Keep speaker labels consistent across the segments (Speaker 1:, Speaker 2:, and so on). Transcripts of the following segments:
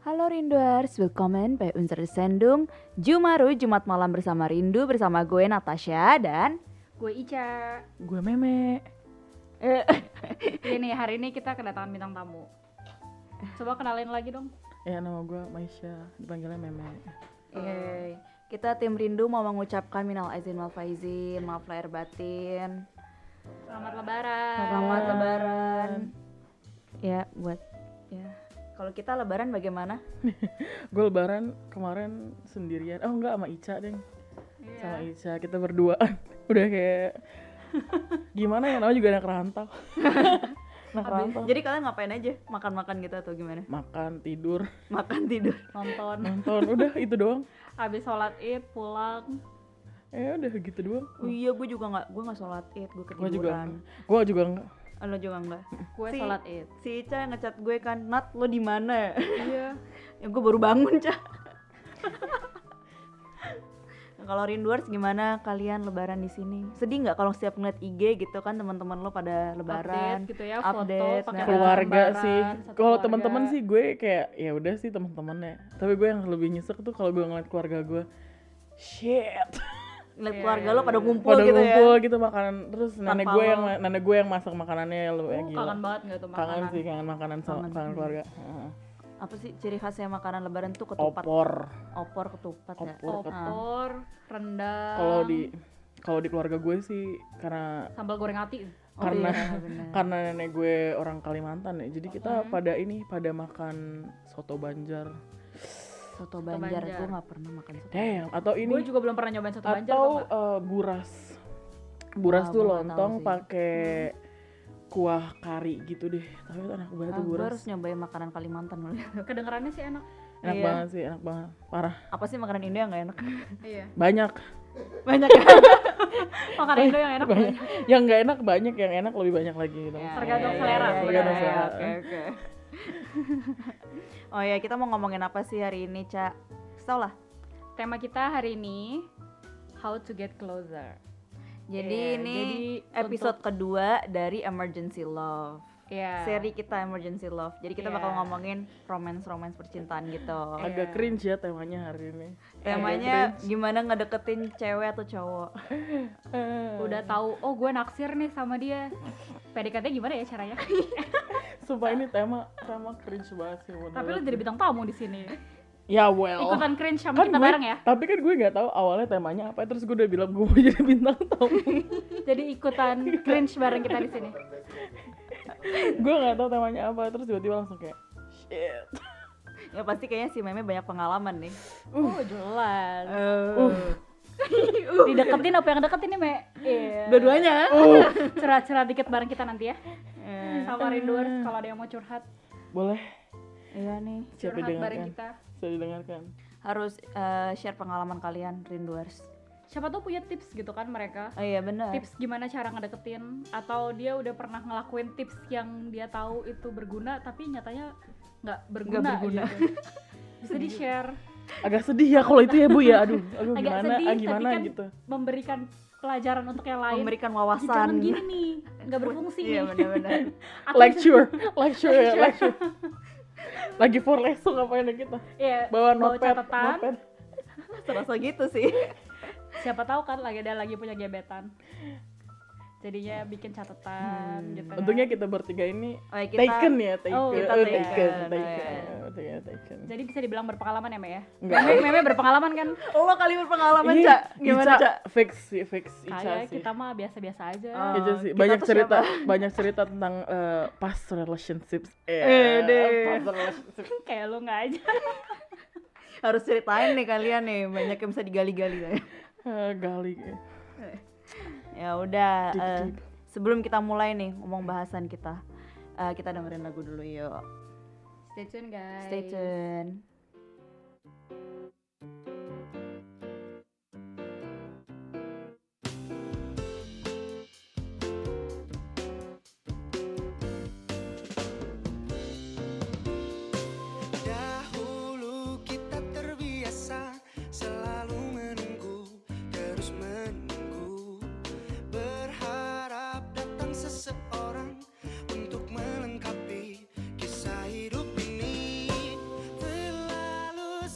Speaker 1: Halo Rinduers, welcome by Unser Sendung Jumaru, Jumat malam bersama Rindu Bersama gue Natasha dan
Speaker 2: Gue Ica.
Speaker 3: Gue meme.
Speaker 1: eh,
Speaker 2: Ini hari ini kita kedatangan bintang tamu. Coba kenalin lagi dong.
Speaker 3: Ya nama gue Maisha, dipanggilnya meme.
Speaker 1: eh, Kita tim Rindu mau mengucapkan Minal Aizin Wal Faizin Maaf lahir batin
Speaker 2: Selamat lebaran.
Speaker 1: Selamat
Speaker 3: Iya.
Speaker 1: lebaran Ya buat ya Kalau kita lebaran bagaimana?
Speaker 3: Gue lebaran kemarin sendirian. Oh enggak sama Ica deh.
Speaker 2: Iya.
Speaker 3: Sama Ica kita berduaan. Udah kayak gimana ya namanya juga anak rantau. anak rantau.
Speaker 1: Jadi kalian ngapain aja? Makan-makan gitu atau gimana?
Speaker 3: Makan, tidur,
Speaker 1: Makan tidur
Speaker 2: Nonton.
Speaker 3: nonton, udah itu doang.
Speaker 2: Habis sholat id pulang.
Speaker 3: Eh udah gitu doang.
Speaker 1: Iya gue juga gak, gue gak sholat id, gue
Speaker 3: Gue
Speaker 1: ketiduran
Speaker 3: Oh, juga gue juga enggak.
Speaker 1: Oh, Lo juga enggak?
Speaker 2: Gue
Speaker 1: Si-
Speaker 2: sholat id.
Speaker 1: si Ica yang ngechat gue kan Nat lo di mana
Speaker 2: Iya.
Speaker 1: ya gue baru bangun Ca Nah, kalau rinduers gimana kalian lebaran di sini sedih nggak kalau setiap ngeliat IG gitu kan teman-teman lo pada lebaran
Speaker 2: Update gitu ya,
Speaker 1: update,
Speaker 2: foto pakai
Speaker 1: nah.
Speaker 3: keluarga
Speaker 2: gambaran,
Speaker 3: sih
Speaker 2: satu
Speaker 3: kalau
Speaker 2: keluarga.
Speaker 3: teman-teman sih gue kayak ya udah sih teman-temannya tapi gue yang lebih nyesek tuh kalau gue ngeliat keluarga gue shit
Speaker 1: ngeliat
Speaker 2: Iya,
Speaker 1: keluarga
Speaker 2: iya,
Speaker 1: lo pada
Speaker 2: iya.
Speaker 1: ngumpul
Speaker 3: pada
Speaker 1: gitu
Speaker 3: ngumpul
Speaker 1: ya
Speaker 3: gitu makanan terus nenek
Speaker 1: Tanpa
Speaker 3: gue yang
Speaker 1: lo.
Speaker 3: nenek gue yang masak makanannya lu ya
Speaker 2: Oh,
Speaker 3: gila
Speaker 2: kangen banget gak tuh makanan?
Speaker 3: kangen sih kangen makanan sama
Speaker 1: Kangen.
Speaker 3: kangen, keluarga Heeh.
Speaker 1: apa sih ciri khasnya makanan lebaran tuh ketupat
Speaker 3: opor
Speaker 1: opor ketupat ya
Speaker 3: Opor,
Speaker 1: Ah.
Speaker 2: Opor, rendang,
Speaker 3: kalau di kalau di keluarga gue sih karena
Speaker 2: sambal goreng ati.
Speaker 1: Oh,
Speaker 3: karena
Speaker 1: iya, bener.
Speaker 3: karena nenek gue orang Kalimantan ya jadi kita pada ini pada makan soto Banjar
Speaker 1: soto banjar
Speaker 2: Banjar.
Speaker 1: gue nggak pernah makan soto
Speaker 3: damn atau ini
Speaker 2: Gue juga belum pernah nyobain satu banjar tau
Speaker 3: atau
Speaker 2: nggak?
Speaker 3: eh, buras buras
Speaker 1: Wah,
Speaker 3: tuh
Speaker 1: gua nggak
Speaker 3: lontong
Speaker 1: tahu sih.
Speaker 3: pakai kuah kari gitu deh tapi itu enak banget
Speaker 1: Ah,
Speaker 3: tuh
Speaker 1: gue
Speaker 3: buras
Speaker 1: harus nyobain makanan Kalimantan dulu.
Speaker 2: Kedengerannya sih enak.
Speaker 3: enak
Speaker 1: iya.
Speaker 3: banget sih enak banget parah
Speaker 1: Apa sih makanan Indo yang gak enak?
Speaker 2: Iya.
Speaker 3: banyak
Speaker 1: Banyak ya?
Speaker 2: Makanan Indo yang enak.
Speaker 3: banyak yang nggak enak banyak yang enak lebih banyak lagi gitu
Speaker 2: Tergantung
Speaker 1: Iya, iya,
Speaker 2: selera,
Speaker 1: iya, iya,
Speaker 3: tergantung
Speaker 1: iya,
Speaker 3: selera
Speaker 1: Oke, oke. Oh ya, kita mau ngomongin apa sih hari ini, Ca? Kasih Tau lah.
Speaker 2: Tema kita hari ini How to get closer.
Speaker 1: Jadi
Speaker 2: Iya,
Speaker 3: Ya,
Speaker 1: ini
Speaker 2: jadi
Speaker 1: episode kedua dari Emergency Love.
Speaker 2: Ya.
Speaker 1: Seri kita Emergency Love. Jadi kita
Speaker 2: Iya.
Speaker 1: bakal ngomongin romance-romance percintaan gitu.
Speaker 3: Ya. agak
Speaker 2: Iya.
Speaker 3: cringe ya temanya hari ini
Speaker 1: Temanya gimana ngedeketin cewek atau cowok.
Speaker 3: Eh,
Speaker 2: Udah tahu, oh gue naksir nih sama dia. PDKT gimana ya caranya?
Speaker 3: sumpah ini tema tema cringe banget sih menurut
Speaker 2: Tapi lu
Speaker 3: gue.
Speaker 2: jadi bintang tamu di sini.
Speaker 3: ya well
Speaker 2: Ikutan cringe sama
Speaker 3: Kan
Speaker 2: kita
Speaker 3: gue-
Speaker 2: bareng ya.
Speaker 3: tapi kan gue nggak tahu awalnya temanya apa terus gue udah bilang gue mau jadi bintang tamu
Speaker 2: Jadi ikutan cringe bareng kita di sini.
Speaker 3: gue nggak tahu temanya apa terus tiba-tiba langsung kayak shit
Speaker 1: Ya pasti kayaknya si Meme banyak pengalaman nih.
Speaker 3: Uh.
Speaker 2: Oh, jelas.
Speaker 1: Uh.
Speaker 2: Dideketin apa yang deketin nih, Me? Iya.
Speaker 1: Dua-duanya.
Speaker 2: Curhat-curhat dikit bareng kita nanti ya.
Speaker 1: Eh.
Speaker 2: Sama rinduers
Speaker 3: Uh.
Speaker 2: kalau ada yang mau curhat,
Speaker 3: boleh
Speaker 1: Iya nih.
Speaker 3: siap
Speaker 2: curhat bareng
Speaker 3: didengarkan
Speaker 2: kita.
Speaker 3: siap didengarkan
Speaker 1: Harus eh, share pengalaman kalian rinduers.
Speaker 2: Siapa tuh punya tips gitu kan mereka?
Speaker 1: Oh iya benar.
Speaker 2: tips gimana cara ngedeketin atau dia udah pernah ngelakuin tips yang dia tahu itu berguna tapi nyatanya nggak berguna,
Speaker 1: Nggak berguna.
Speaker 2: gitu. bisa di share
Speaker 3: agak sedih ya kalau itu ya bu ya aduh aduh
Speaker 2: Agak
Speaker 3: gimana
Speaker 2: sedih,
Speaker 3: ah,
Speaker 2: tapi
Speaker 3: gimana
Speaker 2: kan
Speaker 3: gitu
Speaker 2: memberikan pelajaran untuk yang lain
Speaker 1: memberikan
Speaker 2: Ih, jangan
Speaker 1: wawasan.
Speaker 2: gini nih nggak berfungsi
Speaker 1: Iya
Speaker 2: nih
Speaker 1: benar-benar.
Speaker 2: Aku-
Speaker 3: lecture lecture ya lecture lagi for lesson ngapain ya kita
Speaker 2: Iya,
Speaker 3: bawa notepad
Speaker 2: catatan
Speaker 3: notepad
Speaker 1: Serasa gitu sih.
Speaker 2: siapa tahu kan lagi ada lagi punya gebetan jadinya bikin
Speaker 1: Hmm.
Speaker 2: catatan gitu kan.
Speaker 3: untungnya kita bertiga ini
Speaker 1: Oke, kita
Speaker 3: taken ya taken
Speaker 2: Oh, kita
Speaker 3: Oh,
Speaker 1: taken.
Speaker 3: taken
Speaker 1: Oh,
Speaker 3: taken
Speaker 1: iya.
Speaker 3: Oh, taken taken
Speaker 2: jadi bisa dibilang berpengalaman ya Mbak ya
Speaker 3: Nggak.
Speaker 2: Meme- meme berpengalaman kan Iya,
Speaker 1: Lo kali berpengalaman,
Speaker 3: Ih,
Speaker 1: Cak. Gimana,
Speaker 3: Ica,
Speaker 1: Cak?
Speaker 3: fix sih fix Ica
Speaker 2: kayak
Speaker 3: sih
Speaker 2: kita mah biasa-biasa aja
Speaker 1: Oh,
Speaker 3: Iya sih,
Speaker 1: kita
Speaker 3: banyak
Speaker 1: tuh
Speaker 3: cerita,
Speaker 1: siapa?
Speaker 3: banyak cerita tentang eh, past relationships. Eh,
Speaker 1: deh.
Speaker 3: past
Speaker 1: Iya.
Speaker 3: relationships.
Speaker 2: kayak lu nggak aja
Speaker 1: Harus ceritain nih kalian nih, banyak yang bisa digali-gali ya.
Speaker 3: Eh, gali.
Speaker 1: Ya udah,
Speaker 3: Deep,
Speaker 1: eh,
Speaker 3: deep.
Speaker 1: sebelum kita mulai nih ngomong bahasan kita. eh, kita dengerin lagu dulu yuk.
Speaker 2: stay tune guys
Speaker 1: Stay tune.
Speaker 4: Dahulu kita terbiasa selalu menunggu, terus menunggu, berharap datang seseorang untuk melengkapi kisah hidup ini. Telah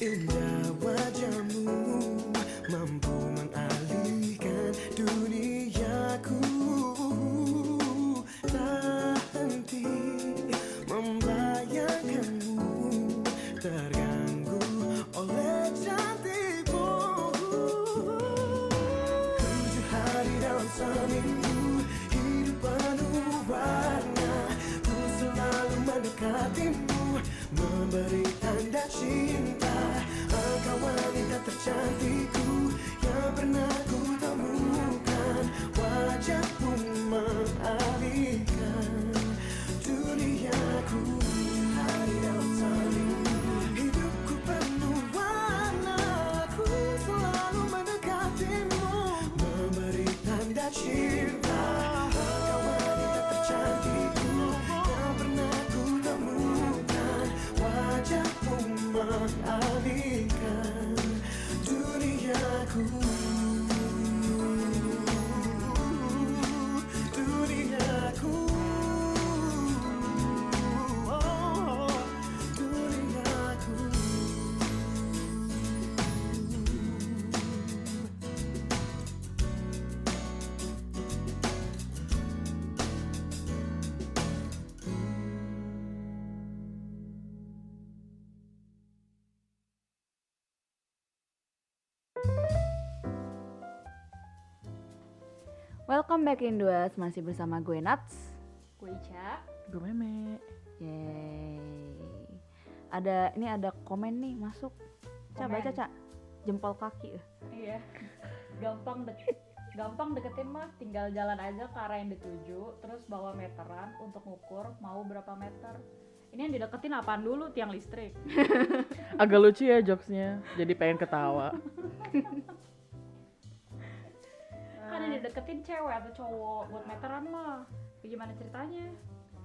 Speaker 5: Indah wajahmu mampu mengalihkan duniaku Tak henti membayangkanmu Terganggu oleh cantikmu Tujuh hari dalam seminggu Hidup penuh warna Ku selalu mendekatimu Memberi tanda cinta Engkau wanita tercantikku Yang pernah ku temukan Wajahmu mengalihkan duniaku Hari dalam seminggu Hidupku penuh warna Ku selalu mendekatimu Memberi tanda cinta Engkau wanita tercantikku Yang pernah ku temukan Wajahmu mengalihkan Duniaku Duniaku Oh, duniaku
Speaker 1: Welcome back Induas, masih bersama gue Nats.
Speaker 2: Gue Ica.
Speaker 3: Gue meme.
Speaker 1: Yeay. Ada ini ada komen nih masuk. Ca
Speaker 2: Komen.
Speaker 1: baca, Ca. Jempol kaki. eh.
Speaker 2: Iya. Gampang deket. Gampang deketin mah, tinggal jalan aja ke arah yang dituju, terus bawa meteran untuk ngukur mau berapa meter. Ini yang dideketin apaan dulu tiang listrik?
Speaker 3: Agak lucu ya jokesnya. Jadi pengen ketawa.
Speaker 2: Kan yang dideketin cewek atau cowok buat meteran mah. Gimana ceritanya?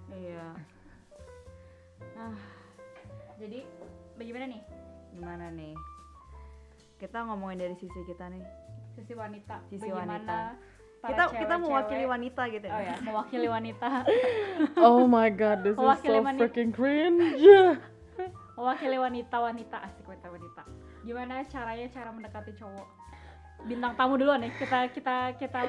Speaker 1: Iya. Ah.
Speaker 2: Jadi bagaimana nih
Speaker 1: Gimana nih? Kita ngomongin dari sisi kita nih.
Speaker 2: sisi wanita?
Speaker 1: Sisi
Speaker 2: bagaimana
Speaker 1: wanita. kita
Speaker 2: para
Speaker 1: kita
Speaker 2: cewek-cewek-
Speaker 1: mewakili wanita gitu
Speaker 2: Oh ya, mewakili wanita.
Speaker 3: Oh my god, this is
Speaker 2: Mewakili
Speaker 3: so
Speaker 2: mani-
Speaker 3: freaking cringe.
Speaker 2: mewakili wanita-wanita asik wanita-wanita. Gimana caranya cara mendekati cowok? Bintang tamu duluan nih. Kita kita kita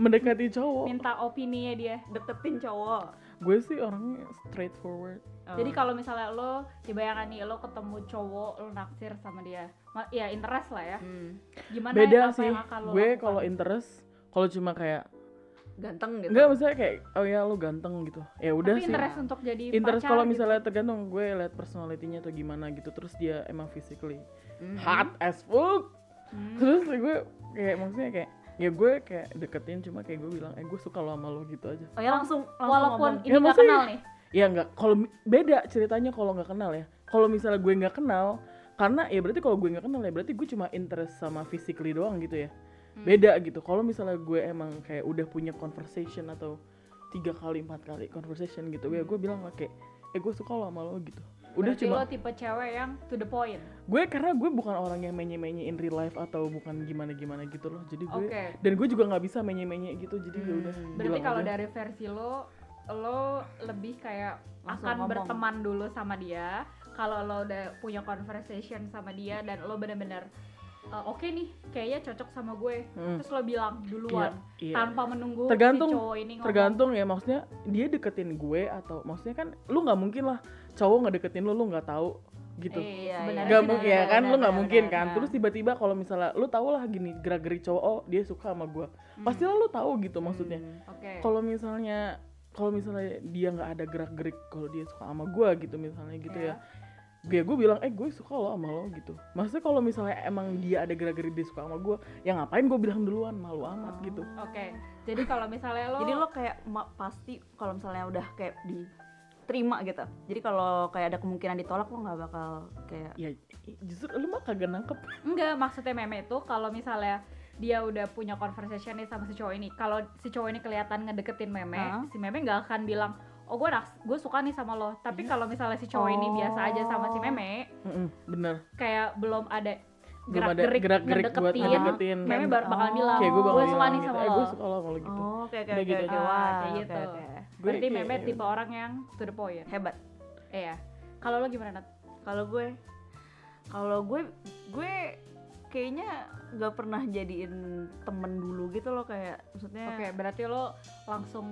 Speaker 3: Mendekati cowok.
Speaker 2: minta opini dia.
Speaker 1: Deketin cowok. Oh.
Speaker 3: Gue sih orangnya straightforward.
Speaker 2: Oh. Jadi kalau misalnya lo dibayangkan nih lo ketemu cowok lo naksir sama dia, Ma- ya interest lah ya.
Speaker 1: Hmm.
Speaker 2: Gimana
Speaker 3: Beda
Speaker 2: apa
Speaker 3: sih.
Speaker 2: yang akan lo
Speaker 3: Gue
Speaker 2: lakukan?
Speaker 3: kalau interest, kalau cuma kayak
Speaker 1: ganteng gitu.
Speaker 3: enggak maksudnya kayak oh ya lu ganteng gitu. Ya udah
Speaker 2: Tapi
Speaker 3: sih.
Speaker 2: interest untuk jadi
Speaker 3: Interest
Speaker 2: pacar
Speaker 3: kalau
Speaker 2: gitu.
Speaker 3: misalnya tergantung gue liat personalitinya atau gimana gitu. Terus dia emang physically
Speaker 2: Hmm.
Speaker 3: hot as fuck. Terus gue kayak maksudnya kayak ya gue kayak deketin cuma kayak gue bilang eh gue suka lo sama lo gitu aja.
Speaker 1: Oh ya langsung, langsung
Speaker 2: walaupun
Speaker 1: ngomong.
Speaker 2: ini
Speaker 3: Ya,
Speaker 2: nggak
Speaker 3: maksudnya-
Speaker 2: kenal nih.
Speaker 3: ya nggak kalau mi- beda ceritanya kalau nggak kenal ya kalau misalnya gue nggak kenal karena ya berarti kalau gue nggak kenal ya berarti gue cuma interest sama physically doang gitu ya
Speaker 2: Hmm.
Speaker 3: beda gitu kalau misalnya gue emang kayak udah punya conversation atau tiga kali empat kali conversation gitu ya gue bilang lah kayak eh gue suka lo sama lo gitu udah
Speaker 2: Hmm. Berarti
Speaker 3: cuma
Speaker 2: lo tipe cewek yang to the point.
Speaker 3: gue karena gue bukan orang yang menye-menye in real life atau bukan gimana-gimana gitu loh jadi gue
Speaker 2: Oke. Hmm.
Speaker 3: dan gue juga nggak bisa menye-menye gitu jadi ya udah
Speaker 2: Berarti
Speaker 3: bilang
Speaker 2: kalau
Speaker 3: aja.
Speaker 2: dari versi lo, lo lebih kayak
Speaker 1: Langsung
Speaker 2: akan
Speaker 1: ngomong.
Speaker 2: berteman dulu sama dia. Kalau lo udah punya conversation sama dia dan lo bener-bener "E, oke nih, kayaknya cocok sama gue.
Speaker 3: Hmm.
Speaker 2: Terus lo bilang duluan
Speaker 3: Iya, iya.
Speaker 2: tanpa menunggu si
Speaker 3: tergantung
Speaker 2: cowok ini ngomong.
Speaker 3: tergantung ya maksudnya dia deketin gue atau maksudnya kan lu nggak mungkin lah cowok nggak deketin lu lu nggak tahu gitu
Speaker 2: Iya,
Speaker 1: Sebenarnya
Speaker 3: nggak
Speaker 1: sih
Speaker 3: mungkin
Speaker 1: benar,
Speaker 3: ya kan lu
Speaker 1: benar,
Speaker 3: nggak
Speaker 1: benar,
Speaker 3: mungkin
Speaker 1: benar.
Speaker 3: kan terus tiba-tiba kalau misalnya lu tau lah gini gerak-gerik cowok oh dia suka sama gue pasti lu tahu gitu maksudnya
Speaker 2: Oke.
Speaker 3: kalau misalnya kalau misalnya dia nggak ada gerak-gerik kalau dia suka sama gue gitu misalnya gitu
Speaker 2: Iya.
Speaker 3: ya Gue gue bilang, eh gue suka lo sama lo gitu Maksudnya kalau misalnya emang dia ada gerak-gerik dia suka sama gue Ya ngapain gue bilang duluan, malu amat gitu
Speaker 2: Oke. Jadi kalau misalnya lo
Speaker 1: Jadi lo kayak ma- pasti kalau misalnya udah kayak diterima gitu. Jadi kalau kayak ada kemungkinan ditolak lo nggak bakal kayak
Speaker 3: Ya i- justru lu mah kagak nangkep
Speaker 2: Enggak, maksudnya meme itu kalau misalnya dia udah punya conversation nih sama si cowok ini. Kalau si cowok ini kelihatan ngedeketin meme,
Speaker 1: Hah?
Speaker 2: si meme nggak akan bilang, "Oh, gue gue suka nih sama lo." Tapi
Speaker 3: Iya.
Speaker 2: kalau misalnya si cowok
Speaker 3: Oh.
Speaker 2: ini biasa aja sama si meme,
Speaker 3: Mm-mm, bener
Speaker 2: kayak belum ada
Speaker 3: Belum ada
Speaker 2: gerak-gerik
Speaker 3: gerak-gerik buat
Speaker 2: ngedeketin,
Speaker 3: ngedeketin.
Speaker 2: meme baru bakal
Speaker 1: Oh.
Speaker 2: bilang,
Speaker 3: kayak gue bakal
Speaker 2: "Gue suka
Speaker 3: bilang
Speaker 2: nih
Speaker 3: gitu,
Speaker 2: sama
Speaker 3: eh
Speaker 2: lo."
Speaker 3: gue suka lo kalau gitu
Speaker 1: oh oke oke
Speaker 3: Udah
Speaker 1: oke
Speaker 3: gitu
Speaker 1: oke
Speaker 3: aja.
Speaker 1: wah
Speaker 2: Ah, kayak
Speaker 1: oke,
Speaker 2: gitu.
Speaker 1: oke.
Speaker 3: Gue
Speaker 2: Berarti
Speaker 3: kayak- gitu.
Speaker 2: meme tipe orang yang to the point.
Speaker 1: hebat.
Speaker 2: Iya. Kalau lo gimana, Nat?
Speaker 1: Kalau gue Kalau gue gue kayaknya nggak pernah jadiin temen dulu gitu loh kayak maksudnya
Speaker 2: Oke, berarti lo langsung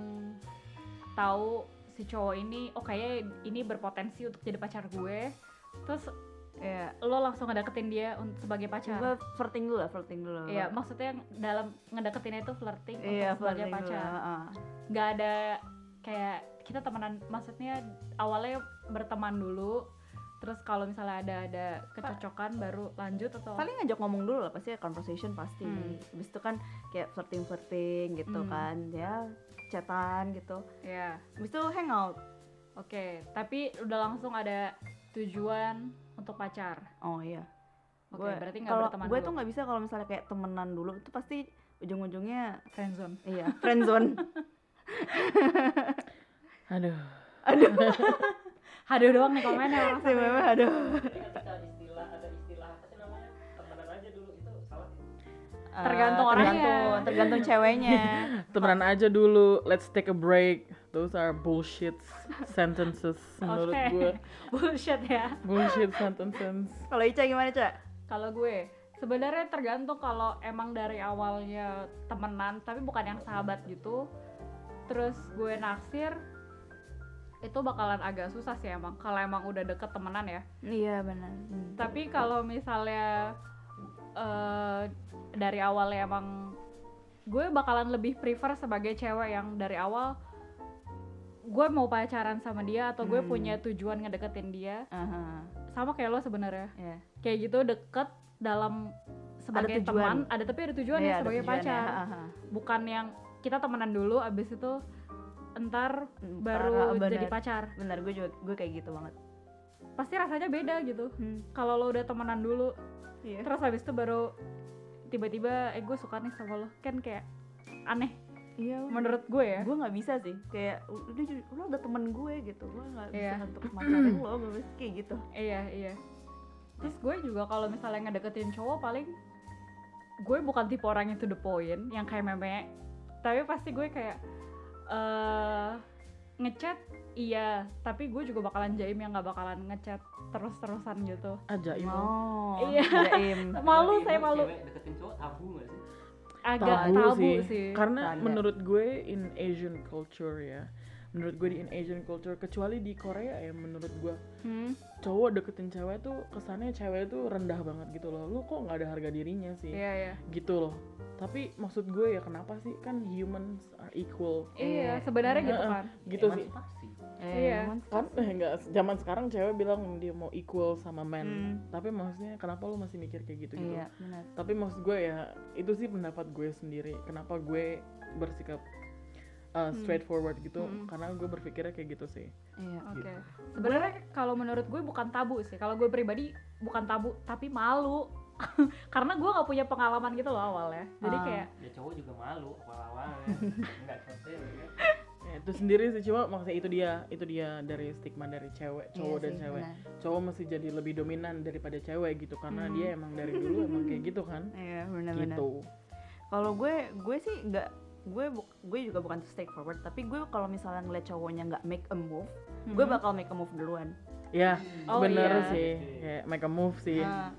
Speaker 2: tahu si cowok ini, oh kayaknya ini berpotensi untuk jadi pacar gue. Terus
Speaker 1: ya
Speaker 2: lo langsung ngedeketin dia un- sebagai
Speaker 1: coba
Speaker 2: pacar.
Speaker 1: flirting dulu lah flirting dulu
Speaker 2: Iya, maksudnya dalam ngedeketinnya itu flirting untuk
Speaker 1: iya
Speaker 2: sebagai
Speaker 1: flirting dulu
Speaker 2: pacar.
Speaker 1: heeh.
Speaker 2: Nggak ada kayak kita temenan, maksudnya awalnya berteman dulu. Terus kalau misalnya ada ada kecocokan kan baru lanjut atau
Speaker 1: paling ngajak ngomong dulu lah pasti ya, conversation pasti
Speaker 2: Hmm.
Speaker 1: habis itu kan kayak flirting flirting gitu
Speaker 2: Hmm.
Speaker 1: kan ya chatan gitu
Speaker 2: ya.
Speaker 1: habis itu hangout
Speaker 2: Oke, tapi udah langsung ada tujuan untuk pacar.
Speaker 1: oh iya
Speaker 2: Oke,
Speaker 1: Gue-
Speaker 2: berarti nggak
Speaker 1: kalau
Speaker 2: berteman
Speaker 1: gue
Speaker 2: dulu.
Speaker 1: tuh nggak bisa kalau misalnya kayak temenan dulu itu pasti ujung-ujungnya
Speaker 2: friendzone.
Speaker 1: iya friendzone
Speaker 3: Aduh.
Speaker 2: Haduh doang nih komennya orang
Speaker 1: si memang aduh
Speaker 6: ketika
Speaker 2: Iya.
Speaker 6: istilah ada istilah apa sih namanya temenan aja dulu itu salah ya?
Speaker 2: Tergantung
Speaker 1: Eh,
Speaker 2: orangnya.
Speaker 1: tergantung, tergantung ceweknya
Speaker 3: Temenan aja dulu. Let's take a break. Those are bullshit sentences menurut
Speaker 2: Oke.
Speaker 3: gue.
Speaker 2: bullshit ya.
Speaker 3: Bullshit sentences.
Speaker 1: kalau Ica gimana Ca?
Speaker 2: Kalau gue sebenarnya tergantung kalau emang dari awalnya temenan tapi bukan yang sahabat gitu. Terus gue naksir itu bakalan agak susah sih emang kalau emang udah deket temenan ya.
Speaker 1: iya benar Hmm.
Speaker 2: Tapi kalau misalnya eh, dari awal emang gue bakalan lebih prefer sebagai cewek yang dari awal gue mau pacaran sama dia atau gue
Speaker 1: Hmm.
Speaker 2: punya tujuan ngedeketin dia
Speaker 1: Aha,
Speaker 2: sama kayak lo sebenarnya
Speaker 1: iya.
Speaker 2: kayak gitu deket dalam sebagai
Speaker 1: Ada tujuan.
Speaker 2: teman ada tapi ada tujuan
Speaker 1: Iya,
Speaker 2: ya
Speaker 1: ada
Speaker 2: sebagai
Speaker 1: tujuannya,
Speaker 2: pacar
Speaker 1: aha.
Speaker 2: bukan yang kita temenan dulu abis itu entar
Speaker 1: Hmm,
Speaker 2: baru
Speaker 1: parah,
Speaker 2: jadi
Speaker 1: bener.
Speaker 2: pacar
Speaker 1: benar gue juga gue kayak gitu banget
Speaker 2: pasti rasanya beda gitu
Speaker 1: Hmm,
Speaker 2: kalau lo udah temenan dulu
Speaker 1: iya
Speaker 2: terus abis itu baru tiba-tiba eh gue suka nih sama lo kan kayak aneh
Speaker 1: iya bener.
Speaker 2: menurut gue ya
Speaker 1: gue nggak bisa sih kayak "U- udah ju- lo udah temen gue gitu gue nggak
Speaker 2: Iya.
Speaker 1: bisa untuk pacarin lo gue bisa kayak gitu
Speaker 2: iya iya terus gue juga kalau misalnya ngedeketin cowok paling gue bukan tipe orang yang to the point yang kayak meme tapi pasti gue kayak eh ngechat iya tapi gue juga bakalan jaim yang nggak bakalan ngechat terus-terusan gitu
Speaker 3: Ajaib. lo.
Speaker 1: Ah, oh
Speaker 2: Iya.
Speaker 1: jaim.
Speaker 2: malu
Speaker 6: Tapi
Speaker 2: saya
Speaker 6: emang
Speaker 2: malu
Speaker 6: cewek deketin cowok tabu gak sih
Speaker 2: agak tabu, sih,
Speaker 3: Karena
Speaker 1: Standar.
Speaker 3: menurut gue in Asian culture ya. Menurut gue di in Asian culture kecuali di Korea ya menurut gue
Speaker 2: Hmm,
Speaker 3: cowok deketin cewek tuh kesannya cewek tuh rendah banget gitu loh. Lu kok nggak ada harga dirinya sih?
Speaker 2: iya iya
Speaker 3: Gitu loh. Tapi maksud gue ya kenapa sih kan humans are equal
Speaker 2: iya sebenarnya gitu
Speaker 3: Heeh.
Speaker 2: kan
Speaker 3: gitu sih.
Speaker 6: Emansipasi.
Speaker 1: Eh,
Speaker 2: Iya.
Speaker 1: emang-
Speaker 3: Kan eh, enggak zaman sekarang cewek bilang dia mau equal sama men.
Speaker 1: Hmm.
Speaker 3: Tapi maksudnya kenapa lu masih mikir kayak gitu gitu?
Speaker 1: iya benar
Speaker 3: Tapi maksud gue ya itu sih pendapat gue sendiri. Kenapa gue bersikap uh, straightforward gitu?
Speaker 2: Hmm.
Speaker 3: Karena gue berpikirnya kayak gitu sih.
Speaker 1: iya
Speaker 2: Oke.
Speaker 3: Gitu.
Speaker 2: Sebenarnya kalau menurut gue bukan tabu sih. Kalau gue pribadi bukan tabu, tapi malu. Karena gue nggak punya pengalaman gitu loh awalnya. Jadi
Speaker 1: Ah.
Speaker 2: kayak
Speaker 6: ya cowok juga malu awal-awal nggak cocok ya
Speaker 3: Ya, itu sendiri sih cuma maksudnya itu dia itu dia dari stigma dari cewek cowok
Speaker 1: Iya
Speaker 3: dan
Speaker 1: sih,
Speaker 3: cewek
Speaker 1: benar.
Speaker 3: cowok masih jadi lebih dominan daripada cewek gitu karena
Speaker 2: Mhm.
Speaker 3: dia emang dari dulu emang kayak gitu kan
Speaker 1: iya benar-benar
Speaker 3: gitu
Speaker 1: kalau gue gue sih nggak gue bu- gue juga bukan stake forward tapi gue kalau misalnya ngeliat cowoknya nggak make a move gue
Speaker 2: Mhm.
Speaker 1: bakal make a move duluan
Speaker 3: ya
Speaker 2: Oh,
Speaker 3: bener
Speaker 2: iya.
Speaker 3: sih kayak make a move sih
Speaker 2: "Ah,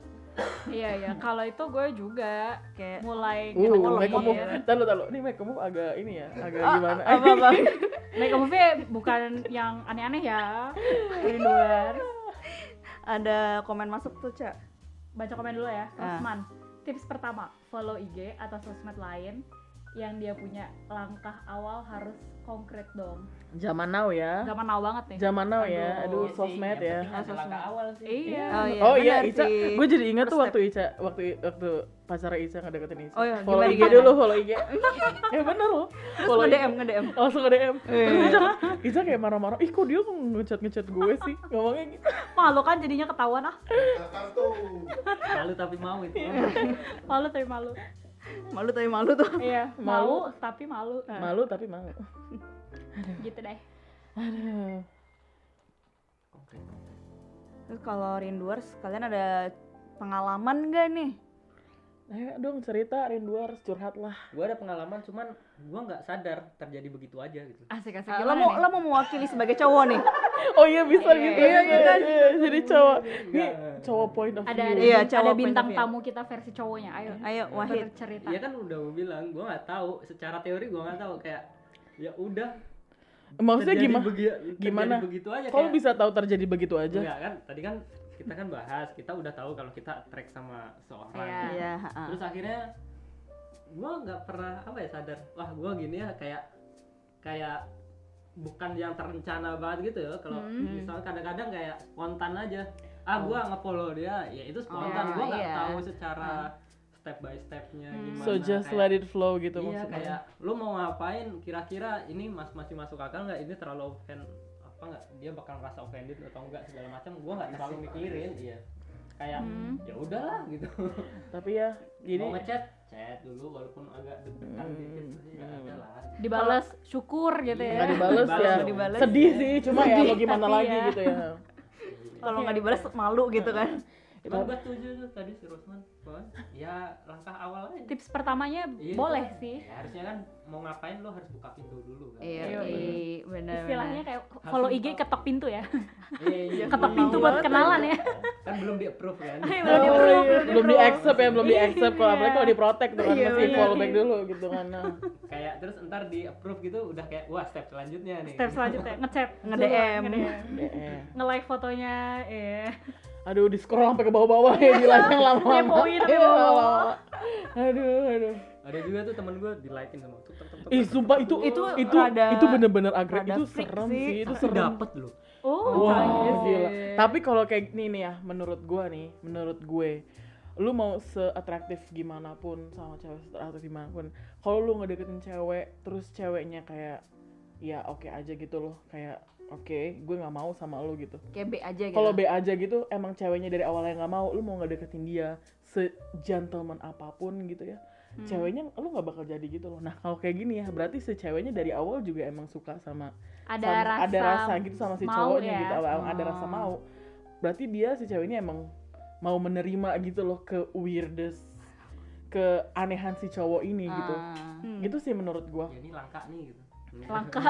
Speaker 2: iya ya. Kalau itu gue juga
Speaker 1: kayak
Speaker 2: mulai
Speaker 3: Uh,
Speaker 2: ngedeketin.
Speaker 3: make a move. Tahu tahu. Ini make a move agak ini ya, agak gimana?
Speaker 1: apa apa
Speaker 2: Make a move-nya bukan yang aneh-aneh ya.
Speaker 1: luar ada komen masuk tuh cak
Speaker 2: Baca komen dulu ya,
Speaker 1: Ah.
Speaker 2: Rosman. Tips pertama, follow IG atau sosmed lain yang dia punya langkah awal harus konkret dong.
Speaker 3: Zaman now ya.
Speaker 2: Zaman now banget nih.
Speaker 3: Zaman now ya.
Speaker 6: Iya
Speaker 3: Aduh,
Speaker 6: sih,
Speaker 3: sosmed
Speaker 6: yang
Speaker 3: ya.
Speaker 6: penting ada langkah awal sih
Speaker 2: Iya.
Speaker 1: Oh iya,
Speaker 3: oh iya,
Speaker 1: benar
Speaker 3: Ica.
Speaker 1: sih.
Speaker 3: Gue jadi ingat tuh
Speaker 1: First
Speaker 3: waktu Ica, waktu waktu pacar Ica ngedeketin Ica.
Speaker 1: Oh iya,
Speaker 3: follow
Speaker 1: gimana,
Speaker 3: IG
Speaker 1: gimana?
Speaker 3: dulu, follow IG. ya bener loh.
Speaker 1: Terus
Speaker 3: Follow IG.
Speaker 1: nge-DM, nge-DM.
Speaker 3: Langsung ke DM.
Speaker 1: Iya.
Speaker 3: Terus Ica, Ica kayak marah-marah. Ih kok dia ngechat ngechat gue sih? Ngomongnya gitu.
Speaker 2: Malu kan jadinya ketahuan ah.
Speaker 6: malu tapi mau itu
Speaker 2: Iya.
Speaker 3: Iya.
Speaker 2: Malu tapi malu.
Speaker 1: Malu tapi malu tuh.
Speaker 2: Iya, mau tapi malu.
Speaker 3: Malu tapi mau.
Speaker 2: Gitu deh.
Speaker 3: Aduh.
Speaker 6: Oke.
Speaker 1: Terus kalau rinduers, kalian ada pengalaman gak nih?
Speaker 3: ayo Eh, dong cerita rinduars curhat lah
Speaker 6: Gue ada pengalaman cuman gue nggak sadar terjadi begitu aja gitu.
Speaker 2: Asik-asik
Speaker 1: Ah, lo mau lo mau mewakili sebagai cowok nih
Speaker 3: oh iya bisa
Speaker 2: Iya,
Speaker 3: gitu
Speaker 1: iya, iya, kan?
Speaker 3: iya, jadi cowok ini
Speaker 6: Iya.
Speaker 3: cowok point of
Speaker 2: ada ada,
Speaker 3: view
Speaker 1: Iya,
Speaker 2: bin-
Speaker 1: cowok
Speaker 2: ada
Speaker 1: point
Speaker 2: bintang
Speaker 1: of view. Iya.
Speaker 2: tamu kita versi cowoknya ayo
Speaker 1: ayo Wahid
Speaker 2: cerita
Speaker 6: Iya kan udah gue bilang gue nggak tahu. Secara teori gue nggak tahu kayak ya udah.
Speaker 3: maksudnya
Speaker 6: terjadi
Speaker 3: gimana
Speaker 6: begi- terjadi
Speaker 3: gimana?
Speaker 6: Begitu aja.
Speaker 3: kalau
Speaker 6: kayak-
Speaker 3: bisa tahu terjadi begitu gitu aja
Speaker 6: Enggak kan? Tadi kan kita kan bahas kita udah tahu kalau kita track sama seorang.
Speaker 2: Iya.
Speaker 1: iya ha-ha.
Speaker 6: terus akhirnya gue nggak pernah apa ya sadar wah gue gini ya kayak kayak bukan yang terencana banget gitu ya kalau
Speaker 2: Hmm.
Speaker 6: misalnya kadang-kadang kayak spontan aja ah gue ngefollow dia ya itu
Speaker 2: Oh,
Speaker 6: spontan gue nggak
Speaker 1: iya.
Speaker 6: tahu secara step by stepnya
Speaker 2: Hmm.
Speaker 6: gimana
Speaker 3: so just
Speaker 6: kayak-
Speaker 3: let it flow gitu
Speaker 6: iya
Speaker 3: maksudnya
Speaker 6: kayak lu mau ngapain kira-kira ini mas masih masuk akal nggak ini terlalu offend apa nggak dia bakal ngerasa offended atau enggak segala macam gue nggak terlalu mikirin iya kayak
Speaker 2: Hmm.
Speaker 6: ya udahlah gitu
Speaker 3: tapi ya
Speaker 6: jadi
Speaker 3: jadi
Speaker 6: mau ngechat chat dulu walaupun agak deg-degan
Speaker 3: Hmm,
Speaker 6: dikit tapi nggak
Speaker 3: hmm.
Speaker 6: ada lah
Speaker 2: dibales syukur gitu
Speaker 6: Iya,
Speaker 2: ya
Speaker 3: nggak dibales ya
Speaker 6: Nggak
Speaker 1: dibales.
Speaker 3: sedih sih cuma ya mau gimana
Speaker 2: tapi
Speaker 3: lagi
Speaker 2: ya.
Speaker 3: gitu ya
Speaker 1: kalau nggak dibalas malu gitu kan
Speaker 6: cuman gue setuju tuh tadi si Rosman Bon, ya langkah awal aja
Speaker 2: tips pertamanya
Speaker 6: Iya,
Speaker 2: boleh
Speaker 6: kan.
Speaker 2: sih
Speaker 6: ya, harusnya kan mau ngapain lo harus buka pintu dulu kan
Speaker 1: iya
Speaker 2: Iya,
Speaker 1: iya, bener
Speaker 2: istilahnya kayak follow
Speaker 6: Langsung
Speaker 2: IG
Speaker 6: tahu.
Speaker 2: ketok pintu ya
Speaker 6: Iya, iya,
Speaker 2: ketok
Speaker 6: iya,
Speaker 2: pintu
Speaker 6: iya.
Speaker 2: buat kenalan ya
Speaker 6: kan belum di approve kan
Speaker 2: Iya,
Speaker 3: Oh,
Speaker 2: belum di-approve,
Speaker 3: iya.
Speaker 2: belum
Speaker 3: belum di
Speaker 2: di-approve.
Speaker 3: accept ya belum di accept kalau
Speaker 2: Iya.
Speaker 3: apalagi kalau di protect tuh kan
Speaker 1: Iya,
Speaker 3: masih
Speaker 1: bener.
Speaker 3: follow back dulu gitu kan nah.
Speaker 6: kayak terus ntar di approve gitu udah kayak wah step selanjutnya nih
Speaker 2: step selanjutnya
Speaker 6: Iya.
Speaker 2: ngechat
Speaker 1: Nge-DM.
Speaker 3: DM.
Speaker 2: nge-like fotonya ya
Speaker 3: aduh di scroll sampai ke bawah-bawah ya dilanjang lama-lama
Speaker 2: Ngepoin sampai
Speaker 3: Iya,
Speaker 2: bawah-bawah.
Speaker 3: lama-lama. aduh aduh
Speaker 6: ada juga tuh temen gue di likein sama tuh tek, tek, tek,
Speaker 3: ih
Speaker 6: tek,
Speaker 3: sumpah
Speaker 6: tek.
Speaker 3: itu
Speaker 1: Itu
Speaker 3: itu itu,
Speaker 1: rada-
Speaker 3: itu bener-bener agresif
Speaker 1: rada
Speaker 3: itu
Speaker 1: freak
Speaker 3: serem
Speaker 1: sih.
Speaker 3: sih, itu
Speaker 6: Tapi
Speaker 3: serem
Speaker 6: dapet lo
Speaker 2: oh
Speaker 3: Wah,
Speaker 2: canggih
Speaker 3: gila.
Speaker 2: sih.
Speaker 3: Tapi kalau kayak gini nih ya, menurut gua nih, menurut gue, lu mau seatraktif gimana pun sama cewek seatraktif gimana pun, kalau lu ngedeketin cewek, terus ceweknya kayak ya oke aja gitu loh, kayak oke, gue nggak mau sama lu gitu.
Speaker 1: kayak B aja gitu
Speaker 3: Kalau B aja gitu, emang ceweknya dari awalnya nggak mau, lu mau ngedeketin dia se-gentleman apapun gitu ya,
Speaker 2: Hmm.
Speaker 3: ceweknya lu nggak bakal jadi gitu loh. Nah kalau kayak gini ya, berarti si ceweknya dari awal juga emang suka sama
Speaker 2: ada
Speaker 3: sama-
Speaker 2: rasa
Speaker 3: ada rasa gitu sama si
Speaker 2: mau
Speaker 3: cowoknya
Speaker 2: ya.
Speaker 3: gitu awal ada rasa
Speaker 1: Oh.
Speaker 3: mau berarti dia si cewek ini emang mau menerima gitu loh ke weirdest keanehan si cowok ini gitu
Speaker 1: Ah.
Speaker 2: Hmm.
Speaker 3: gitu sih menurut gua
Speaker 6: ya ini langka nih gitu
Speaker 2: langkah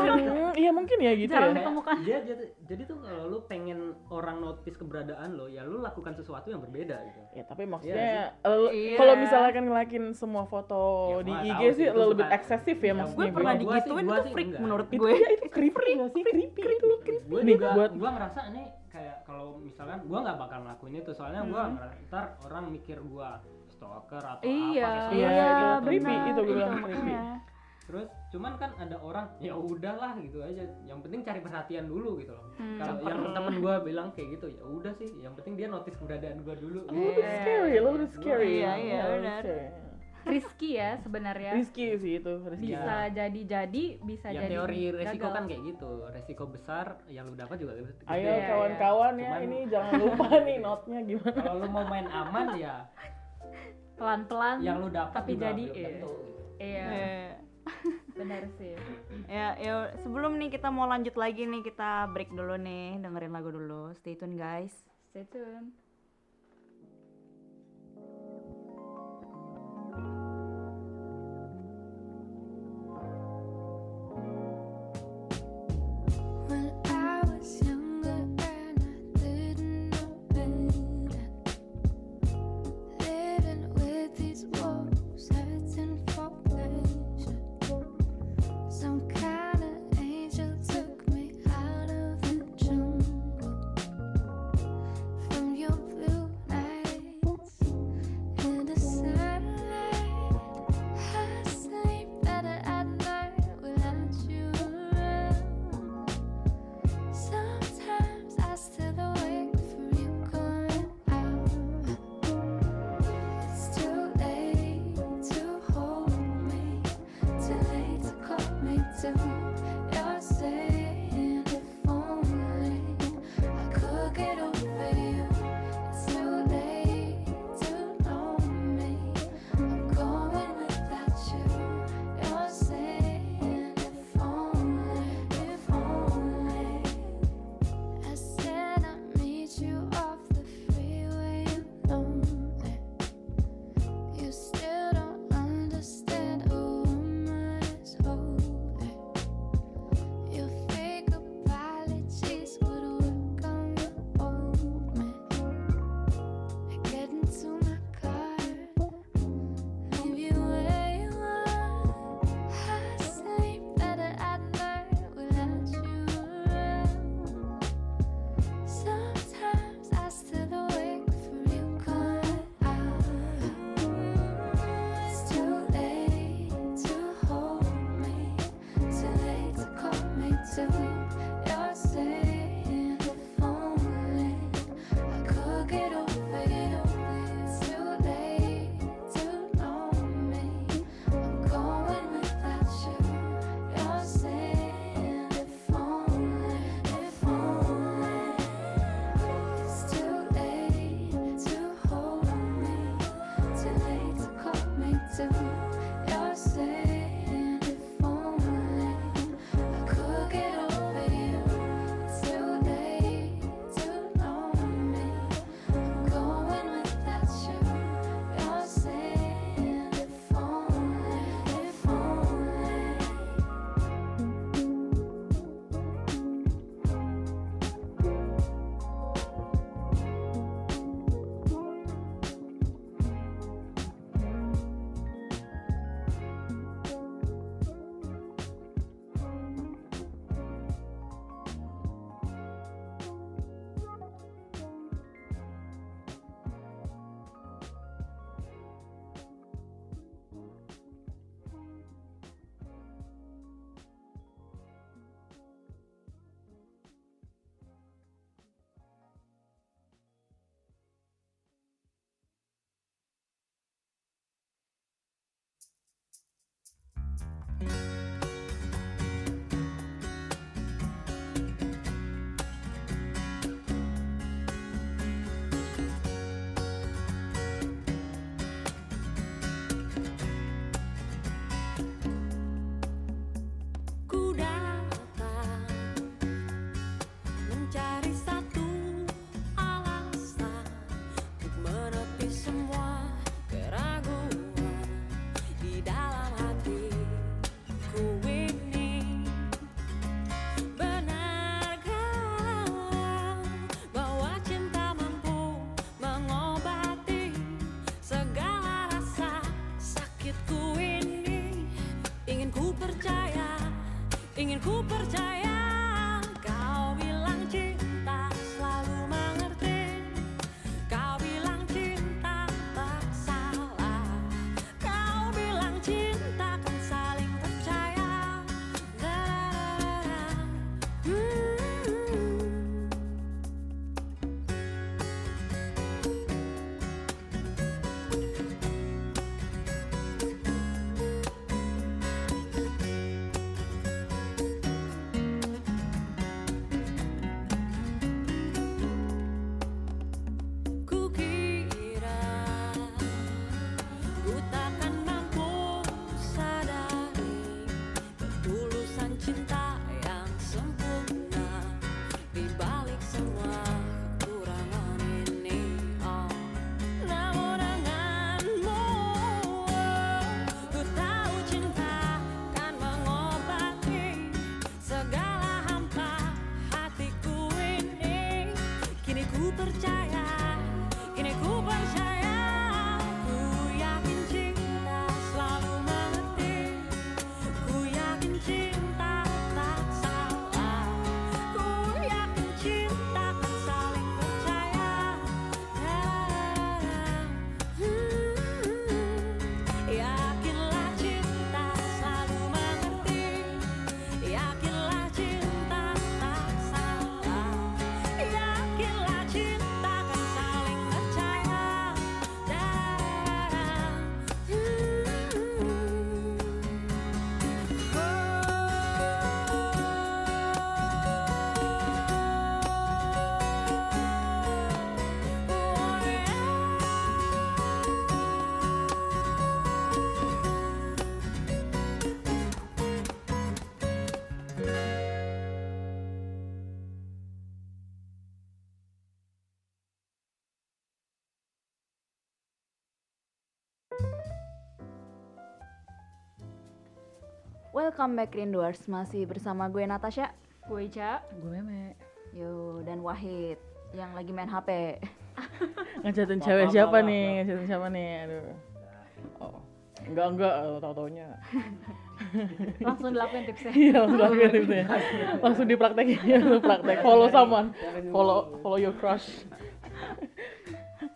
Speaker 3: Hmm, iya mungkin ya gitu
Speaker 2: Jarang
Speaker 3: ya
Speaker 2: ditemukan. Bukan.
Speaker 6: Dia, dia tuh- jadi tuh kalau lu pengen orang notice keberadaan lo, ya lu lakukan sesuatu yang berbeda gitu.
Speaker 3: ya tapi
Speaker 6: Iya
Speaker 3: maksudnya el-
Speaker 2: Iya.
Speaker 3: kalau misalkan ngelakin semua foto
Speaker 6: Ya,
Speaker 3: di
Speaker 6: gua
Speaker 3: IG
Speaker 6: tahu
Speaker 3: sih
Speaker 6: sih, itu
Speaker 3: lo lebih
Speaker 6: bukan-
Speaker 3: eksesif ya
Speaker 6: Ya,
Speaker 1: gue
Speaker 3: maksudnya
Speaker 6: Gua-
Speaker 1: pernah
Speaker 6: gua sih-
Speaker 1: digituin
Speaker 6: gua
Speaker 1: itu
Speaker 6: sih
Speaker 1: freak
Speaker 6: enggak.
Speaker 1: menurut
Speaker 3: itu
Speaker 1: gue
Speaker 3: ya itu creepy nggak sih creepy itu
Speaker 6: Gue
Speaker 3: Nih,
Speaker 6: juga,
Speaker 3: buat-
Speaker 6: gue ngerasa ini kayak kalau misalkan gue nggak bakal ngelakuin itu, soalnya gue
Speaker 3: Mm-hmm.
Speaker 2: Mhm.
Speaker 6: ngerasa ntar orang mikir gue stalker atau
Speaker 2: iya
Speaker 6: apa. kayak
Speaker 3: Iya,
Speaker 6: gitu.
Speaker 3: itu creepy,
Speaker 2: benar,
Speaker 3: itu gue bilang
Speaker 2: makanya.
Speaker 3: creepy.
Speaker 6: Terus cuman kan ada orang ya udahlah gitu aja. Yang penting cari perhatian dulu gitu loh.
Speaker 2: Hmm.
Speaker 6: Kalau yang temen gue bilang kayak gitu, ya udah sih. Yang penting dia notice keberadaan gue dulu. gitu.
Speaker 3: a little
Speaker 2: Iya.
Speaker 3: bit Oh, scary a little bit scary
Speaker 1: Iya, iya,
Speaker 3: a little bit
Speaker 1: benar.
Speaker 3: scary.
Speaker 2: Rizky ya sebenarnya
Speaker 3: Rizky sih itu Rizky
Speaker 2: bisa jadi jadi bisa
Speaker 6: iya. Yang
Speaker 2: jadi
Speaker 6: teori resiko
Speaker 2: gagal.
Speaker 6: kan kayak gitu. Resiko besar yang lu dapat juga gede.
Speaker 3: Ayo
Speaker 2: Iya,
Speaker 3: kawan-kawan ya,
Speaker 6: Cuman-
Speaker 3: ini jangan lupa nih notnya gimana.
Speaker 6: Kalau lu mau main aman ya
Speaker 2: pelan pelan
Speaker 6: yang lu dapat
Speaker 2: Tapi
Speaker 6: juga
Speaker 2: jadi,
Speaker 6: belum
Speaker 2: iya.
Speaker 6: tentu, gitu.
Speaker 2: iya
Speaker 1: Eh,
Speaker 2: benar iya. sih
Speaker 1: ya ya sebelum nih kita mau lanjut lagi nih kita break dulu nih dengerin lagu dulu stay tune guys
Speaker 2: stay tune
Speaker 7: When I was younger and I didn't know better, living with these walls, hurting for pleasure. Some kind of angel took me out of the jungle. From your
Speaker 8: ku percaya Kau bilang cinta selalu mengerti Kau bilang cinta tak salah Kau bilang cinta kan saling percaya Nah, La-la-la-la. Hmm. Kukira ku takkan mampu sadari ketulusan cinta yang sempurna di balik semua kekurangan ini. Oh, namun denganmu ku tahu cinta kan mengobati segala hampa hatiku ini. Kini ku percaya, kini ku percaya Ku yakin cinta selalu mengerti Ku yakin cinta tak salah Ku yakin cinta kan saling percaya Hmm. Yakinlah cinta selalu mengerti Yakinlah cinta tak salah Yakinlah cinta kan saling percaya Dan
Speaker 1: Welcome back Rinduers, masih bersama gue Natasha
Speaker 2: Gue Ica
Speaker 3: Gue meme.
Speaker 1: Yo, dan Wahid yang lagi main HP
Speaker 3: Ngecatin
Speaker 6: Apa,
Speaker 3: cewek
Speaker 6: apa,
Speaker 3: siapa
Speaker 6: apa,
Speaker 3: nih?
Speaker 6: apa.
Speaker 3: Ngecatin siapa nih? Aduh. Oh. Enggak enggak eh, tahu taunya.
Speaker 2: langsung dilakuin tipsnya.
Speaker 3: Iya, langsung lakuin itu ya. Langsung dipraktekin, langsung praktek.
Speaker 6: Iya,
Speaker 3: Follow someone. Follow follow your crush.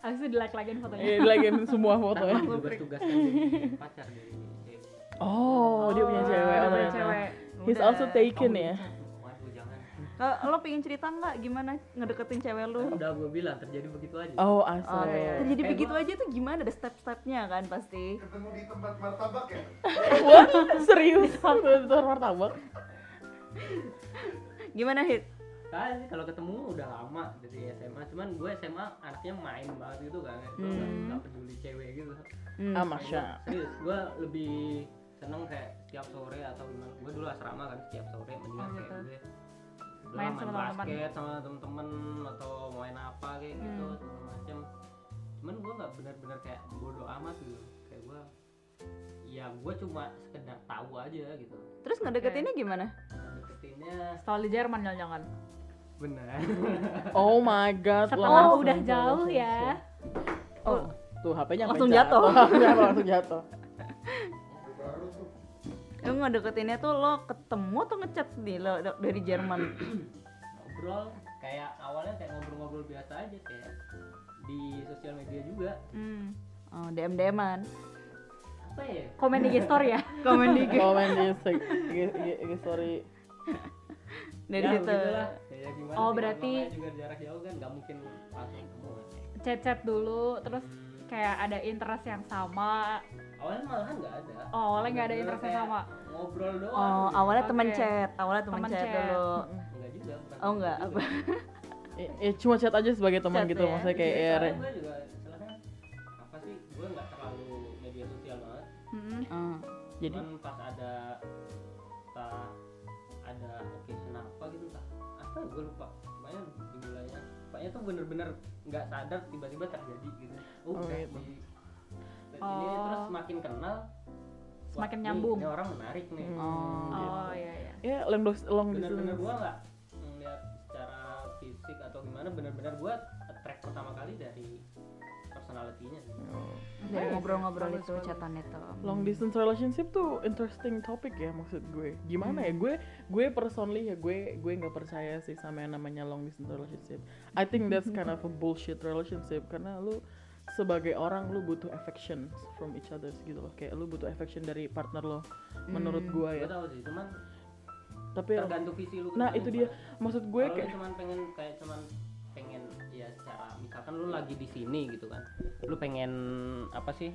Speaker 2: Habis itu di like likein fotonya.
Speaker 3: Iya, lagi semua foto ya.
Speaker 6: tugas-tugas kan jadi pacar jadi eh,
Speaker 3: Oh, dia punya cewek.
Speaker 2: dia
Speaker 3: Oh,
Speaker 2: punya
Speaker 3: ternyata.
Speaker 2: cewek.
Speaker 3: He's
Speaker 1: Udah.
Speaker 3: also taken ya.
Speaker 6: waduh jangan
Speaker 1: Eh, Lo pingin cerita nggak gimana ngedeketin cewek
Speaker 6: Kan
Speaker 1: lu?
Speaker 6: udah gue bilang terjadi begitu aja
Speaker 3: Oh, asal.
Speaker 1: Oh,
Speaker 2: iya.
Speaker 3: ya.
Speaker 1: Jadi
Speaker 6: Kayak
Speaker 1: begitu
Speaker 6: gua-
Speaker 1: aja tuh gimana? Ada step-stepnya kan pasti
Speaker 5: ketemu di tempat martabak ya
Speaker 3: Wah, serius. Itu martabak.
Speaker 1: Gimana Hit?
Speaker 6: Kan kalau ketemu udah lama dari SMA cuman gue SMA anaknya main banget gitu kan gue nggak
Speaker 1: Hmm.
Speaker 6: nggak peduli cewek gitu
Speaker 1: Hmm.
Speaker 3: Ah, Masya.
Speaker 6: serius gue lebih seneng kayak setiap sore atau gimana gue dulu asrama kan setiap sore mendingan
Speaker 2: Oh,
Speaker 6: kayak
Speaker 2: gitu.
Speaker 6: gue udah
Speaker 2: Main
Speaker 6: main,
Speaker 2: sama teman-teman.
Speaker 6: basket sama temen-temen atau main apa kayak gitu segala macam cuman gue nggak benar-benar kayak bodo amat gitu kayak gue ya gue cuma sekedar tahu aja gitu
Speaker 1: Terus ngedeketinnya gimana?
Speaker 6: deketinnya
Speaker 2: Setelah di Jerman jangan-jangan.
Speaker 6: benar
Speaker 3: Oh my god.
Speaker 2: Setelah
Speaker 3: langsung
Speaker 2: udah
Speaker 3: ke
Speaker 2: jauh
Speaker 3: langsung
Speaker 2: ya.
Speaker 3: ke- Oh, tuh HP-nya
Speaker 1: Langsung
Speaker 3: langsung jatuh.
Speaker 5: baru tuh
Speaker 1: Lo ngedeketinnya tuh lo ketemu atau ngechat nih lo do- dari Jerman?
Speaker 6: ngobrol kayak awalnya kayak ngobrol-ngobrol biasa aja kayak di sosial media juga
Speaker 1: Hmm. Oh, DM-DM-an.
Speaker 6: apa ya
Speaker 2: Komen di story ya.
Speaker 1: Komen di
Speaker 3: Komen di Insta- di- di- di story.
Speaker 1: Dari
Speaker 6: ya,
Speaker 1: situ.
Speaker 6: begitulah. Kayak gimana
Speaker 2: Oh,
Speaker 6: sih,
Speaker 2: berarti-
Speaker 6: namanya juga jarak jauh kan nggak mungkin langsung ketemu kan.
Speaker 2: Chat-chat dulu terus
Speaker 6: Hmm.
Speaker 2: kayak ada interest yang sama.
Speaker 6: awalnya malahan nggak ada
Speaker 2: Oh, awalnya nggak ada
Speaker 6: Bener-bener
Speaker 2: interest yang
Speaker 6: kayak
Speaker 2: sama.
Speaker 6: ngobrol doang
Speaker 1: Oh, awalnya teman
Speaker 2: Oke.
Speaker 1: chat, awalnya teman
Speaker 2: Teman
Speaker 1: chat
Speaker 2: chat.
Speaker 1: dulu.
Speaker 6: enggak juga bukan
Speaker 1: Oh, enggak,
Speaker 6: gitu.
Speaker 3: Ya, ya, cuma chat aja sebagai teman
Speaker 1: Chat
Speaker 3: gitu
Speaker 1: ya.
Speaker 3: maksudnya kayak
Speaker 6: Iya,
Speaker 3: ya,
Speaker 6: soalnya
Speaker 3: re-
Speaker 6: gue juga soalnya apa sih gue nggak terlalu media sosial banget
Speaker 2: Hmm.
Speaker 1: Hmm.
Speaker 3: Ah, jadi
Speaker 6: cuman pas ada entah ada occasion apa gitu entah apa gue lupa pokoknya jumlahnya pokoknya tuh bener-bener nggak sadar tiba-tiba terjadi gitu oh,
Speaker 3: Oh,
Speaker 6: udah
Speaker 3: gitu.
Speaker 6: di- ini
Speaker 2: Oh.
Speaker 6: terus semakin kenal wah,
Speaker 2: Semakin
Speaker 6: nih-
Speaker 2: nyambung.
Speaker 6: ini orang menarik nih
Speaker 3: Hmm,
Speaker 1: Oh.
Speaker 3: gitu.
Speaker 2: Oh iya iya.
Speaker 3: Ya, long dos- long
Speaker 6: bener-bener
Speaker 3: distance.
Speaker 6: gue nggak ngeliat secara fisik atau gimana bener-bener gue attract pertama kali dari first personality-nya sih.
Speaker 3: Oh.
Speaker 1: dari
Speaker 2: Bagus,
Speaker 1: ngobrol-ngobrol
Speaker 2: bagus,
Speaker 1: itu
Speaker 2: bagus.
Speaker 1: chatan itu
Speaker 3: Iya. Long distance relationship tuh interesting topic ya maksud gue. Gimana
Speaker 1: Hmm.
Speaker 3: ya gue gue personally ya gue gue nggak percaya sih sama yang namanya long distance relationship. I think that's kind of a bullshit relationship karena lu sebagai orang lu butuh affection from each other gitu loh. Kayak lu butuh affection dari partner lo menurut
Speaker 2: Hmm.
Speaker 1: Hmm.
Speaker 3: gue ya.
Speaker 6: Gue tau sih, cuman
Speaker 3: Tapi
Speaker 6: tergantung visi lu.
Speaker 3: nah
Speaker 6: ketemu
Speaker 3: itu dia
Speaker 6: gimana.
Speaker 3: maksud gue
Speaker 6: Kalau lu
Speaker 3: kayak
Speaker 6: cuman pengen kayak cuman pengen ya secara misalkan lu lagi di sini gitu kan. Lu pengen apa sih?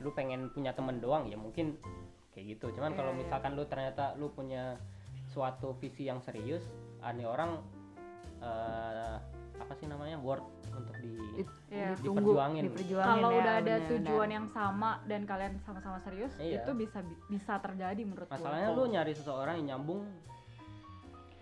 Speaker 6: Lu pengen punya temen doang ya mungkin kayak gitu. Cuman
Speaker 3: Iya,
Speaker 6: kalau misalkan lu ternyata lu punya suatu visi yang serius, ada orang eh, apa sih namanya? worth untuk di
Speaker 1: It-
Speaker 2: Iya.
Speaker 1: ditunggu
Speaker 6: Diperjuangin.
Speaker 1: diperjuangin
Speaker 2: Kalau
Speaker 1: ya,
Speaker 2: udah ada
Speaker 1: bener,
Speaker 2: tujuan
Speaker 1: bener.
Speaker 2: yang sama dan kalian sama-sama serius,
Speaker 6: Iya.
Speaker 2: itu bisa bi- bisa terjadi menurut gua.
Speaker 6: masalahnya lu nyari seseorang yang nyambung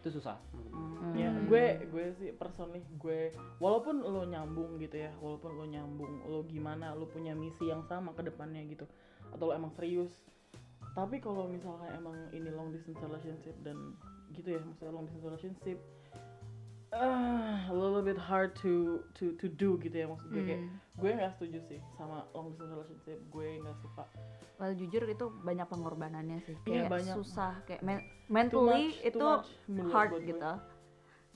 Speaker 6: itu susah. Hmm.
Speaker 3: Ya, gue gue sih personally gue walaupun lo nyambung gitu ya, walaupun lo nyambung, lo gimana, lo punya misi yang sama ke depannya gitu atau lo emang serius. Tapi kalau misalkan emang ini long distance relationship dan gitu ya, maksudnya long distance relationship ah, a little bit hard to to to do gitu ya maksud gue kayak gue nggak setuju sih sama long distance relationship gue nggak suka
Speaker 1: Well, jujur itu banyak pengorbanannya sih
Speaker 3: Iya,
Speaker 1: kayak
Speaker 3: banyak.
Speaker 1: susah kayak men-
Speaker 3: Too
Speaker 1: mentally
Speaker 3: much, too
Speaker 1: itu
Speaker 3: much menurut
Speaker 1: hard
Speaker 3: buat gue.
Speaker 1: gitu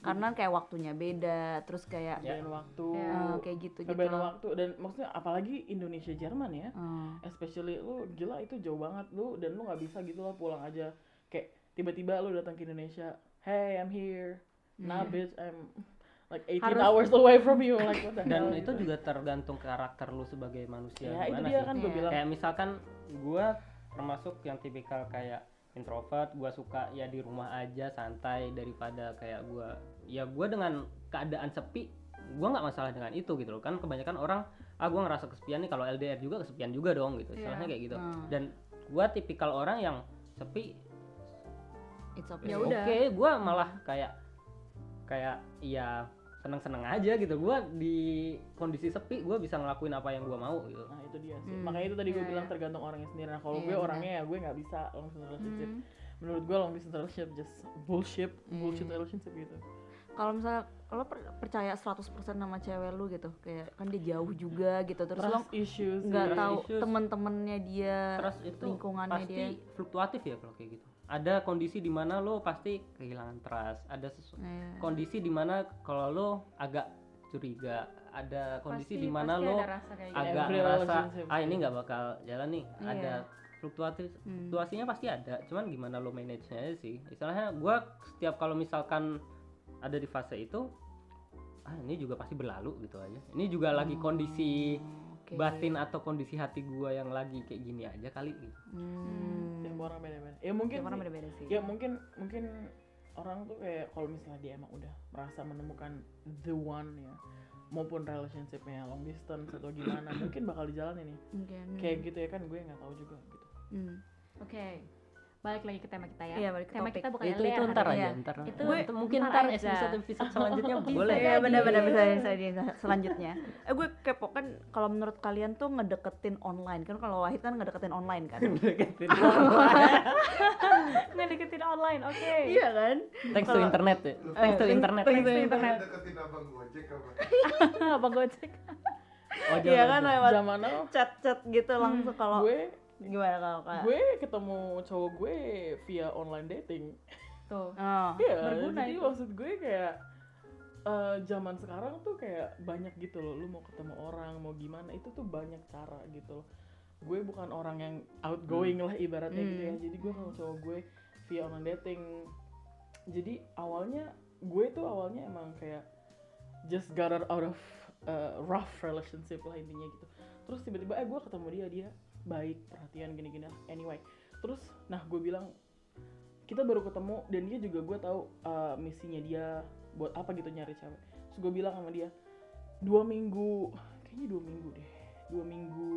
Speaker 1: karena kayak waktunya beda terus kayak
Speaker 3: Ngebayain waktu
Speaker 1: eh, kayak gitu gitu
Speaker 3: ngebayain waktu dan maksudnya apalagi Indonesia Jerman ya
Speaker 1: Hmm.
Speaker 3: especially lu gila itu jauh banget lu dan lu nggak bisa gitu lah pulang aja kayak tiba-tiba lu datang ke Indonesia hey I'm here
Speaker 1: Hmm.
Speaker 3: nah bitch I'm like 18
Speaker 2: Harus-
Speaker 3: hours away from you like what the
Speaker 6: Dan
Speaker 3: hell
Speaker 6: itu
Speaker 3: gitu.
Speaker 6: juga tergantung karakter lu sebagai manusia
Speaker 3: ya itu
Speaker 6: gimana
Speaker 3: dia
Speaker 6: sih.
Speaker 3: kan gue
Speaker 1: Iya.
Speaker 3: bilang
Speaker 6: Kayak misalkan gua termasuk yang tipikal kayak introvert, gua suka ya di rumah aja santai daripada kayak gua ya gua dengan keadaan sepi gua nggak masalah dengan itu gitu loh kan kebanyakan orang ah gua ngerasa kesepian nih kalau LDR juga kesepian juga dong gitu
Speaker 2: Iya.
Speaker 6: istilahnya kayak gitu
Speaker 1: Hmm.
Speaker 6: dan gua tipikal orang yang sepi
Speaker 1: it's okay
Speaker 2: Ya
Speaker 6: oke
Speaker 2: udah.
Speaker 6: gua malah kayak kayak ya seneng-seneng aja gitu gua di kondisi sepi gua bisa ngelakuin apa yang gua mau gitu
Speaker 3: nah itu dia sih
Speaker 1: Hmm.
Speaker 3: makanya itu tadi gue
Speaker 2: Iya,
Speaker 3: bilang
Speaker 2: iya.
Speaker 3: tergantung orangnya sendiri nah kalau
Speaker 1: Iya,
Speaker 3: gue
Speaker 1: benar.
Speaker 3: orangnya ya gue nggak bisa long distance relationship
Speaker 2: Hmm.
Speaker 3: menurut gue long distance relationship just bullshit bullshit
Speaker 1: Hmm.
Speaker 3: relationship gitu
Speaker 1: kalau misalnya lo per- percaya 100% sama cewek lu gitu kayak kan dia jauh juga gitu terus lo
Speaker 3: trust issues
Speaker 1: nggak
Speaker 3: gitu.
Speaker 6: Trust
Speaker 1: tahu
Speaker 6: issues.
Speaker 1: temen-temennya dia
Speaker 6: terus itu
Speaker 1: lingkungannya
Speaker 6: pasti
Speaker 1: dia
Speaker 6: fluktuatif ya kalau kayak gitu ada kondisi di mana lo pasti kehilangan trust ada sesu-
Speaker 1: Iya.
Speaker 6: kondisi di mana kalau lo agak curiga ada kondisi
Speaker 2: Pasti-
Speaker 6: di mana
Speaker 2: pasti
Speaker 6: lo
Speaker 2: ada rasa kayak gitu. Iya.
Speaker 6: agak
Speaker 3: Every
Speaker 6: ngerasa
Speaker 3: relationship.
Speaker 6: ah ini nggak bakal jalan nih ada fluktuatif
Speaker 1: Hmm.
Speaker 6: fluktuasinya pasti ada cuman gimana lo manage nya sih istilahnya gua setiap kalau misalkan ada di fase itu ah ini juga pasti berlalu gitu aja ini juga
Speaker 2: Oh,
Speaker 6: lagi kondisi
Speaker 1: Oke.
Speaker 6: batin atau kondisi hati gua yang lagi kayak gini aja kali gitu.
Speaker 1: Hmm.
Speaker 3: tiap orang beda-beda ya mungkin
Speaker 1: Tiap orang
Speaker 3: sih-
Speaker 1: beda-beda sih
Speaker 3: ya mungkin mungkin orang tuh kayak kalau misalnya dia emang udah merasa menemukan the one ya maupun relationshipnya long distance atau gimana mungkin bakal dijalanin nih
Speaker 1: Mungkin.
Speaker 3: kayak gitu ya kan gue nggak tahu juga gitu
Speaker 1: Hmm.
Speaker 2: Oke. Balik lagi ke tema kita ya.
Speaker 1: Iya, balik ke
Speaker 2: tema
Speaker 1: topik.
Speaker 2: kita bukan
Speaker 6: itu itu
Speaker 2: LDR
Speaker 6: ntar
Speaker 1: hari
Speaker 6: aja
Speaker 1: ini.
Speaker 6: ntar
Speaker 2: Itu
Speaker 6: Nanti mungkin
Speaker 2: ntar
Speaker 6: ntar
Speaker 2: aja. ya,
Speaker 6: episode episode selanjutnya boleh
Speaker 1: Iya benar-benar bisa bisa di selanjutnya. Eh gue kepo kan kalau menurut kalian tuh ngedeketin online kan kalau Wahid kan ngedeketin online kan.
Speaker 2: Ngedeketin online. Oke.
Speaker 1: iya kan?
Speaker 6: thanks to internet ya thanks to internet
Speaker 1: Eh, thanks to
Speaker 5: Lu
Speaker 1: internet.
Speaker 5: deketin abang gojek apa?
Speaker 2: Apa Gojek?
Speaker 6: oh
Speaker 1: Iya kan lewat
Speaker 3: zaman now Hmm,
Speaker 1: chat-chat gitu langsung kalau
Speaker 3: gue
Speaker 1: gimana kalau kak?
Speaker 3: gue ketemu cowok gue via online dating
Speaker 2: Tuh.
Speaker 1: Oh.
Speaker 3: Iya,
Speaker 2: Berguna
Speaker 3: jadi
Speaker 2: itu.
Speaker 3: maksud gue kayak eh, zaman sekarang tuh kayak banyak gitu loh. Lu mau ketemu orang, mau gimana, itu tuh banyak cara gitu loh. Gue bukan orang yang outgoing lah ibaratnya gitu ya. Jadi gue kalau cowok gue via online dating. Jadi awalnya gue tuh awalnya emang kayak just got out of uh, rough relationship lah intinya gitu. Terus tiba-tiba eh gue ketemu dia dia baik perhatian gini-gini lah. anyway. Terus nah gue bilang kita baru ketemu dan dia juga gue tahu uh, misinya dia buat apa gitu nyari cewek terus gue bilang sama dia dua minggu kayaknya dua minggu deh dua minggu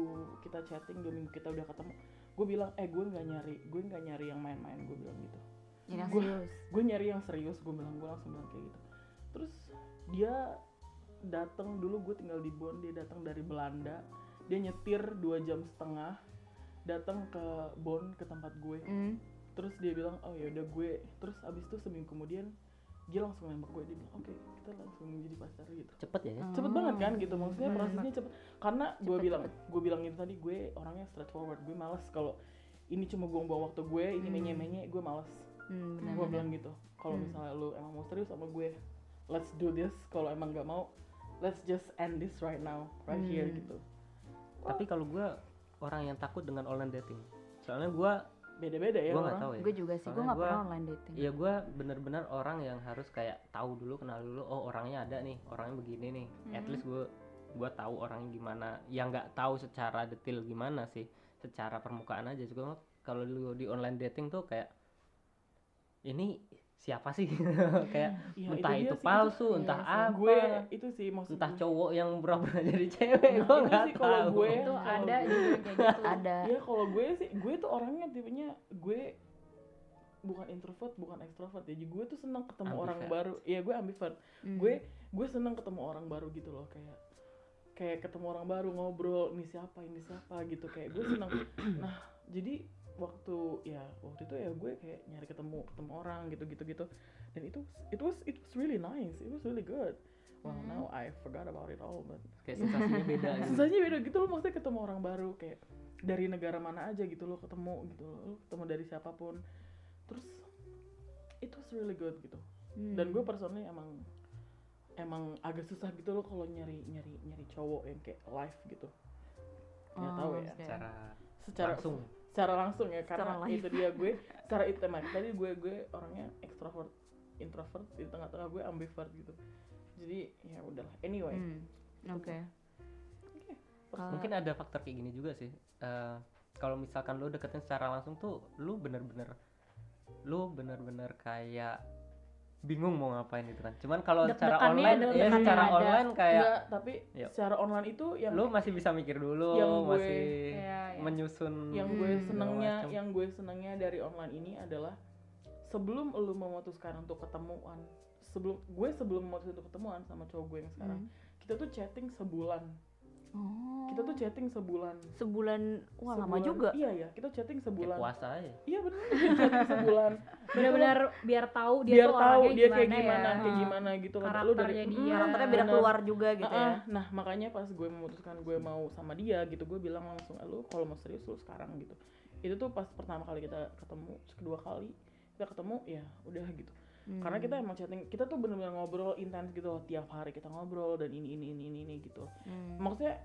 Speaker 3: kita chatting dua minggu kita udah ketemu gue bilang eh gue nggak nyari gue nggak nyari yang main-main gue bilang gitu
Speaker 1: Ini yang
Speaker 3: Gue-
Speaker 1: serius.
Speaker 3: gue nyari yang serius gue bilang gue langsung bilang kayak gitu terus dia datang dulu gue tinggal di Bonn dia datang dari Belanda dia nyetir dua jam setengah datang ke Bonn ke tempat gue
Speaker 1: Hmm.
Speaker 3: terus dia bilang oh ya udah gue terus abis itu seminggu kemudian dia langsung nembak gue dia bilang oke kita langsung jadi pacar gitu
Speaker 6: cepet ya kan?
Speaker 3: cepet banget kan gitu maksudnya
Speaker 1: Bener.
Speaker 3: prosesnya cepet karena gue
Speaker 1: Hmm. Cepet,
Speaker 3: bilang gue bilang itu tadi gue orangnya straightforward gue males kalau ini cuma buang-buang waktu gue ini
Speaker 1: Hmm.
Speaker 3: menye-menye gue males
Speaker 1: Hmm, benar.
Speaker 3: gue bilang gitu kalau
Speaker 1: Hmm.
Speaker 3: misalnya lu emang mau serius sama gue let's do this kalau emang gak mau let's just end this right now right here
Speaker 1: Hmm.
Speaker 3: gitu
Speaker 6: tapi kalau gue orang yang takut dengan online dating soalnya gue
Speaker 3: beda-beda ya
Speaker 6: gue nggak
Speaker 3: orang
Speaker 6: tahu ya
Speaker 1: Gue juga sih, gue
Speaker 6: Soalnya
Speaker 1: nggak
Speaker 6: gua-
Speaker 1: pernah online
Speaker 3: gitu
Speaker 1: dating.
Speaker 6: ya gue bener-bener orang yang harus kayak tahu dulu kenal dulu oh orangnya ada nih orangnya begini nih at
Speaker 3: Hmm.
Speaker 2: Mhm.
Speaker 6: least gue gue tahu orangnya gimana yang nggak tahu secara detail gimana sih secara permukaan aja juga kalau lu di online dating tuh kayak ini siapa sih kayak
Speaker 3: Iya,
Speaker 6: entah
Speaker 3: dia
Speaker 6: itu
Speaker 3: sih,
Speaker 6: palsu
Speaker 3: iya
Speaker 6: entah
Speaker 3: sih.
Speaker 6: apa
Speaker 3: gue itu sih maksud
Speaker 6: entah
Speaker 3: gue.
Speaker 6: cowok yang berapa jadi cewek
Speaker 3: Nah,
Speaker 6: gue
Speaker 3: itu
Speaker 6: nggak
Speaker 3: sih kalau
Speaker 6: tahu
Speaker 3: gue
Speaker 2: itu
Speaker 3: kalau
Speaker 2: ada
Speaker 3: gue-
Speaker 2: juga kayak gitu
Speaker 1: Ada.
Speaker 3: Iya kalau gue sih, gue tuh orangnya tipenya gue bukan introvert, bukan ekstrovert. Jadi gue tuh senang ketemu orang
Speaker 6: Ambivert.
Speaker 3: baru. Iya gue ambivert.
Speaker 1: Hmm.
Speaker 3: Gue gue senang ketemu orang baru gitu loh kayak kayak ketemu orang baru ngobrol ini siapa ini siapa gitu kayak gue senang. Nah jadi waktu ya waktu itu ya gue kayak nyari ketemu ketemu orang gitu gitu gitu dan itu it was it was really nice it was really good well now I forgot about it all
Speaker 6: Hmm.
Speaker 3: but
Speaker 6: kayak sensasinya beda gitu.
Speaker 3: susahnya beda gitu loh maksudnya ketemu orang baru kayak dari negara mana aja gitu loh ketemu gitu loh lo ketemu dari siapapun terus it was really good gitu
Speaker 1: Hmm.
Speaker 3: dan gue personally emang emang agak susah gitu loh kalau nyari nyari nyari cowok yang kayak live gitu nggak
Speaker 1: Oh,
Speaker 3: tahu ya
Speaker 1: maksudnya.
Speaker 6: secara
Speaker 3: secara
Speaker 6: langsung
Speaker 3: secara langsung ya karena
Speaker 1: Secara live.
Speaker 3: itu dia gue secara itu emang tadi gue gue orangnya extrovert introvert di tengah-tengah gue ambivert gitu jadi ya udahlah anyway Gitu.
Speaker 1: Hmm. Oke. Kalau-
Speaker 6: mungkin ada faktor kayak gini juga sih Eh, kalau misalkan lu deketin secara langsung tuh lu bener-bener lu bener-bener kayak bingung mau ngapain gitu kan cuman kalau secara
Speaker 2: Deg-degannya
Speaker 6: online
Speaker 2: ada,
Speaker 6: ya
Speaker 2: deg-degannya
Speaker 6: secara
Speaker 2: ada.
Speaker 6: online kayak
Speaker 3: Enggak, tapi
Speaker 6: Yuk.
Speaker 3: secara online itu yang
Speaker 6: lu masih bisa mikir dulu
Speaker 3: Yang gue- ya,
Speaker 6: masih
Speaker 2: Iya, iya.
Speaker 6: menyusun
Speaker 3: yang
Speaker 1: Hmm.
Speaker 3: gue
Speaker 1: Segala
Speaker 3: senengnya
Speaker 6: macam.
Speaker 3: yang gue senengnya dari online ini adalah sebelum lu memutuskan untuk ketemuan sebelum gue sebelum memutuskan untuk ketemuan sama cowok gue yang sekarang
Speaker 1: Hmm.
Speaker 3: kita tuh chatting sebulan
Speaker 1: Oh.
Speaker 3: kita tuh chatting sebulan
Speaker 1: sebulan, wah lama
Speaker 3: Sebulan.
Speaker 1: juga.
Speaker 3: iya ya kita chatting
Speaker 6: kayak
Speaker 3: sebulan
Speaker 6: puasa aja
Speaker 3: iya benar chatting sebulan Dan
Speaker 2: benar-benar biar tahu
Speaker 3: lu
Speaker 2: dia
Speaker 3: biar
Speaker 2: tuh
Speaker 3: tahu
Speaker 2: orangnya
Speaker 3: dia kayak gimana
Speaker 2: gimana, ya.
Speaker 3: kayak gimana gitu loh. Lu dari-
Speaker 2: karakternya dia
Speaker 1: Hmm, karakternya beda
Speaker 3: Bener.
Speaker 1: keluar juga gitu
Speaker 3: Ah,
Speaker 1: ya.
Speaker 3: ah. Nah, makanya pas gue memutuskan gue mau sama dia gitu, gue bilang langsung, "Eh, "Lu kalau mau serius lu sekarang." gitu. Itu tuh pas pertama kali kita ketemu, terus kedua kali kita ketemu, ya udah gitu.
Speaker 1: Hmm.
Speaker 3: Karena kita emang chatting, kita tuh bener-bener ngobrol intens gitu loh, tiap hari kita ngobrol dan ini ini ini ini, ini gitu.
Speaker 1: Hmm.
Speaker 3: Maksudnya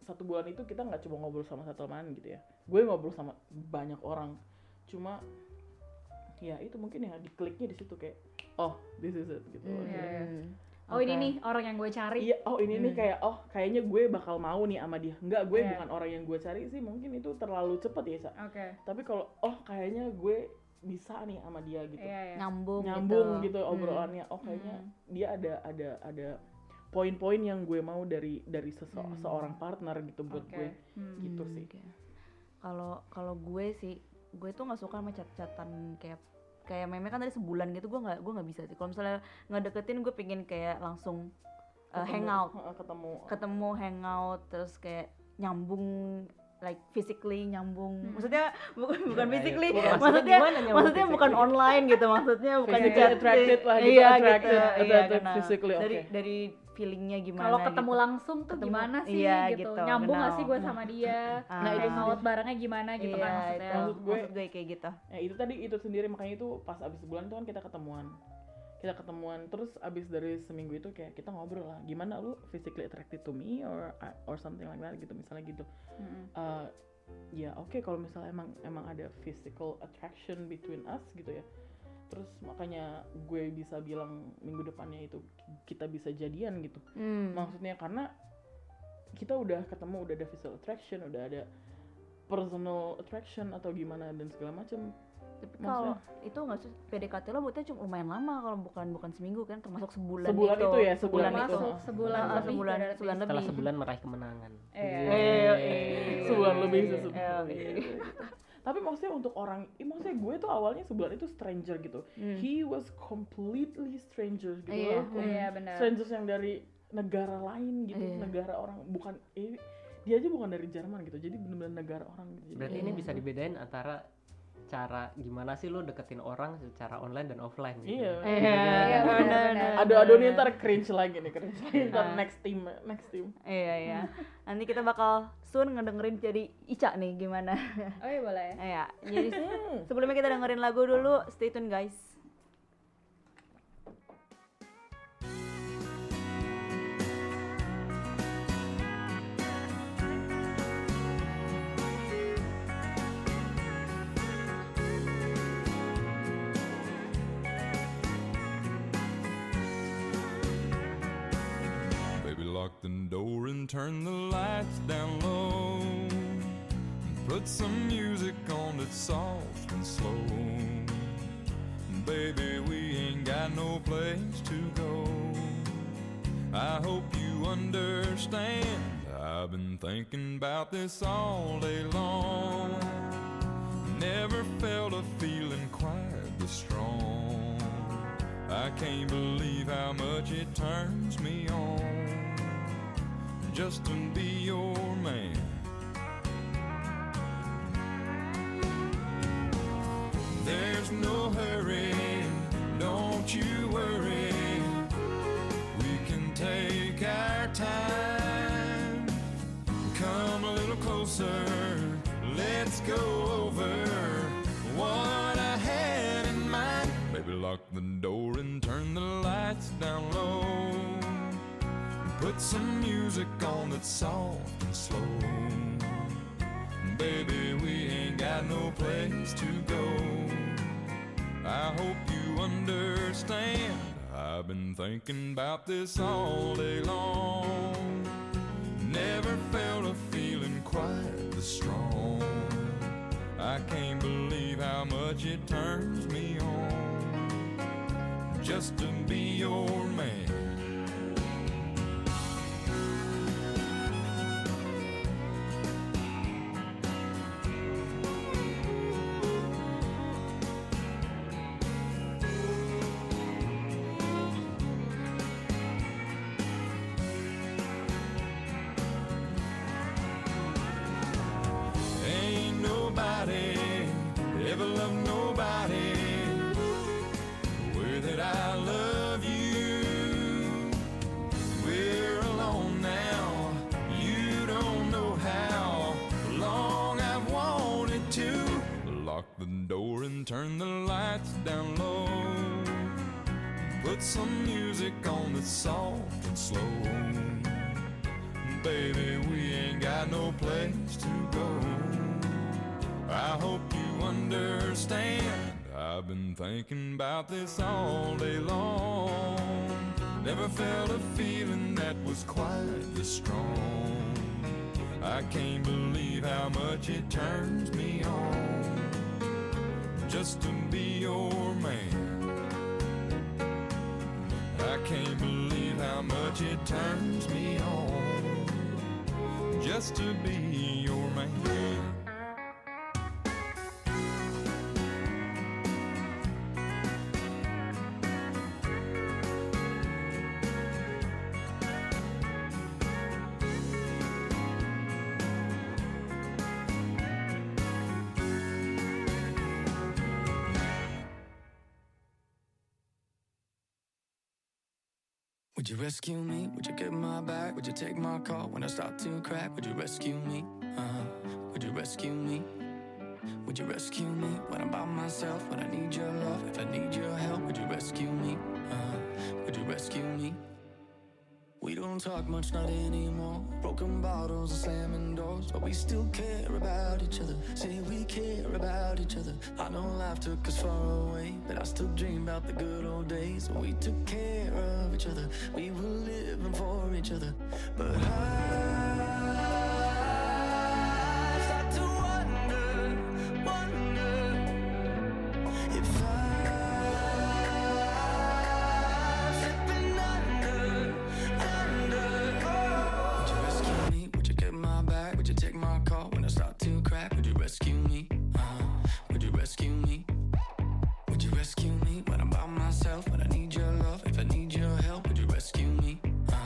Speaker 3: satu bulan itu kita nggak cuma ngobrol sama satu teman gitu ya. Gue ngobrol sama banyak orang. Cuma ya itu mungkin ya dikliknya di situ kayak oh this is it gitu.
Speaker 1: Hmm.
Speaker 3: Jadi,
Speaker 2: Iya, iya. oh ini nih orang yang gue cari
Speaker 3: Iya, oh ini nih
Speaker 1: Hmm.
Speaker 3: kayak oh kayaknya gue bakal mau nih sama dia. Enggak, gue
Speaker 2: Iya.
Speaker 3: bukan orang yang gue cari sih, mungkin itu terlalu cepet ya, Sa.
Speaker 2: oke
Speaker 3: Tapi kalau oh kayaknya gue bisa nih sama dia gitu.
Speaker 2: iya iya
Speaker 1: nyambung,
Speaker 3: Nyambung
Speaker 1: gitu,
Speaker 3: gitu,
Speaker 1: Hmm.
Speaker 3: obrolannya. Oh kayaknya dia ada ada ada poin-poin yang gue mau dari dari sese-
Speaker 1: Hmm.
Speaker 3: seorang partner gitu buat
Speaker 2: oke
Speaker 3: gue.
Speaker 2: Hmm.
Speaker 3: gitu
Speaker 1: Hmm,
Speaker 3: sih.
Speaker 1: oke. Kalau kalau gue sih, gue tuh nggak suka sama cat-catan kayak kayak meme kan tadi sebulan gitu gue nggak gue nggak bisa sih. Kalau misalnya ngedeketin gue pingin kayak langsung uh,
Speaker 3: Ketemu-
Speaker 1: hangout,
Speaker 3: heeh, ketemu.
Speaker 1: ketemu hangout terus kayak nyambung like physically nyambung.
Speaker 2: Hmm.
Speaker 1: Maksudnya bukan bukan
Speaker 6: Iya, iya.
Speaker 1: physically,
Speaker 6: Wah, maksudnya
Speaker 1: maksudnya
Speaker 6: gimana nyambung
Speaker 1: maksudnya bukan
Speaker 6: physically?
Speaker 1: online gitu maksudnya bukan
Speaker 3: Physically
Speaker 1: chat-
Speaker 3: Iya, attracted lah gitu,
Speaker 1: iya,
Speaker 3: attracted,
Speaker 1: gitu, iya,
Speaker 3: attracted
Speaker 1: karena
Speaker 3: physically,
Speaker 1: dari
Speaker 3: oke.
Speaker 1: dari feelingnya gimana
Speaker 2: kalau ketemu
Speaker 1: gitu.
Speaker 2: langsung tuh
Speaker 1: Ketemu-
Speaker 2: gimana sih
Speaker 1: iya,
Speaker 2: gitu.
Speaker 1: gitu,
Speaker 2: nyambung nggak
Speaker 1: kenal.
Speaker 2: sih gue sama dia
Speaker 1: Ah.
Speaker 2: nah,
Speaker 1: Nah, itu
Speaker 2: hangout barengnya gimana gitu
Speaker 1: iya,
Speaker 2: kan maksudnya
Speaker 1: itu.
Speaker 3: Maksud gue-
Speaker 1: maksud gue kayak gitu
Speaker 3: Ya, itu tadi itu sendiri makanya itu pas abis sebulan itu kan kita ketemuan kita ketemuan terus abis dari seminggu itu kayak kita ngobrol lah gimana lu physically attracted to me or or something like that gitu misalnya gitu
Speaker 2: Mm-mm.
Speaker 3: Eh, ya oke kalau misalnya emang emang ada physical attraction between us gitu ya terus makanya gue bisa bilang minggu depannya itu kita bisa jadian gitu
Speaker 1: Hmm.
Speaker 3: maksudnya karena kita udah ketemu udah ada physical attraction udah ada personal attraction atau gimana dan segala macam
Speaker 1: Tapi
Speaker 3: Maksudnya?
Speaker 1: kalau itu nggak sih PDKT lo buatnya cuma lumayan lama kalau bukan bukan seminggu kan termasuk sebulan,
Speaker 3: Sebulan itu ya, sebulan itu.
Speaker 2: masuk sebulan
Speaker 1: Ah,
Speaker 2: lebih
Speaker 1: sebulan-
Speaker 2: berarti.
Speaker 1: sebulan lebih.
Speaker 6: setelah sebulan meraih kemenangan
Speaker 2: Iya.
Speaker 6: Yeay.
Speaker 3: sebulan lebih sih
Speaker 1: Eh,
Speaker 3: sebulan.
Speaker 1: oke.
Speaker 3: Tapi maksudnya untuk orang, eh, maksudnya gue tuh awalnya sebulan itu stranger gitu.
Speaker 1: Hmm.
Speaker 3: He was completely stranger gitu.
Speaker 1: Iya,
Speaker 3: loh.
Speaker 1: Hmm.
Speaker 2: iya benar
Speaker 3: Strangers yang dari negara lain gitu,
Speaker 1: Iya.
Speaker 3: negara orang bukan eh, dia aja bukan dari Jerman gitu. Jadi benar-benar negara orang gitu. Jadi
Speaker 6: berarti
Speaker 1: Iya.
Speaker 6: ini bisa dibedain antara cara gimana sih lu deketin orang secara online dan offline gitu.
Speaker 3: Iya.
Speaker 1: Iya, benar, benar.
Speaker 3: Aduh aduh ini ntar cringe lagi nih cringe lagi.
Speaker 6: Iya.
Speaker 3: Ntar
Speaker 1: Ah.
Speaker 3: next team next team.
Speaker 1: Iya iya. Nanti kita bakal soon ngedengerin jadi Ica nih gimana.
Speaker 9: Oh iya boleh.
Speaker 1: Iya. Jadi sebelumnya kita dengerin lagu dulu. Stay tune guys.
Speaker 10: Baby, lock the door and turn the lights down low. Put some music on that's soft and slow. Baby, we ain't got no place to go. I hope you understand. I've been thinking about this all day long. Never felt a feeling quite this strong. I can't believe how much it turns me on just to be your man. There's no hurry, don't you worry. We can take our time. Come a little closer, let's go over what I had in mind. Baby, lock the door and turn the lights down low. Put some music on that's soft and slow. Baby, we ain't got no place to go. I hope you understand. I've been thinking about this all day long. Never felt a feeling quite this strong. I can't believe how much it turns me on just to be your man. Ain't nobody ever loved nobody with it. I love you. We're alone now. You don't know how long I've wanted to lock the door and turn the lights down low. Put some music on that's soft and slow. Baby, we ain't got no place to go. I hope you understand. I've been thinking about this all day long. Never felt a feeling that was quite this strong. I can't believe how much it turns me on just to be your man. I can't believe how much it turns me on just to be your man.
Speaker 11: Would you rescue me? Would you get my back? Would you take my call when I start to crack? Would you rescue me? Uh, would you rescue me? Would you rescue me when I'm by myself? When I need your love, if I need your help, would you rescue me? Uh, would you rescue me? We don't talk much, not anymore. Broken bottles and slamming doors, but we still care about each other. Say we care about each other. I know life took us far away, but I still dream about the good old days. when We took care of each other. We were living for each other. But I start to wonder, wonder if I'm slipping under. Would you rescue me? Would you get my back? Would you take my call when I start to crack? Would you rescue me? Uh, would you rescue me? Would you rescue me when I'm by myself? When I need your love, if I need your help, would you rescue me? Uh,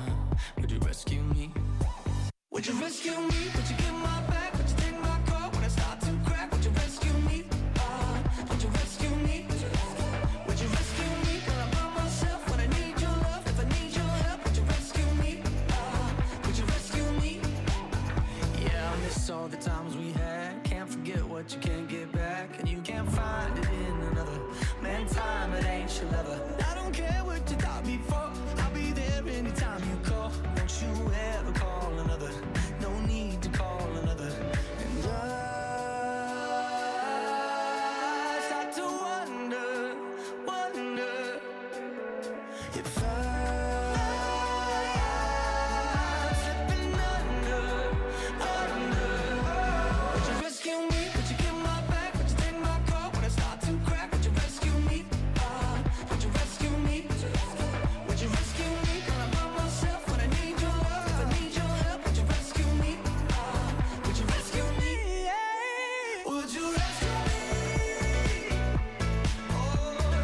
Speaker 11: would you rescue me? Would you rescue me? Would you get my back? Would you take my call when I start to crack? Would you rescue me? Uh,
Speaker 7: Uh, that you can't get back, and you can't find it in another man. Time it ain't your lover. I don't care what you thought before. I'll be there anytime you call. Don't you ever call another? No need to call another. And I start to wonder, wonder if I'm slipping under, under. Would you rescue me? Would you give my back? Would you take my car when I start to crack? Would you rescue me? Ah, would you rescue me? Would you rescue me? When I'm by myself, when I need your love, if I need your help, would you rescue me? Ah, would you rescue me? Would you rescue me? Oh,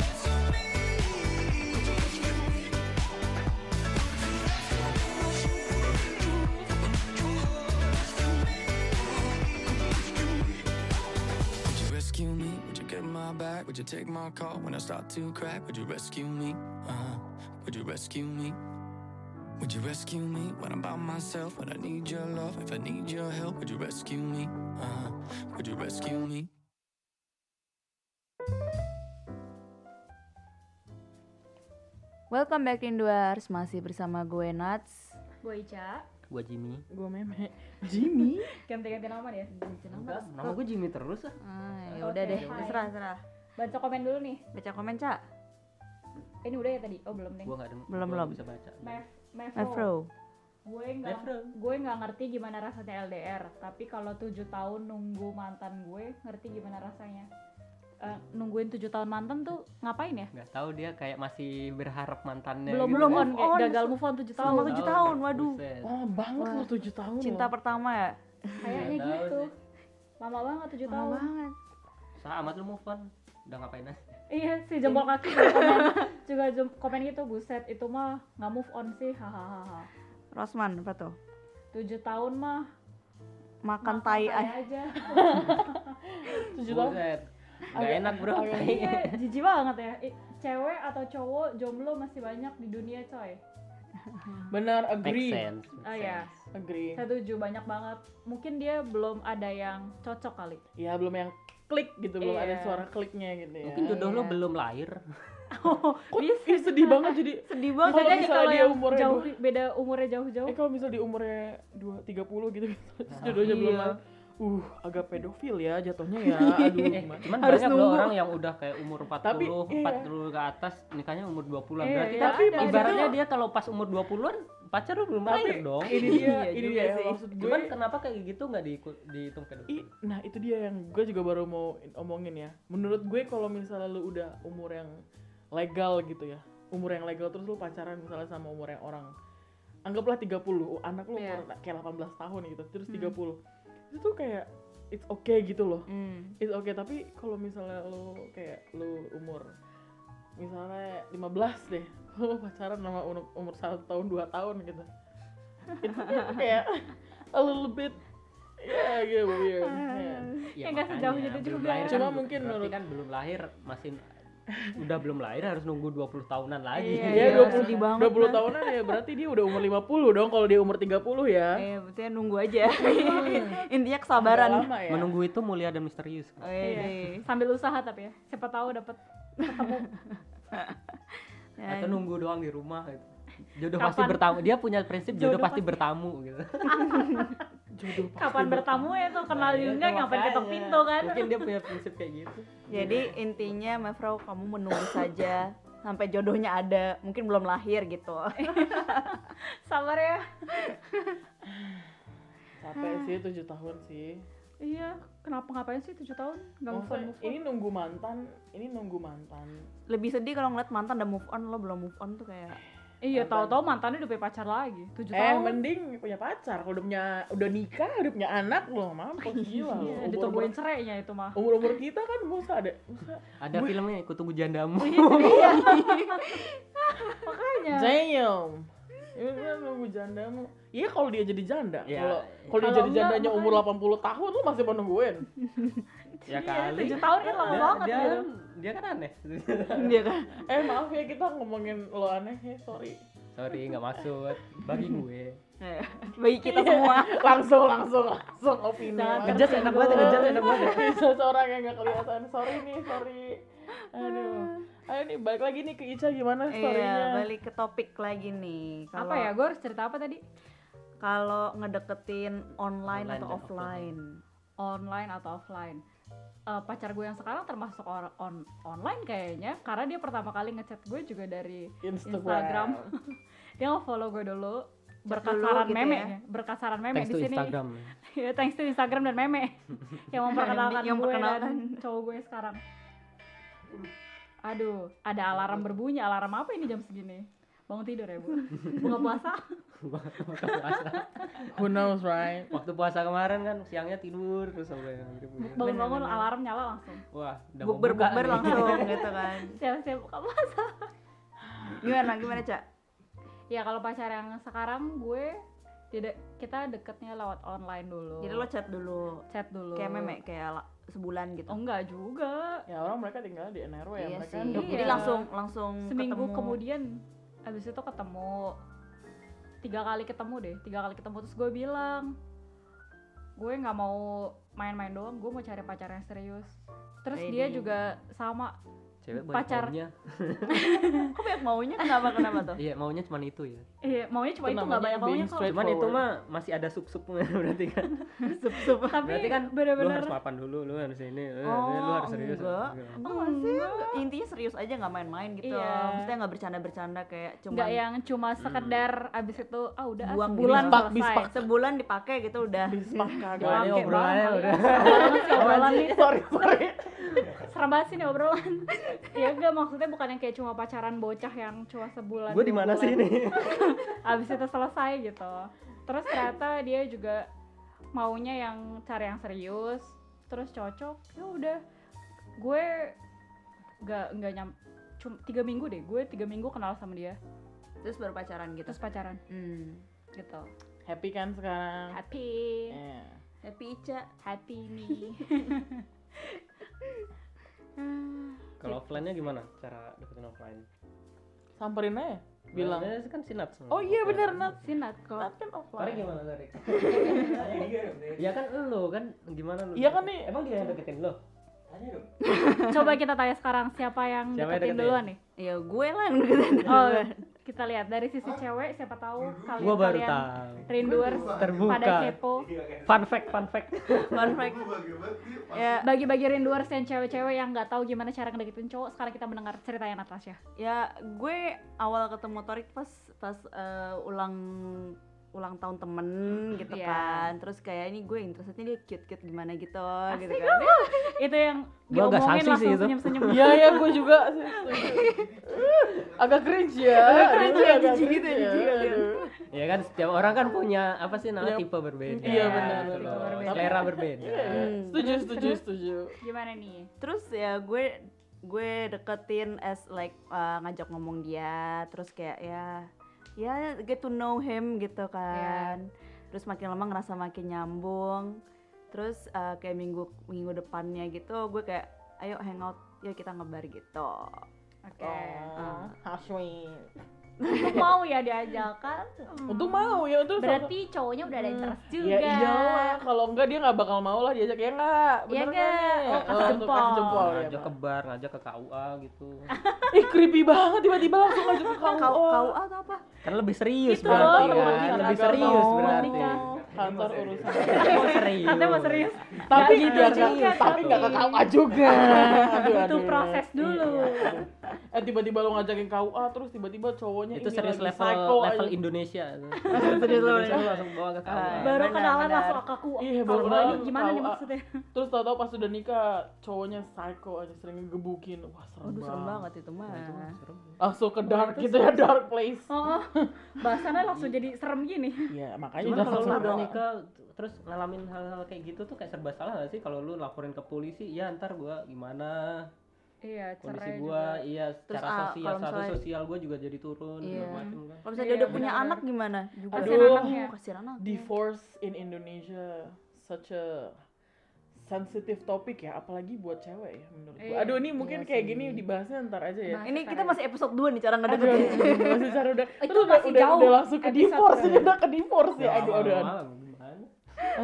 Speaker 7: rescue me? Would you rescue me? Would you rescue me? Would you get my back? Would you take my call when I start to crack? Would you rescue me? Uh-huh. Would you rescue me? Would you rescue me when I'm by myself? When I need your love, if I need your help, would you rescue me? Uh-huh. Would you rescue me?
Speaker 1: Welcome back Indoors, masih bersama gue Nats.
Speaker 2: Gue Ica.
Speaker 6: Gua Jimmy.
Speaker 3: Gue meme. Jimmy.
Speaker 2: Ganti-ganti nama ya.
Speaker 6: Enggak, nama gua Jimmy terus ah.
Speaker 1: Ah, ya udah
Speaker 2: Oke,
Speaker 1: deh,
Speaker 2: fine.
Speaker 1: terserah, terserah.
Speaker 2: Baca komen dulu nih.
Speaker 1: Baca komen, Ca.
Speaker 2: Eh, Ini udah ya tadi? Oh, belum nih.
Speaker 6: Gua nggak denger.
Speaker 1: Belum,
Speaker 6: gua
Speaker 1: belum.
Speaker 6: nggak Bisa baca.
Speaker 2: Mev, Mevro.
Speaker 1: Mevro.
Speaker 2: Gue nggak gue nggak ngerti gimana rasanya LDR, tapi kalau tujuh tahun nunggu mantan gue ngerti gimana rasanya. Eh, nungguin tujuh tahun mantan tuh ngapain ya?
Speaker 6: Nggak tahu dia kayak masih berharap mantannya.
Speaker 2: belum
Speaker 6: gitu
Speaker 2: belum
Speaker 6: kan.
Speaker 2: on,
Speaker 3: Eh,
Speaker 2: kayak
Speaker 1: on,
Speaker 2: gagal move on tujuh tahun.
Speaker 1: Selama tujuh tahun, waduh.
Speaker 6: Buset.
Speaker 3: Wah banget
Speaker 1: Wah.
Speaker 3: loh tujuh tahun.
Speaker 1: Cinta
Speaker 3: loh.
Speaker 1: pertama ya?
Speaker 2: Kayaknya
Speaker 6: Iya, Nggak tahu
Speaker 2: gitu.
Speaker 6: sih.
Speaker 2: Lama banget tujuh
Speaker 1: Lama
Speaker 2: tahun.
Speaker 1: banget.
Speaker 6: Sah amat lu move on. Udah ngapain aja?
Speaker 2: Iya, si jempol kaki juga komen, juga jem- komen gitu, buset itu mah nggak move on sih, hahaha.
Speaker 1: Rosman, apa tuh?
Speaker 2: Tujuh tahun mah
Speaker 1: Makan
Speaker 2: makan
Speaker 1: Kan tai
Speaker 2: tai
Speaker 1: ay.
Speaker 2: aja.
Speaker 3: tujuh tahun.
Speaker 6: Buset. Nggak
Speaker 2: Agak-
Speaker 6: enak bro.
Speaker 2: Iya, jijik banget ya. I- Cewek atau cowok jomblo masih banyak di dunia coy.
Speaker 3: Benar
Speaker 6: Make
Speaker 3: agree.
Speaker 6: sense.
Speaker 1: Ah,
Speaker 6: make
Speaker 2: Oh ya,
Speaker 6: sense.
Speaker 3: Agree.
Speaker 2: saya setuju banyak banget. Mungkin dia belum ada yang cocok kali.
Speaker 3: Ya belum yang klik gitu, belum
Speaker 2: Iya.
Speaker 3: ada suara kliknya gitu ya.
Speaker 6: Mungkin jodoh lo
Speaker 1: Iya.
Speaker 6: belum lahir.
Speaker 3: Kok ih,
Speaker 2: gitu?
Speaker 3: sedih banget jadi
Speaker 1: Sedih
Speaker 3: Kalau
Speaker 1: banget.
Speaker 2: Bisa jadi
Speaker 3: misalnya
Speaker 2: kalau
Speaker 3: dia
Speaker 2: yang
Speaker 3: umurnya
Speaker 2: jauh,
Speaker 3: dua-
Speaker 2: beda umurnya jauh-jauh.
Speaker 3: Eh kalau misal di umurnya 2 30 gitu gitu. terus
Speaker 6: Ah,
Speaker 3: Jodohnya belum
Speaker 1: Iya.
Speaker 3: lahir. Uh, agak pedofil ya jatuhnya ya. Aduh,
Speaker 6: Eh,
Speaker 3: gimana?
Speaker 6: cuman
Speaker 1: Harus
Speaker 6: banyak loh
Speaker 1: nunggu.
Speaker 6: orang yang udah kayak umur 40,
Speaker 3: Tapi, iya.
Speaker 6: 40 ke atas nikahnya umur 20-an.
Speaker 2: Iya,
Speaker 6: Berarti
Speaker 2: iya,
Speaker 6: kan
Speaker 2: Tapi ada.
Speaker 6: ibaratnya dia kalau pas umur 20-an pacar lu belum lahir dong.
Speaker 3: Ini dia,
Speaker 1: Iya
Speaker 3: ini
Speaker 1: juga
Speaker 3: dia
Speaker 1: sih.
Speaker 3: maksud gue.
Speaker 6: Cuman kenapa kayak gitu nggak diiku- dihitung gitu?
Speaker 3: I-
Speaker 6: pedofil?
Speaker 3: nah itu dia yang gue juga baru mau in- omongin ya menurut gue kalau misalnya lu udah umur yang legal gitu ya umur yang legal terus lu pacaran misalnya sama umur yang orang anggaplah 30 oh, anak lu
Speaker 6: Iya.
Speaker 3: umur kayak 18 tahun gitu terus
Speaker 6: Hmm.
Speaker 3: 30 itu tuh kayak it's okay gitu loh
Speaker 1: Hmm.
Speaker 3: it's okay tapi kalau misalnya lu kayak lu umur misalnya 15 deh lu pacaran sama umur, umur 1 tahun 2 tahun gitu itu tuh kayak a little bit ya yeah, weird yeah.
Speaker 6: Ya,
Speaker 2: nggak
Speaker 6: makanya,
Speaker 2: sejauh itu
Speaker 6: belum
Speaker 2: juga.
Speaker 6: lahir
Speaker 3: Cuma
Speaker 6: kan-
Speaker 3: mungkin
Speaker 6: berarti
Speaker 3: menurut-
Speaker 6: kan belum lahir masih udah belum lahir harus nunggu 20 tahunan lagi.
Speaker 1: Iya,
Speaker 3: Dia
Speaker 1: iya,
Speaker 3: 20,
Speaker 1: sedih banget,
Speaker 3: 20
Speaker 1: Mas.
Speaker 3: tahunan ya berarti dia udah umur 50 dong kalau dia umur 30 ya.
Speaker 1: Eh, berarti nunggu aja. Intinya
Speaker 3: Agak
Speaker 1: kesabaran.
Speaker 3: Lama ya.
Speaker 6: Menunggu itu mulia dan misterius.
Speaker 1: Oh, iya. iya.
Speaker 2: Sambil usaha tapi ya. Siapa tahu dapat
Speaker 1: Ya,
Speaker 6: Atau nunggu doang di rumah gitu. Jodoh
Speaker 2: Kapan?
Speaker 6: pasti bertamu. Dia punya prinsip jodoh,
Speaker 2: Jodoh
Speaker 6: pasti
Speaker 2: pasti-
Speaker 6: bertamu gitu.
Speaker 3: Jodoh pasti
Speaker 2: kapan bertamu ya tuh kenal
Speaker 6: Iya,
Speaker 2: juga
Speaker 6: itu
Speaker 2: ngapain ketok
Speaker 6: makanya.
Speaker 2: pintu kan.
Speaker 6: Mungkin dia punya prinsip kayak gitu.
Speaker 1: Jadi intinya Mevro kamu menunggu saja sampai jodohnya ada, mungkin belum lahir gitu.
Speaker 2: Sabar ya.
Speaker 3: Capek sih 7 tahun sih.
Speaker 2: Iya, kenapa ngapain sih 7 tahun nggak move on
Speaker 3: Maksudnya,
Speaker 2: move on.
Speaker 3: ini nunggu mantan, ini nunggu mantan.
Speaker 1: Lebih sedih kalau ngeliat mantan udah move on lo belum move on tuh kayak
Speaker 2: Iya, tahu-tahu mantannya udah punya pacar lagi. 7
Speaker 3: Eh
Speaker 2: tahun.
Speaker 3: mending punya pacar, kalau udah punya udah nikah, udah punya anak loh, mampus gila loh.
Speaker 2: Iya,
Speaker 3: Umur-
Speaker 2: ditungguin cerainya itu mah.
Speaker 3: umur umur kita kan masa ada masa
Speaker 6: Ada filmnya Ku Tunggu Jandamu.
Speaker 2: Oh, iya, Makanya.
Speaker 3: damn ini kan nunggu jandamu iya kalau dia jadi janda
Speaker 6: Iya.
Speaker 3: kalau kalau dia
Speaker 2: Kalau
Speaker 3: jadi
Speaker 2: enggak,
Speaker 3: jandanya umur 80 tahun lu masih mau nungguin
Speaker 6: ya kali.
Speaker 2: 7 Iya, tahun kan lama
Speaker 6: Dia-
Speaker 2: banget
Speaker 6: dia,
Speaker 2: gitu.
Speaker 6: dia kan aneh.
Speaker 2: Iya
Speaker 1: dia kan
Speaker 3: eh maaf ya kita ngomongin lo aneh ya sorry
Speaker 6: Sorry nggak maksud. Bagi gue.
Speaker 1: Eh, bagi kita semua
Speaker 3: Iya. langsung langsung langsung opini
Speaker 2: Jangan
Speaker 3: Langsung.
Speaker 2: ngejudge, enak banget ya, ngejudge enak banget ya.
Speaker 3: Bisa seorang yang nggak kelihatan sorry nih sorry aduh ayo nih balik lagi nih ke Ica gimana storynya
Speaker 1: iya balik ke topik lagi nih
Speaker 2: Apa ya? Gue harus cerita apa tadi?
Speaker 1: kalau ngedeketin online,
Speaker 6: Online
Speaker 1: atau
Speaker 6: dan
Speaker 1: offline.
Speaker 2: Online atau offline? Eh, pacar gue yang sekarang termasuk or- on online kayaknya karena dia pertama kali ngechat gue juga dari
Speaker 3: Instagram,
Speaker 2: Instagram. dia nge-follow gue dulu berkat
Speaker 1: dulu
Speaker 2: saran
Speaker 1: gitu
Speaker 2: meme
Speaker 1: ya.
Speaker 2: ya. berkat saran meme
Speaker 6: Thanks
Speaker 2: di
Speaker 6: to
Speaker 2: sini.
Speaker 6: Instagram.
Speaker 2: ya thanks to Instagram dan meme yang memperkenalkan
Speaker 1: Yang
Speaker 2: gue
Speaker 1: memperkenalkan.
Speaker 2: dan cowok gue sekarang. Aduh, ada alarm berbunyi. Alarm apa ini jam segini? Bangun tidur ya, Bu? Buka puasa?
Speaker 6: Waktu puasa.
Speaker 3: who knows right
Speaker 6: Waktu puasa kemarin kan siangnya tidur terus sampai yang gitu.
Speaker 2: Bangun-bangun alarm nyala langsung.
Speaker 6: Wah, udah mau buka
Speaker 1: Bukber-bukber
Speaker 6: nih.
Speaker 1: langsung gitu kan.
Speaker 2: Siap-siap buka puasa.
Speaker 1: Gimana gimana, Cak?
Speaker 2: Ya kalau pacar yang sekarang gue tidak kita deketnya lewat online dulu.
Speaker 1: Jadi lo chat dulu.
Speaker 2: chat dulu.
Speaker 1: Kayak meme kayak la- sebulan gitu.
Speaker 2: Oh enggak juga.
Speaker 3: ya orang mereka tinggal di NRW ya
Speaker 1: iya
Speaker 3: mereka
Speaker 1: sih.
Speaker 2: hidup
Speaker 1: Jadi
Speaker 2: ya.
Speaker 1: langsung langsung
Speaker 2: Seminggu
Speaker 1: ketemu.
Speaker 2: kemudian abis itu ketemu tiga kali ketemu deh tiga kali ketemu terus gue bilang gue nggak mau main-main doang gue mau cari pacar yang serius terus dia
Speaker 1: Ready.
Speaker 2: juga sama
Speaker 6: Cewek banyak
Speaker 2: Pacar.
Speaker 6: maunya.
Speaker 1: Kok banyak maunya kenapa kenapa tuh?
Speaker 6: Iya, maunya cuman itu ya.
Speaker 2: eh, maunya cuma
Speaker 3: Itu
Speaker 2: itu nggak
Speaker 3: namanya
Speaker 2: banyak
Speaker 3: being
Speaker 2: maunya kok
Speaker 3: straight.
Speaker 6: Cuman itu
Speaker 3: Straightforward.
Speaker 6: mah masih ada sup-supnya berarti kan.
Speaker 1: Sup-sup.
Speaker 2: tapi
Speaker 6: Berarti kan lu
Speaker 2: bener-bener
Speaker 6: harus mapan dulu, lu harus ini, eh, lu,
Speaker 1: Oh,
Speaker 6: lu harus serius.
Speaker 1: enggak.
Speaker 6: Gitu.
Speaker 1: Oh, Enggak sih, enggak. intinya serius aja nggak main-main gitu.
Speaker 2: Iya.
Speaker 1: Maksudnya nggak bercanda-bercanda kayak cuma
Speaker 2: nggak yang cuma sekedar
Speaker 3: Hmm.
Speaker 2: abis itu ah udah ah,
Speaker 1: Buang
Speaker 2: sebulan
Speaker 1: bispak,
Speaker 2: selesai
Speaker 3: bispak.
Speaker 1: sebulan dipakai gitu udah.
Speaker 3: bismak kagak
Speaker 6: Wah, ini
Speaker 2: Bangke
Speaker 6: obrolannya
Speaker 2: banget.
Speaker 6: udah.
Speaker 2: Obrolan sih, obrolan nih.
Speaker 3: sorry sorry
Speaker 2: serem banget sih nih obrolan ya enggak maksudnya bukan yang kayak cuma pacaran bocah yang cuma sebulan
Speaker 6: Gue
Speaker 2: dua
Speaker 6: di mana
Speaker 2: bulan.
Speaker 6: sih ini?
Speaker 2: abis itu selesai gitu terus ternyata dia juga maunya yang cari yang serius terus cocok ya udah gue nggak nggak nyam cuma tiga minggu deh gue tiga minggu kenal sama dia
Speaker 1: Terus baru pacaran gitu.
Speaker 2: terus pacaran
Speaker 1: Hmm.
Speaker 2: gitu
Speaker 3: happy kan sekarang
Speaker 2: happy
Speaker 3: Iya.
Speaker 1: Happy Ica.
Speaker 2: happy me
Speaker 6: Kalau offline-nya gimana? Cara deketin offline?
Speaker 3: samperin aja bilang
Speaker 6: Biasanya kan sinat.
Speaker 3: oh iya bener Nat
Speaker 2: sinat kok
Speaker 3: Nat kan
Speaker 6: Tarik
Speaker 3: offline
Speaker 6: gimana tarik? ya kan lu kan gimana lu?
Speaker 3: Iya kan, nih.
Speaker 6: Emang dia yang deketin lu?
Speaker 2: coba kita tanya sekarang siapa yang
Speaker 6: Siapa yang
Speaker 2: deketin
Speaker 6: deketin?
Speaker 2: duluan nih
Speaker 1: Ya gue lah yang deketin.
Speaker 2: Oh, kita lihat dari sisi cewek siapa tahu kalian
Speaker 6: Oh. Gua baru
Speaker 2: kalian
Speaker 6: tahu.
Speaker 2: rinduers
Speaker 6: Terbuka.
Speaker 2: pada kepo.
Speaker 6: Fun fact, fun fact.
Speaker 1: Fun fact.
Speaker 5: Lu bagaimana sih? Pas-
Speaker 1: Ya,
Speaker 2: Bagi-bagi rinduers yang cewek-cewek yang nggak tahu gimana cara ngedeketin cowok, sekarang kita mendengar ceritanya Natasha.
Speaker 1: ya gue awal ketemu Torik pas pas eh, ulang ulang tahun temen gitu
Speaker 2: Iya.
Speaker 1: kan terus kayak ini gue interestnya dia cute cute gimana gitu gitu kan
Speaker 2: Itu yang
Speaker 6: Gua agak
Speaker 2: diomongin
Speaker 6: sanksi sih
Speaker 2: langsung
Speaker 6: itu.
Speaker 2: senyum-senyum.
Speaker 3: iya iya gue juga sih, setuju. agak cringe ya
Speaker 1: cringe
Speaker 3: Aduh,
Speaker 1: ya,
Speaker 3: agak
Speaker 1: jijik gitu,
Speaker 3: cringe ya,
Speaker 1: jijik gitu.
Speaker 3: aduh.
Speaker 6: Ya kan setiap orang kan punya apa sih namanya
Speaker 3: Iya.
Speaker 6: tipe berbeda.
Speaker 3: Iya, benar,
Speaker 6: gitu
Speaker 3: tipe
Speaker 6: loh.
Speaker 3: berbeda.
Speaker 6: Selera berbeda.
Speaker 3: Iya, iya.
Speaker 1: Hmm.
Speaker 3: setuju setuju setuju
Speaker 2: Gimana nih?
Speaker 1: terus ya gue gue deketin as like eh, ngajak ngomong dia terus kayak ya ya get to know him gitu kan terus makin lama ngerasa makin nyambung terus eh, kayak minggu minggu depannya gitu gue kayak ayo hangout yuk kita ngebar gitu
Speaker 2: Oke.
Speaker 3: oh, Hashmi
Speaker 2: Untung mau ya diajak kan?
Speaker 1: Hmm.
Speaker 3: untung mau ya untung
Speaker 2: Berarti cowoknya udah ada interest
Speaker 3: sama-
Speaker 2: juga.
Speaker 3: ya iyalah kalau enggak dia nggak bakal mau lah diajak ya enggak
Speaker 2: Iya nggak? Oh, kasih jempol.
Speaker 3: kasih jempol ya,
Speaker 6: Ngajak ke
Speaker 3: Pak.
Speaker 6: bar, ngajak ke KUA gitu.
Speaker 3: ih creepy banget tiba-tiba langsung ngajak ke
Speaker 1: kau
Speaker 3: kau
Speaker 1: kau
Speaker 2: ah,
Speaker 1: atau apa
Speaker 6: Kan lebih serius
Speaker 2: Itu
Speaker 6: berarti
Speaker 2: Gitu loh,
Speaker 6: kan.
Speaker 2: romantis
Speaker 6: Lebih
Speaker 3: agak
Speaker 6: serius
Speaker 3: romantis.
Speaker 6: berarti.
Speaker 3: kantor urusan
Speaker 6: Mau serius.
Speaker 2: Katanya mau serius.
Speaker 3: tapi
Speaker 2: Nggak gitu
Speaker 3: iya,
Speaker 2: juga,
Speaker 3: nggak- tapi
Speaker 2: tapi.
Speaker 3: nggak ke KUA juga aduh, Iya.
Speaker 2: Butuh proses
Speaker 6: Iya.
Speaker 2: dulu.
Speaker 3: eh tiba-tiba lo ngajakin KUA terus tiba-tiba cowoknya
Speaker 6: Itu
Speaker 3: ini
Speaker 6: serius
Speaker 3: lagi
Speaker 6: level
Speaker 3: psycho
Speaker 6: level
Speaker 3: aja.
Speaker 6: Indonesia. Serius
Speaker 1: level
Speaker 6: Indonesia lu langsung bawa ke KUA.
Speaker 1: Ah.
Speaker 2: Baru
Speaker 1: Benar,
Speaker 2: kenalan
Speaker 1: benar.
Speaker 2: langsung aku.
Speaker 3: Iya,
Speaker 2: Kalau
Speaker 3: baru
Speaker 2: ini
Speaker 3: kenalan,
Speaker 2: Gimana nih
Speaker 3: tahu, ah.
Speaker 2: maksudnya?
Speaker 3: terus tau-tau pas udah nikah cowoknya psycho aja sering ngegebukin wah serem
Speaker 1: Aduh serem
Speaker 3: banget
Speaker 1: banget itu mah.
Speaker 3: langsung ke dark gitu ya dark place
Speaker 2: Oh, bahasannya langsung jadi serem gini.
Speaker 3: Iya, makanya
Speaker 6: Cuman
Speaker 3: udah
Speaker 6: kalau lu
Speaker 3: langsung
Speaker 6: udah
Speaker 3: doang.
Speaker 6: nikah terus ngalamin hal-hal kayak gitu tuh kayak serba salah gak sih kalau lu laporin ke polisi ya ntar gua gimana
Speaker 2: Iya,
Speaker 6: kondisi
Speaker 2: cerai
Speaker 6: gua
Speaker 2: juga.
Speaker 6: iya
Speaker 1: Terus,
Speaker 6: secara
Speaker 1: ah,
Speaker 6: sosial
Speaker 1: kalau
Speaker 6: status
Speaker 1: misalnya-
Speaker 6: sosial gua juga jadi turun
Speaker 1: Iya.
Speaker 6: segala macem kan.
Speaker 1: Kalau misalnya dia
Speaker 2: Iya,
Speaker 1: udah punya
Speaker 2: benar-benar.
Speaker 1: anak gimana? Juga
Speaker 3: Aduh.
Speaker 1: kasihan anaknya. Kasihan anak.
Speaker 3: Divorce in Indonesia such a sensitif topik ya, apalagi buat cewek ya menurut gue.
Speaker 2: Iya.
Speaker 3: Aduh ini mungkin
Speaker 6: Iya
Speaker 3: kayak
Speaker 6: sih.
Speaker 3: gini dibahasnya ntar aja ya.
Speaker 2: Bahas
Speaker 1: Ini kita
Speaker 2: sekarang.
Speaker 1: masih episode 2 nih cara
Speaker 3: Aduh,
Speaker 1: ngedeketin.
Speaker 3: masih cara udah,
Speaker 2: Itu
Speaker 3: terus udah,
Speaker 2: masih
Speaker 3: udah,
Speaker 2: jauh,
Speaker 3: udah langsung ke
Speaker 2: episode
Speaker 3: divorce,
Speaker 1: kan?
Speaker 2: ke-
Speaker 3: ya, udah ke divorce ya, aduh, aduh, aduh,
Speaker 6: Malam, gimana?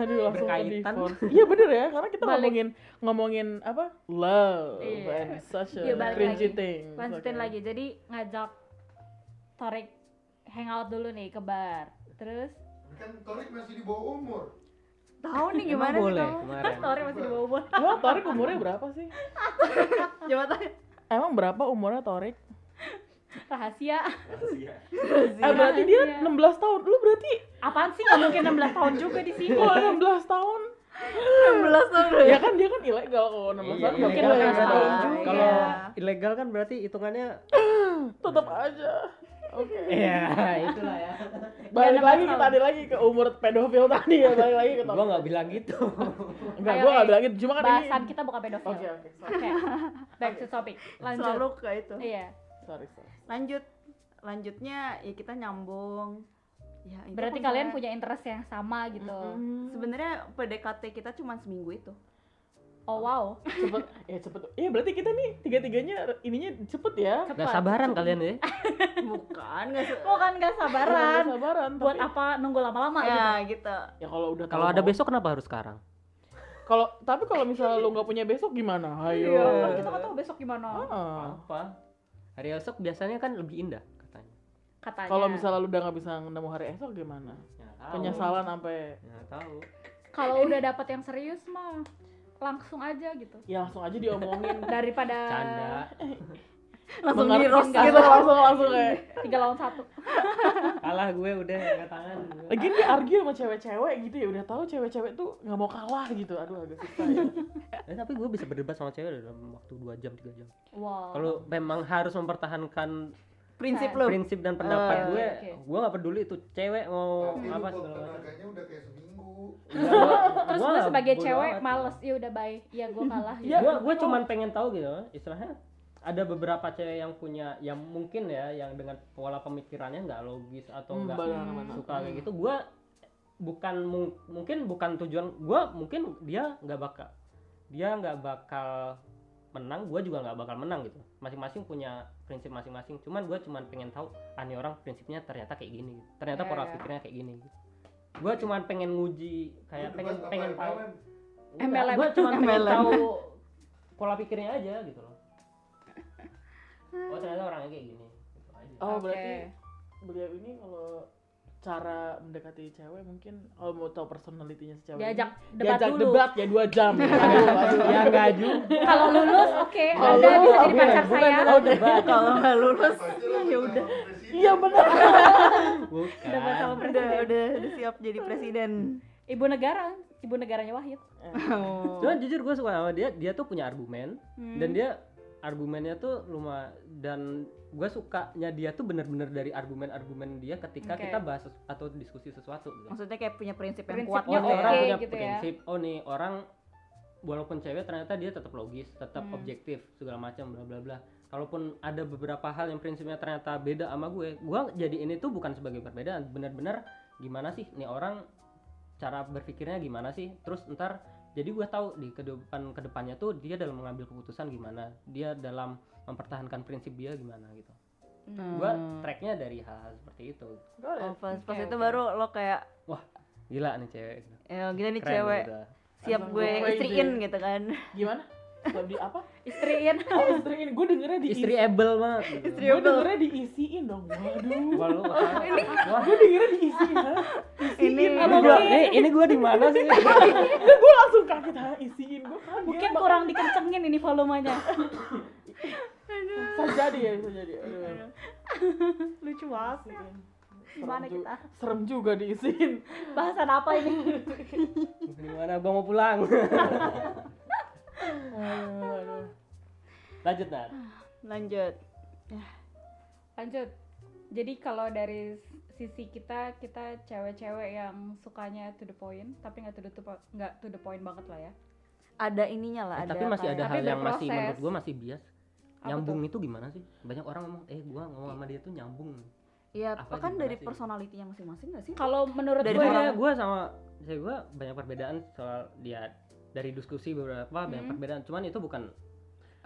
Speaker 3: aduh langsung ke
Speaker 6: Berkaitan.
Speaker 3: divorce. Iya bener ya, karena kita
Speaker 2: Balik.
Speaker 3: ngomongin ngomongin apa love
Speaker 2: Iya.
Speaker 3: and such a
Speaker 2: Iya, balik
Speaker 3: cringy
Speaker 2: lagi.
Speaker 3: thing.
Speaker 2: lanjutin
Speaker 3: Okay.
Speaker 2: lagi jadi ngajak tarik hangout dulu nih ke bar terus
Speaker 5: Kan Torik masih di bawah umur.
Speaker 1: Tahu nih
Speaker 6: Emang
Speaker 1: gimana sih
Speaker 6: boleh
Speaker 1: kamu?
Speaker 6: kemarin.
Speaker 2: story masih di bawah umur
Speaker 3: Lo Torik umurnya berapa sih?
Speaker 1: Jabatan
Speaker 3: Emang berapa umurnya Torik?
Speaker 2: rahasia
Speaker 3: Eh berarti dia
Speaker 2: Iya.
Speaker 3: 16 tahun. Lu berarti
Speaker 2: apaan sih nggak mungkin 16 tahun juga di sini
Speaker 3: kalau 16 tahun
Speaker 1: 16 tahun udah.
Speaker 3: ya kan dia kan ilegal kalau 16 tahun
Speaker 6: Iya,
Speaker 3: mungkin
Speaker 6: ilegal
Speaker 3: lah ya
Speaker 6: kan
Speaker 3: tahu
Speaker 1: juga.
Speaker 6: berarti.
Speaker 1: Iya.
Speaker 6: Kalau ilegal kan berarti hitungannya
Speaker 3: tetap aja. Oke.
Speaker 6: Iya, itulah ya.
Speaker 3: Balik
Speaker 2: Dan
Speaker 3: lagi
Speaker 2: emang
Speaker 3: kita tadi lagi ke umur pedofil tadi ya, balik lagi ke
Speaker 6: Gua nggak bilang gitu.
Speaker 3: Enggak,
Speaker 2: Ayo,
Speaker 3: gua enggak
Speaker 2: eh,
Speaker 3: bilang gitu. Cuma kan ini
Speaker 2: bahasan kita bukan pedofil
Speaker 3: Oke,
Speaker 2: oke
Speaker 3: oke.
Speaker 2: back to topic lanjut
Speaker 1: Selalu ke itu.
Speaker 2: iya
Speaker 3: Sorry, sorry.
Speaker 1: Lanjut lanjutnya ya kita nyambung. Ya, itu
Speaker 2: berarti
Speaker 1: kalau
Speaker 2: kalian
Speaker 1: misalnya-
Speaker 2: punya interest yang sama gitu
Speaker 1: Sebenarnya PDKT kita cuma seminggu itu.
Speaker 2: oh wow
Speaker 3: Cepet. Ya cepet. Iya, berarti kita nih tiga-tiganya ininya cepet ya.
Speaker 6: Gak sabaran kalian ya?
Speaker 1: Bukan nggak se-
Speaker 2: bukan Oh, kan nggak sabaran
Speaker 3: Nggak Sabaran.
Speaker 2: buat
Speaker 3: tapi-
Speaker 2: apa nunggu lama-lama gitu
Speaker 1: Ya gitu.
Speaker 3: Ya kalau udah
Speaker 6: Kalau
Speaker 3: tahu
Speaker 6: ada
Speaker 3: mau-
Speaker 6: besok kenapa harus sekarang?
Speaker 3: Kalau tapi kalau misalnya lu nggak punya besok gimana? Ayo.
Speaker 2: Iya, kan kita nggak tahu besok gimana
Speaker 3: Ah.
Speaker 6: Apa? Hari esok biasanya kan lebih indah katanya.
Speaker 2: katanya
Speaker 3: Kalau misalnya lu udah nggak bisa nemu hari esok gimana?
Speaker 6: Nggak tahu.
Speaker 3: Penyesalan sampai
Speaker 6: Nggak tahu.
Speaker 2: kalau udah dapat yang serius mah langsung aja gitu
Speaker 3: ya langsung aja diomongin
Speaker 2: daripada
Speaker 6: Canda.
Speaker 1: Langsung di
Speaker 3: Mengerti
Speaker 1: roast
Speaker 3: nggak?
Speaker 1: gitu.
Speaker 3: langsung langsung ya. kayak
Speaker 2: tiga lawan satu
Speaker 6: Kalah gue udah nggak tangan.
Speaker 3: lagi dia argue sama cewek-cewek gitu ya udah tahu cewek-cewek tuh nggak mau kalah gitu aduh agak susah ya
Speaker 6: Eh, tapi gue bisa berdebat sama cewek dalam waktu 2 jam 3 jam.
Speaker 2: wow
Speaker 6: Kalau memang harus mempertahankan
Speaker 1: Prinsip lu.
Speaker 6: prinsip dan
Speaker 1: Eh,
Speaker 6: pendapat gue,
Speaker 2: Oh, oke, oke.
Speaker 6: gue nggak peduli itu cewek mau
Speaker 5: Tapi
Speaker 6: apa
Speaker 5: apa
Speaker 6: segala macam.
Speaker 5: tenaganya udah kayak seminggu.
Speaker 6: Iya, gua-
Speaker 2: terus
Speaker 6: gua
Speaker 2: gue
Speaker 6: nggak
Speaker 2: sebagai
Speaker 6: bodo
Speaker 2: cewek
Speaker 6: amat.
Speaker 2: males ya udah bye ya gue kalah gitu.
Speaker 3: Iya,
Speaker 6: gue gue cuman pengen tahu gitu istilahnya ada beberapa cewek yang punya yang mungkin ya yang dengan pola pemikirannya nggak logis atau
Speaker 3: Hmm,
Speaker 6: nggak
Speaker 3: benar-benar.
Speaker 6: suka kayak gitu gue bukan mung- mungkin bukan tujuan gue mungkin dia nggak bakal dia nggak bakal menang gue juga nggak bakal menang gitu masing-masing punya prinsip masing-masing cuman gue cuman pengen tahu aneh orang prinsipnya ternyata kayak gini gitu. ternyata
Speaker 2: Iya,
Speaker 6: pola
Speaker 2: iya.
Speaker 6: pikirnya kayak gini gitu. gue cuman pengen nguji kayak pengen pengen tahu
Speaker 2: MLM.
Speaker 6: gue cuma pengen
Speaker 1: MLM.
Speaker 6: tahu
Speaker 3: Ah.
Speaker 6: pola pikirnya aja gitu loh oh ternyata orangnya kayak gini Gitu aja.
Speaker 3: oh
Speaker 2: Oke.
Speaker 3: berarti beliau ini kalau cara mendekati cewek mungkin kalau mau tahu personalitinya si cewek
Speaker 2: diajak
Speaker 3: ini,
Speaker 2: debat
Speaker 3: diajak
Speaker 2: dulu
Speaker 3: debat ya dua jam Aduh, aduh.
Speaker 6: ya enggak juga
Speaker 2: kalau lulus oke
Speaker 3: Kalau
Speaker 2: anda
Speaker 3: lulus,
Speaker 2: bisa jadi
Speaker 3: oke.
Speaker 2: pacar
Speaker 6: bukan
Speaker 2: saya
Speaker 6: kalau debat
Speaker 1: Kalau nggak lulus
Speaker 5: ya udah.
Speaker 3: iya benar
Speaker 6: bukan
Speaker 2: debat sama
Speaker 1: udah
Speaker 2: presiden
Speaker 1: udah udah siap jadi presiden.
Speaker 2: ibu negara ibu negaranya Wahid
Speaker 1: Oh.
Speaker 6: cuman jujur gue suka sama dia dia tuh punya argumen
Speaker 2: Hmm.
Speaker 6: dan dia argumennya tuh luma dan gue sukanya dia tuh bener-bener dari argumen-argumen dia ketika
Speaker 2: Oke.
Speaker 6: kita bahas sesu- atau diskusi sesuatu gitu.
Speaker 1: Maksudnya kayak punya prinsip yang
Speaker 2: Prinsip
Speaker 1: kuat
Speaker 6: oh
Speaker 2: Ya,
Speaker 6: nih
Speaker 1: gitu
Speaker 2: oke,
Speaker 6: orang punya
Speaker 2: gitu ya.
Speaker 6: prinsip oh nih orang walaupun cewek ternyata dia tetap logis tetap
Speaker 2: Hmm.
Speaker 6: objektif segala macam bla bla bla kalaupun ada beberapa hal yang prinsipnya ternyata beda sama gue gue jadi ini tuh bukan sebagai perbedaan bener-bener gimana sih nih orang cara berpikirnya gimana sih terus ntar jadi gue tahu di kedepan kedepannya tuh dia dalam mengambil keputusan gimana dia dalam mempertahankan prinsip dia gimana gitu gue
Speaker 2: Hmm.
Speaker 6: tracknya dari hal, seperti itu
Speaker 1: Oh, pas, pas
Speaker 2: Oke,
Speaker 1: itu
Speaker 2: oke.
Speaker 1: baru lo kayak
Speaker 6: gila nih cewek
Speaker 2: Eh,
Speaker 1: ya gila nih
Speaker 6: Keren
Speaker 1: cewek
Speaker 6: udah.
Speaker 1: siap
Speaker 3: Emang
Speaker 1: gue
Speaker 3: gue izin.
Speaker 1: istriin gitu kan.
Speaker 3: gimana lebih apa
Speaker 2: istriin
Speaker 3: oh istriin gue dengernya di
Speaker 6: istri able banget gitu.
Speaker 1: Istri
Speaker 3: gue
Speaker 1: able.
Speaker 3: dengernya diisiin dong waduh
Speaker 6: Wah, lu masalah. Wah,
Speaker 3: gue dengernya diisiin ha?
Speaker 1: Ini
Speaker 6: ini gua, ini, ini gua di mana sih?
Speaker 3: gue langsung kaget ha isiin gue kaget
Speaker 2: mungkin kurang dikencengin ini volumenya
Speaker 3: bisa jadi ya bisa jadi aduh
Speaker 2: lucu banget Gimana
Speaker 3: Serem ju-
Speaker 2: kita?
Speaker 3: Serem juga diisiin.
Speaker 2: bahasan apa ini
Speaker 6: di mana gua mau pulang. Lanjut Nat.
Speaker 1: lanjut.
Speaker 2: lanjut jadi kalau dari sisi kita kita cewek-cewek yang sukanya to the point tapi nggak to the to po- nggak to the point banget lah ya
Speaker 1: Ada ininya lah, ada ya?
Speaker 6: Eh, tapi masih ada
Speaker 1: kayak-
Speaker 2: Tapi
Speaker 6: hal yang masih
Speaker 2: berproses.
Speaker 6: menurut gua masih bias.
Speaker 2: Apa
Speaker 6: nyambung itu gimana sih? Banyak orang ngomong, eh gua ngomong sama dia tuh nyambung.
Speaker 1: Iya,
Speaker 6: apa
Speaker 1: kan
Speaker 6: gimana
Speaker 1: dari
Speaker 6: sih?
Speaker 1: personality yang masing-masing gak sih?
Speaker 6: ya,
Speaker 2: kalau menurut
Speaker 1: Dari
Speaker 2: gue
Speaker 6: Gua,
Speaker 1: orang-
Speaker 6: gua sama saya gua banyak perbedaan soal dia dari diskusi beberapa banyak
Speaker 2: Mm.
Speaker 6: perbedaan cuman itu bukan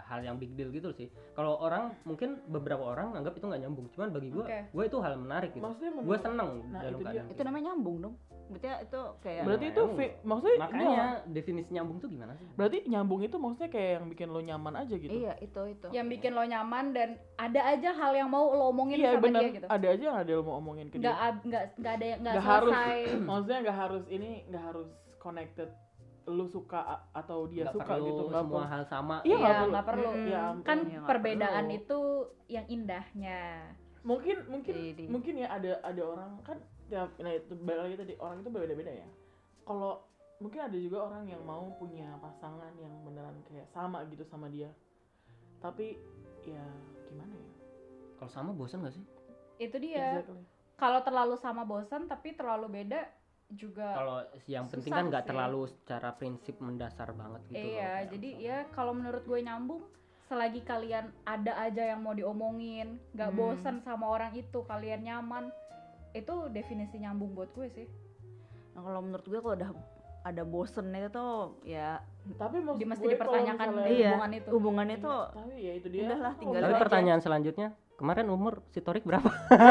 Speaker 6: hal yang big deal gitu sih kalau orang mungkin beberapa orang anggap itu nggak nyambung cuman bagi gue
Speaker 2: Oke.
Speaker 6: gue itu hal yang menarik gitu
Speaker 3: maksudnya
Speaker 6: gue
Speaker 3: menurut-
Speaker 6: seneng
Speaker 3: Nah,
Speaker 6: dalam
Speaker 3: itu dia.
Speaker 6: keadaan
Speaker 1: Itu namanya nyambung dong. Berarti ya itu kayak
Speaker 3: berarti itu
Speaker 6: Nah,
Speaker 3: fi- maksudnya
Speaker 6: makanya
Speaker 3: enggak.
Speaker 6: definisi nyambung tuh gimana sih
Speaker 3: berarti nyambung itu maksudnya kayak yang bikin lo nyaman aja gitu
Speaker 1: Iya, itu itu.
Speaker 2: yang bikin lo nyaman dan ada aja hal yang mau lo omongin
Speaker 3: Iya,
Speaker 2: sama
Speaker 3: bener
Speaker 2: dia gitu
Speaker 3: ada aja yang ada yang mau omongin ke
Speaker 2: nggak
Speaker 3: dia
Speaker 2: ab- nggak nggak ada yang nggak
Speaker 3: Nggak harus.
Speaker 2: selesai
Speaker 3: maksudnya nggak harus ini nggak harus connected lu suka a- atau dia
Speaker 6: Nggak
Speaker 3: suka
Speaker 6: perlu
Speaker 3: gitu nggak
Speaker 6: semua
Speaker 3: perlu.
Speaker 6: hal sama
Speaker 3: Iya, nggak
Speaker 2: Iya,
Speaker 3: perlu.
Speaker 2: nggak perlu.
Speaker 3: Mm-mm. Ya ampun.
Speaker 2: kan
Speaker 1: Iya, nggak
Speaker 2: perbedaan
Speaker 1: perlu.
Speaker 2: itu yang indahnya
Speaker 3: mungkin mungkin
Speaker 1: Jadi-
Speaker 3: mungkin ya ada ada orang kan tiap nah itu balik lagi tadi orang itu berbeda-beda ya kalau mungkin ada juga orang yang mau punya pasangan yang beneran kayak sama gitu sama dia tapi ya gimana ya
Speaker 6: kalau sama bosan gak sih
Speaker 2: itu dia
Speaker 3: exactly
Speaker 2: kalau terlalu sama bosan tapi terlalu beda juga
Speaker 6: kalau yang penting
Speaker 2: Susah
Speaker 6: kan nggak
Speaker 2: sih.
Speaker 6: terlalu secara prinsip mendasar banget gitu loh,
Speaker 2: iya
Speaker 6: kayak
Speaker 2: jadi
Speaker 6: misalnya.
Speaker 2: ya kalau menurut gue nyambung selagi kalian ada aja yang mau diomongin nggak
Speaker 3: Hmm.
Speaker 2: bosan sama orang itu kalian nyaman itu definisi nyambung buat gue sih
Speaker 1: Nah, kalau menurut gue kalau udah ada bosen itu tuh ya
Speaker 3: tapi maksud
Speaker 2: Di- mesti
Speaker 3: gue kalau
Speaker 2: dipertanyakan
Speaker 3: misalnya-
Speaker 1: Iya.
Speaker 2: hubungan itu
Speaker 1: hubungannya
Speaker 3: Iya,
Speaker 1: tuh
Speaker 3: tapi ya itu dia
Speaker 1: udahlah, tinggal
Speaker 6: tapi
Speaker 1: aja.
Speaker 6: pertanyaan selanjutnya kemarin umur si Torik berapa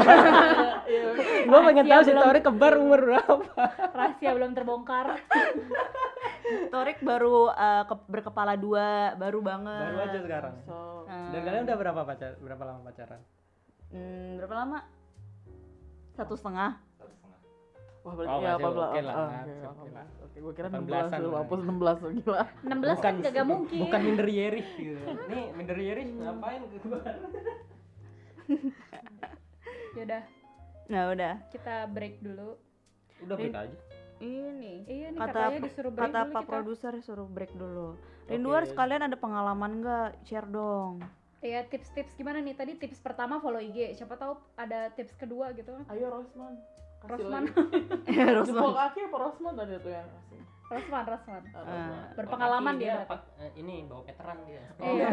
Speaker 3: Iya,
Speaker 6: gue pengen
Speaker 2: Rahasia
Speaker 6: tahu si
Speaker 2: belum-
Speaker 6: Torik kebar umur berapa
Speaker 2: rahasia belum terbongkar
Speaker 1: Torik baru eh, ke- berkepala dua, baru banget.
Speaker 6: baru aja sekarang
Speaker 3: so
Speaker 1: Nah,
Speaker 6: dan
Speaker 3: Ah.
Speaker 6: kalian udah berapa pacar berapa lama pacaran
Speaker 1: hmm, berapa lama? Satu setengah.
Speaker 12: Satu setengah.
Speaker 3: wah berarti
Speaker 6: Oh,
Speaker 3: ya
Speaker 6: masih
Speaker 3: apa
Speaker 6: oke lah,
Speaker 3: ah,
Speaker 6: masih
Speaker 3: oke,
Speaker 6: oke
Speaker 3: apa-apa.
Speaker 6: lah.
Speaker 3: oke gue kira
Speaker 6: 18-an
Speaker 3: 16 lu
Speaker 6: lah.
Speaker 3: hapus 16 lu gila
Speaker 2: 16 kan gak mungkin
Speaker 6: bukan minder Yerich gitu nih minder Yerich
Speaker 3: Hmm.
Speaker 6: ngapain ke gua
Speaker 2: yaudah
Speaker 1: Nah udah.
Speaker 2: kita break dulu
Speaker 6: udah break aja
Speaker 1: Ini.
Speaker 2: iya nih
Speaker 1: Kata-
Speaker 2: katanya disuruh break
Speaker 1: Kata
Speaker 2: dulu
Speaker 1: Pak
Speaker 2: kita
Speaker 1: Produser suruh break dulu. Rinduan sekalian ada pengalaman nggak? Share dong.
Speaker 2: iya tips-tips gimana nih tadi tips pertama follow IG siapa tahu ada tips kedua gitu
Speaker 3: ayo Rosman Kasih
Speaker 2: Rosman.
Speaker 3: lagi. jempol
Speaker 1: Rosman.
Speaker 3: kaki apa Rosman tadi tuh yang kasih
Speaker 2: Rosman Rosman
Speaker 3: Ah,
Speaker 1: Ah.
Speaker 3: Rosman. ya,
Speaker 2: berpengalaman dia berarti.
Speaker 6: pak- eh, ini bawa veteran dia
Speaker 2: Iya.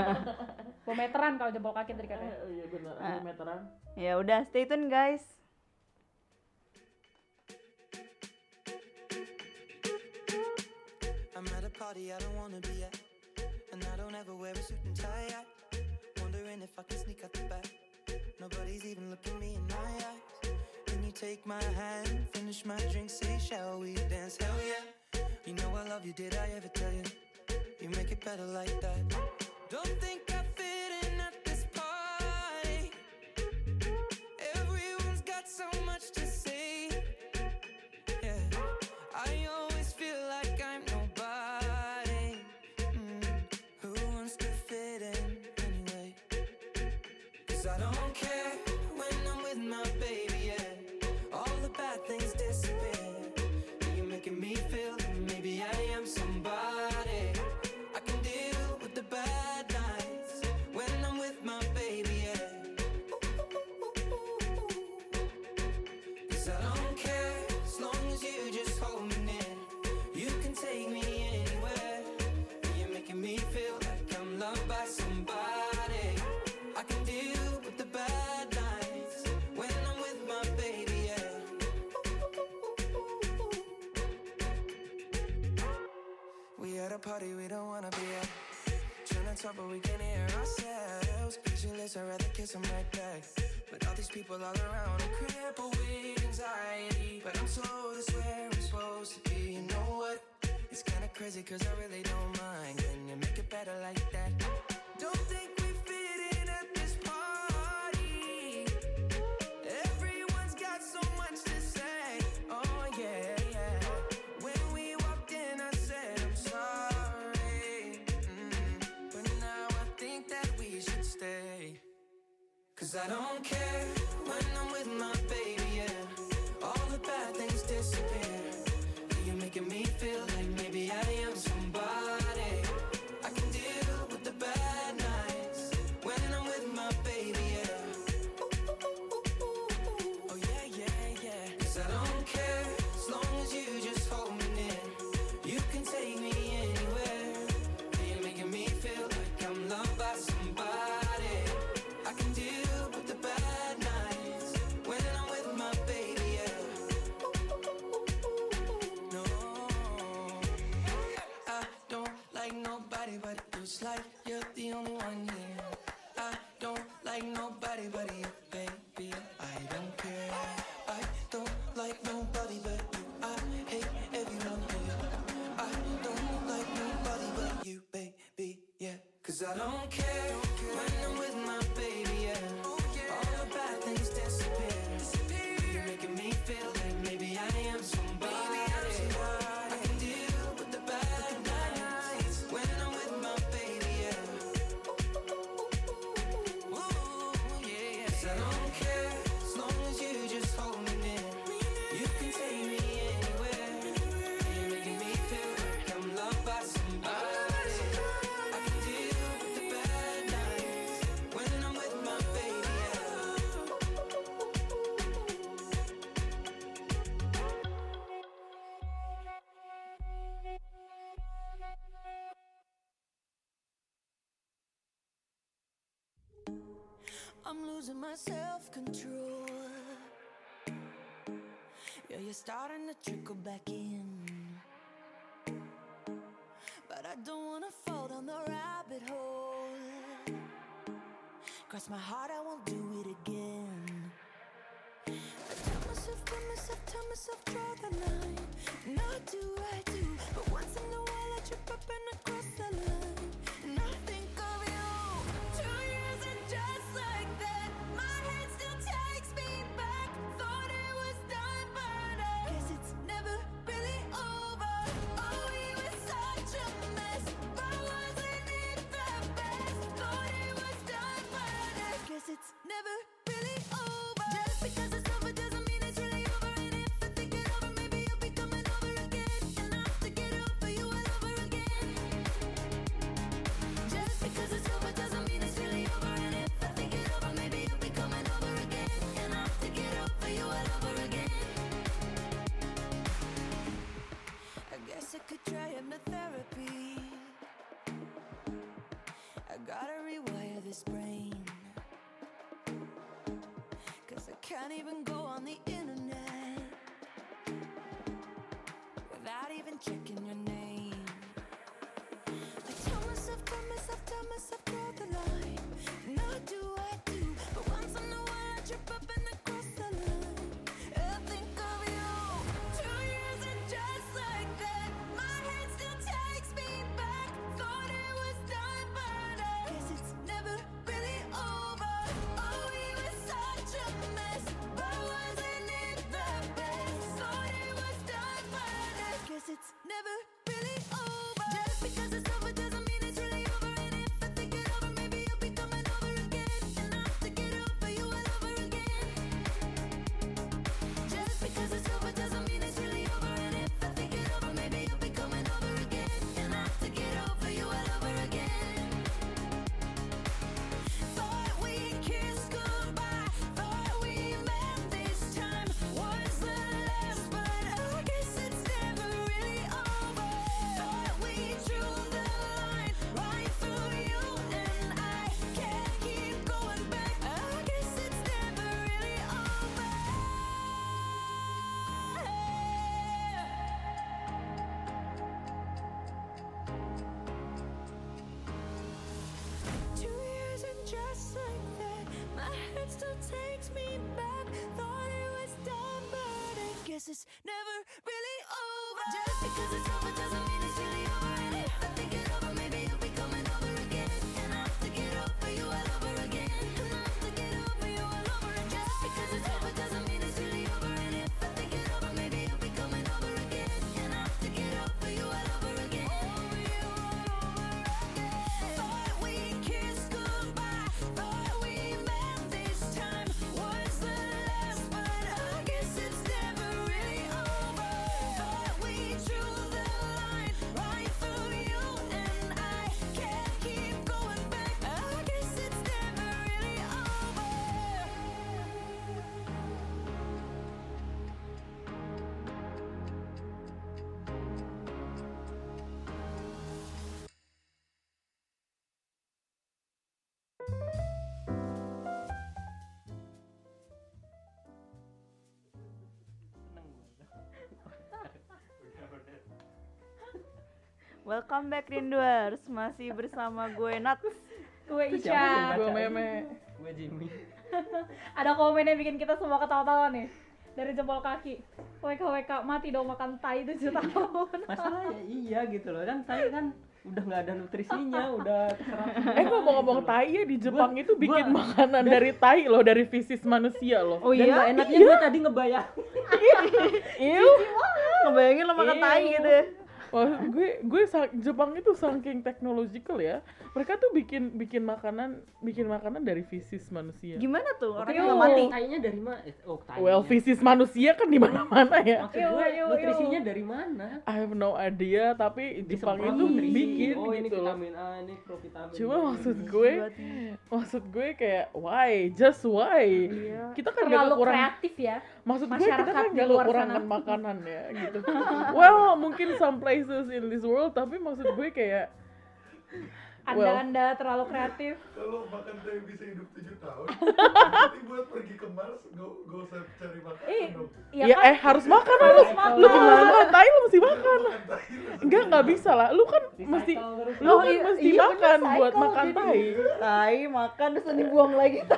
Speaker 2: Bawa meteran kalau jempol kaki tadi
Speaker 3: Eh,
Speaker 2: katanya.
Speaker 3: oh iya benar,
Speaker 1: Ah.
Speaker 3: ada meteran.
Speaker 1: Ya udah, stay tune guys.
Speaker 4: I'm at a party I don't wanna be at, and I don't ever wear a suit and tie. Out. Wondering if I can sneak out the back. Nobody's even looking me in my eyes. Can you take my hand, finish my drink, say shall we dance? Hell yeah! You know I love you, did I ever tell you? You make it better like that. Don't think I fit in at this party. Everyone's got so much to say. Yeah. I always feel like I'm nobody. Mm, Who wants to fit in anyway? Cause I don't care when I'm with my baby, yeah. All the bad things disappear. You're making me feel that maybe I am somebody. I can deal with the bad nights when I'm with my baby, yeah. Cause I don't care as long as you just hold me near. You can take me anywhere. You're making me feel like I'm loved by somebody. I can deal with the bad nights when I'm with my baby. Yeah. We at a party we don't wanna be at. Trying to talk, but we can hear ourselves. Speechless, I'd rather kiss 'em right back. But all these people all around are crippled with anxiety. But I'm told it's where I'm supposed to be. You know what? It's kinda crazy, cause I really don't mind. Can you make it better like that? Don't think we fit in at this party. Everyone's got so much to say. Oh, yeah, yeah. When we walked in, I said, I'm sorry. Mm, But now I think that we should stay. Cause I don't care when I'm with my baby, yeah. All the bad things disappear. You're making me feel like maybe I am somebody. I can deal with the bad nights when I'm with my baby, yeah. Oh, yeah, yeah, yeah. Cause I don't care as long as you just hold me near. You can take me anywhere. You're making me feel like I'm loved by somebody. I can deal with the bad nights when I'm with my
Speaker 7: It's like you're the only one here. I don't like nobody but you, baby. I don't care. I don't like nobody but you. I hate everyone here. I don't like nobody but you, baby. Yeah, cause I don't care when I'm with my baby. Oh, Yeah, all the bad things disappear. You're making me feel that maybe I am somebody. I can deal with the bad nights when I'm with my baby. Yeah. Ooh, yeah, yeah. 'Cause I don't care as long as you just hold me near. You can take me anywhere. You're making me feel like I'm loved by somebody. I can deal with the bad nights when I'm with my baby. Yeah. I'm losing my self control. Yeah, you're starting to trickle back in. But I don't wanna fall down the rabbit hole. Cross my heart, I won't do it again. I tell myself, tell myself, tell myself, draw the line. And I do, I do. But once in a while, I trip up and I cross the line. And I think of you. Two years and just like that. My head still takes me back. Thought it was done, but I guess it's never really over. Oh, we were such a mess. But wasn't it the best? Thought it was done, but I guess it's never really over. Just because it's over doesn't mean it's really over. And if I think it over, maybe you'll be coming over again. And I have to get over you all over again. Just because it's over doesn't mean it's really over. And if I think it over, maybe you'll be coming over again. And I have to get over you all over again. I guess I could try hypnotherapy. I gotta rewire this brain. Cause I can't even go on the internet without even checking your name. I tell myself, tell myself, tell myself, draw the line. And I do, I do. But once in a while, I trip up and I cross the line. I think of you. Two years and just like that. My head still takes me back. Thought it was done, but I guess it's never really over. Oh, we were such a mess. But wasn't it the best? Thought it was done, but I guess it's never really over. Just because it's over doesn't mean it's really over. And if I think it over, maybe you'll be coming over again. And I have to get over you all over again. Just because it's over doesn't mean it's really over. And if I think it over, maybe you'll be coming over again. And I have to get over you all over again. Thought we kissed goodbye. Thought we met this time. Was the last, but I guess it's never really over. Thought we drew the line right through you and I. Can't keep going back. I guess it's never really over. Two years and just like that, my head still takes me back. Thought it was done, but I guess it's never really over. Just because it's over doesn't mean it's really over. And if I think it over, maybe you'll be coming over again. And I have to get over you all over again. And I have to get over you all over again. Just because it's over doesn't mean it's really over. And if I think it over, maybe you'll be coming over again. And I have to get over you all over again. Over you all over Thought we kissed goodbye. Thought we met this time. Was the last, but I guess it's never really over. Thought we drew the line.
Speaker 1: Welcome back Rinduers, masih bersama gue Nat.
Speaker 2: Gue
Speaker 6: Itu siapa sih yang
Speaker 2: Ica.
Speaker 6: baca?
Speaker 3: Gue meme.
Speaker 6: gue Jimmy
Speaker 2: Ada komen yang bikin kita semua ketawa-tawa nih. Dari jempol kaki. WK WK mati dong makan tai 7
Speaker 3: Iya, kan
Speaker 2: tahun.
Speaker 6: masalahnya iya gitu loh kan saya kan udah nggak ada nutrisinya udah terserap
Speaker 3: Eh gue mau ngomong tai ya di Jepang
Speaker 6: Gua-
Speaker 3: itu bikin
Speaker 6: gua-
Speaker 3: makanan dari tai loh, dari fisis manusia loh.
Speaker 6: oh iya dan gak enaknya gue tadi ngebayang
Speaker 3: Iu.
Speaker 1: Ngebayangin lo makan tai gitu.
Speaker 3: Iya. Wah, gue gue sa- Jepang itu saking technological ya. Mereka tuh bikin bikin makanan bikin makanan dari fisis manusia.
Speaker 1: Gimana tuh orangnya
Speaker 2: Iu.
Speaker 1: nggak mati?
Speaker 6: tainya dari mana oh tainya
Speaker 3: Well, fisis manusia kan di mana-mana ya.
Speaker 6: maksud
Speaker 2: Iu,
Speaker 6: gue
Speaker 2: iu, iu.
Speaker 6: nutrisinya dari mana
Speaker 3: I have no idea, tapi Jepang
Speaker 6: Disemprot
Speaker 3: itu
Speaker 6: nutrisi.
Speaker 3: bikin
Speaker 6: oh ini
Speaker 3: gitu loh.
Speaker 6: vitamin A ini provitamin
Speaker 3: Cuma
Speaker 6: B.
Speaker 3: maksud gue, maksud gue kayak why, just why. Kita kan gak
Speaker 2: Terlalu
Speaker 3: kekurangan
Speaker 2: kreatif ya.
Speaker 3: Maksud gue kita
Speaker 2: Masyarakat
Speaker 3: kan
Speaker 2: di
Speaker 3: gak
Speaker 2: luar
Speaker 3: kekurangan
Speaker 2: sana.
Speaker 3: makanan ya gitu. well, mungkin some places in this world, tapi maksud gue kayak
Speaker 2: Anda-anda terlalu kreatif.
Speaker 5: Kalau makan teh bisa hidup 7 tahun, nanti buat pergi ke Mars gak, gak usah cari makanan
Speaker 2: Ih,
Speaker 5: dong.
Speaker 1: Iya
Speaker 3: ya,
Speaker 1: kan?
Speaker 3: eh harus makan lah lu. Lu gimana? Tai lu mesti makan.
Speaker 5: Makan teh lah.
Speaker 3: Enggak, enggak bisa lah. Lu kan mesti
Speaker 6: terus.
Speaker 3: lu
Speaker 1: Oh,
Speaker 3: kan
Speaker 1: iya-
Speaker 3: mesti
Speaker 1: iya bener,
Speaker 3: makan
Speaker 1: cycle
Speaker 3: buat makan
Speaker 1: jadi.
Speaker 3: tai.
Speaker 1: Tai makan terus dibuang lagi.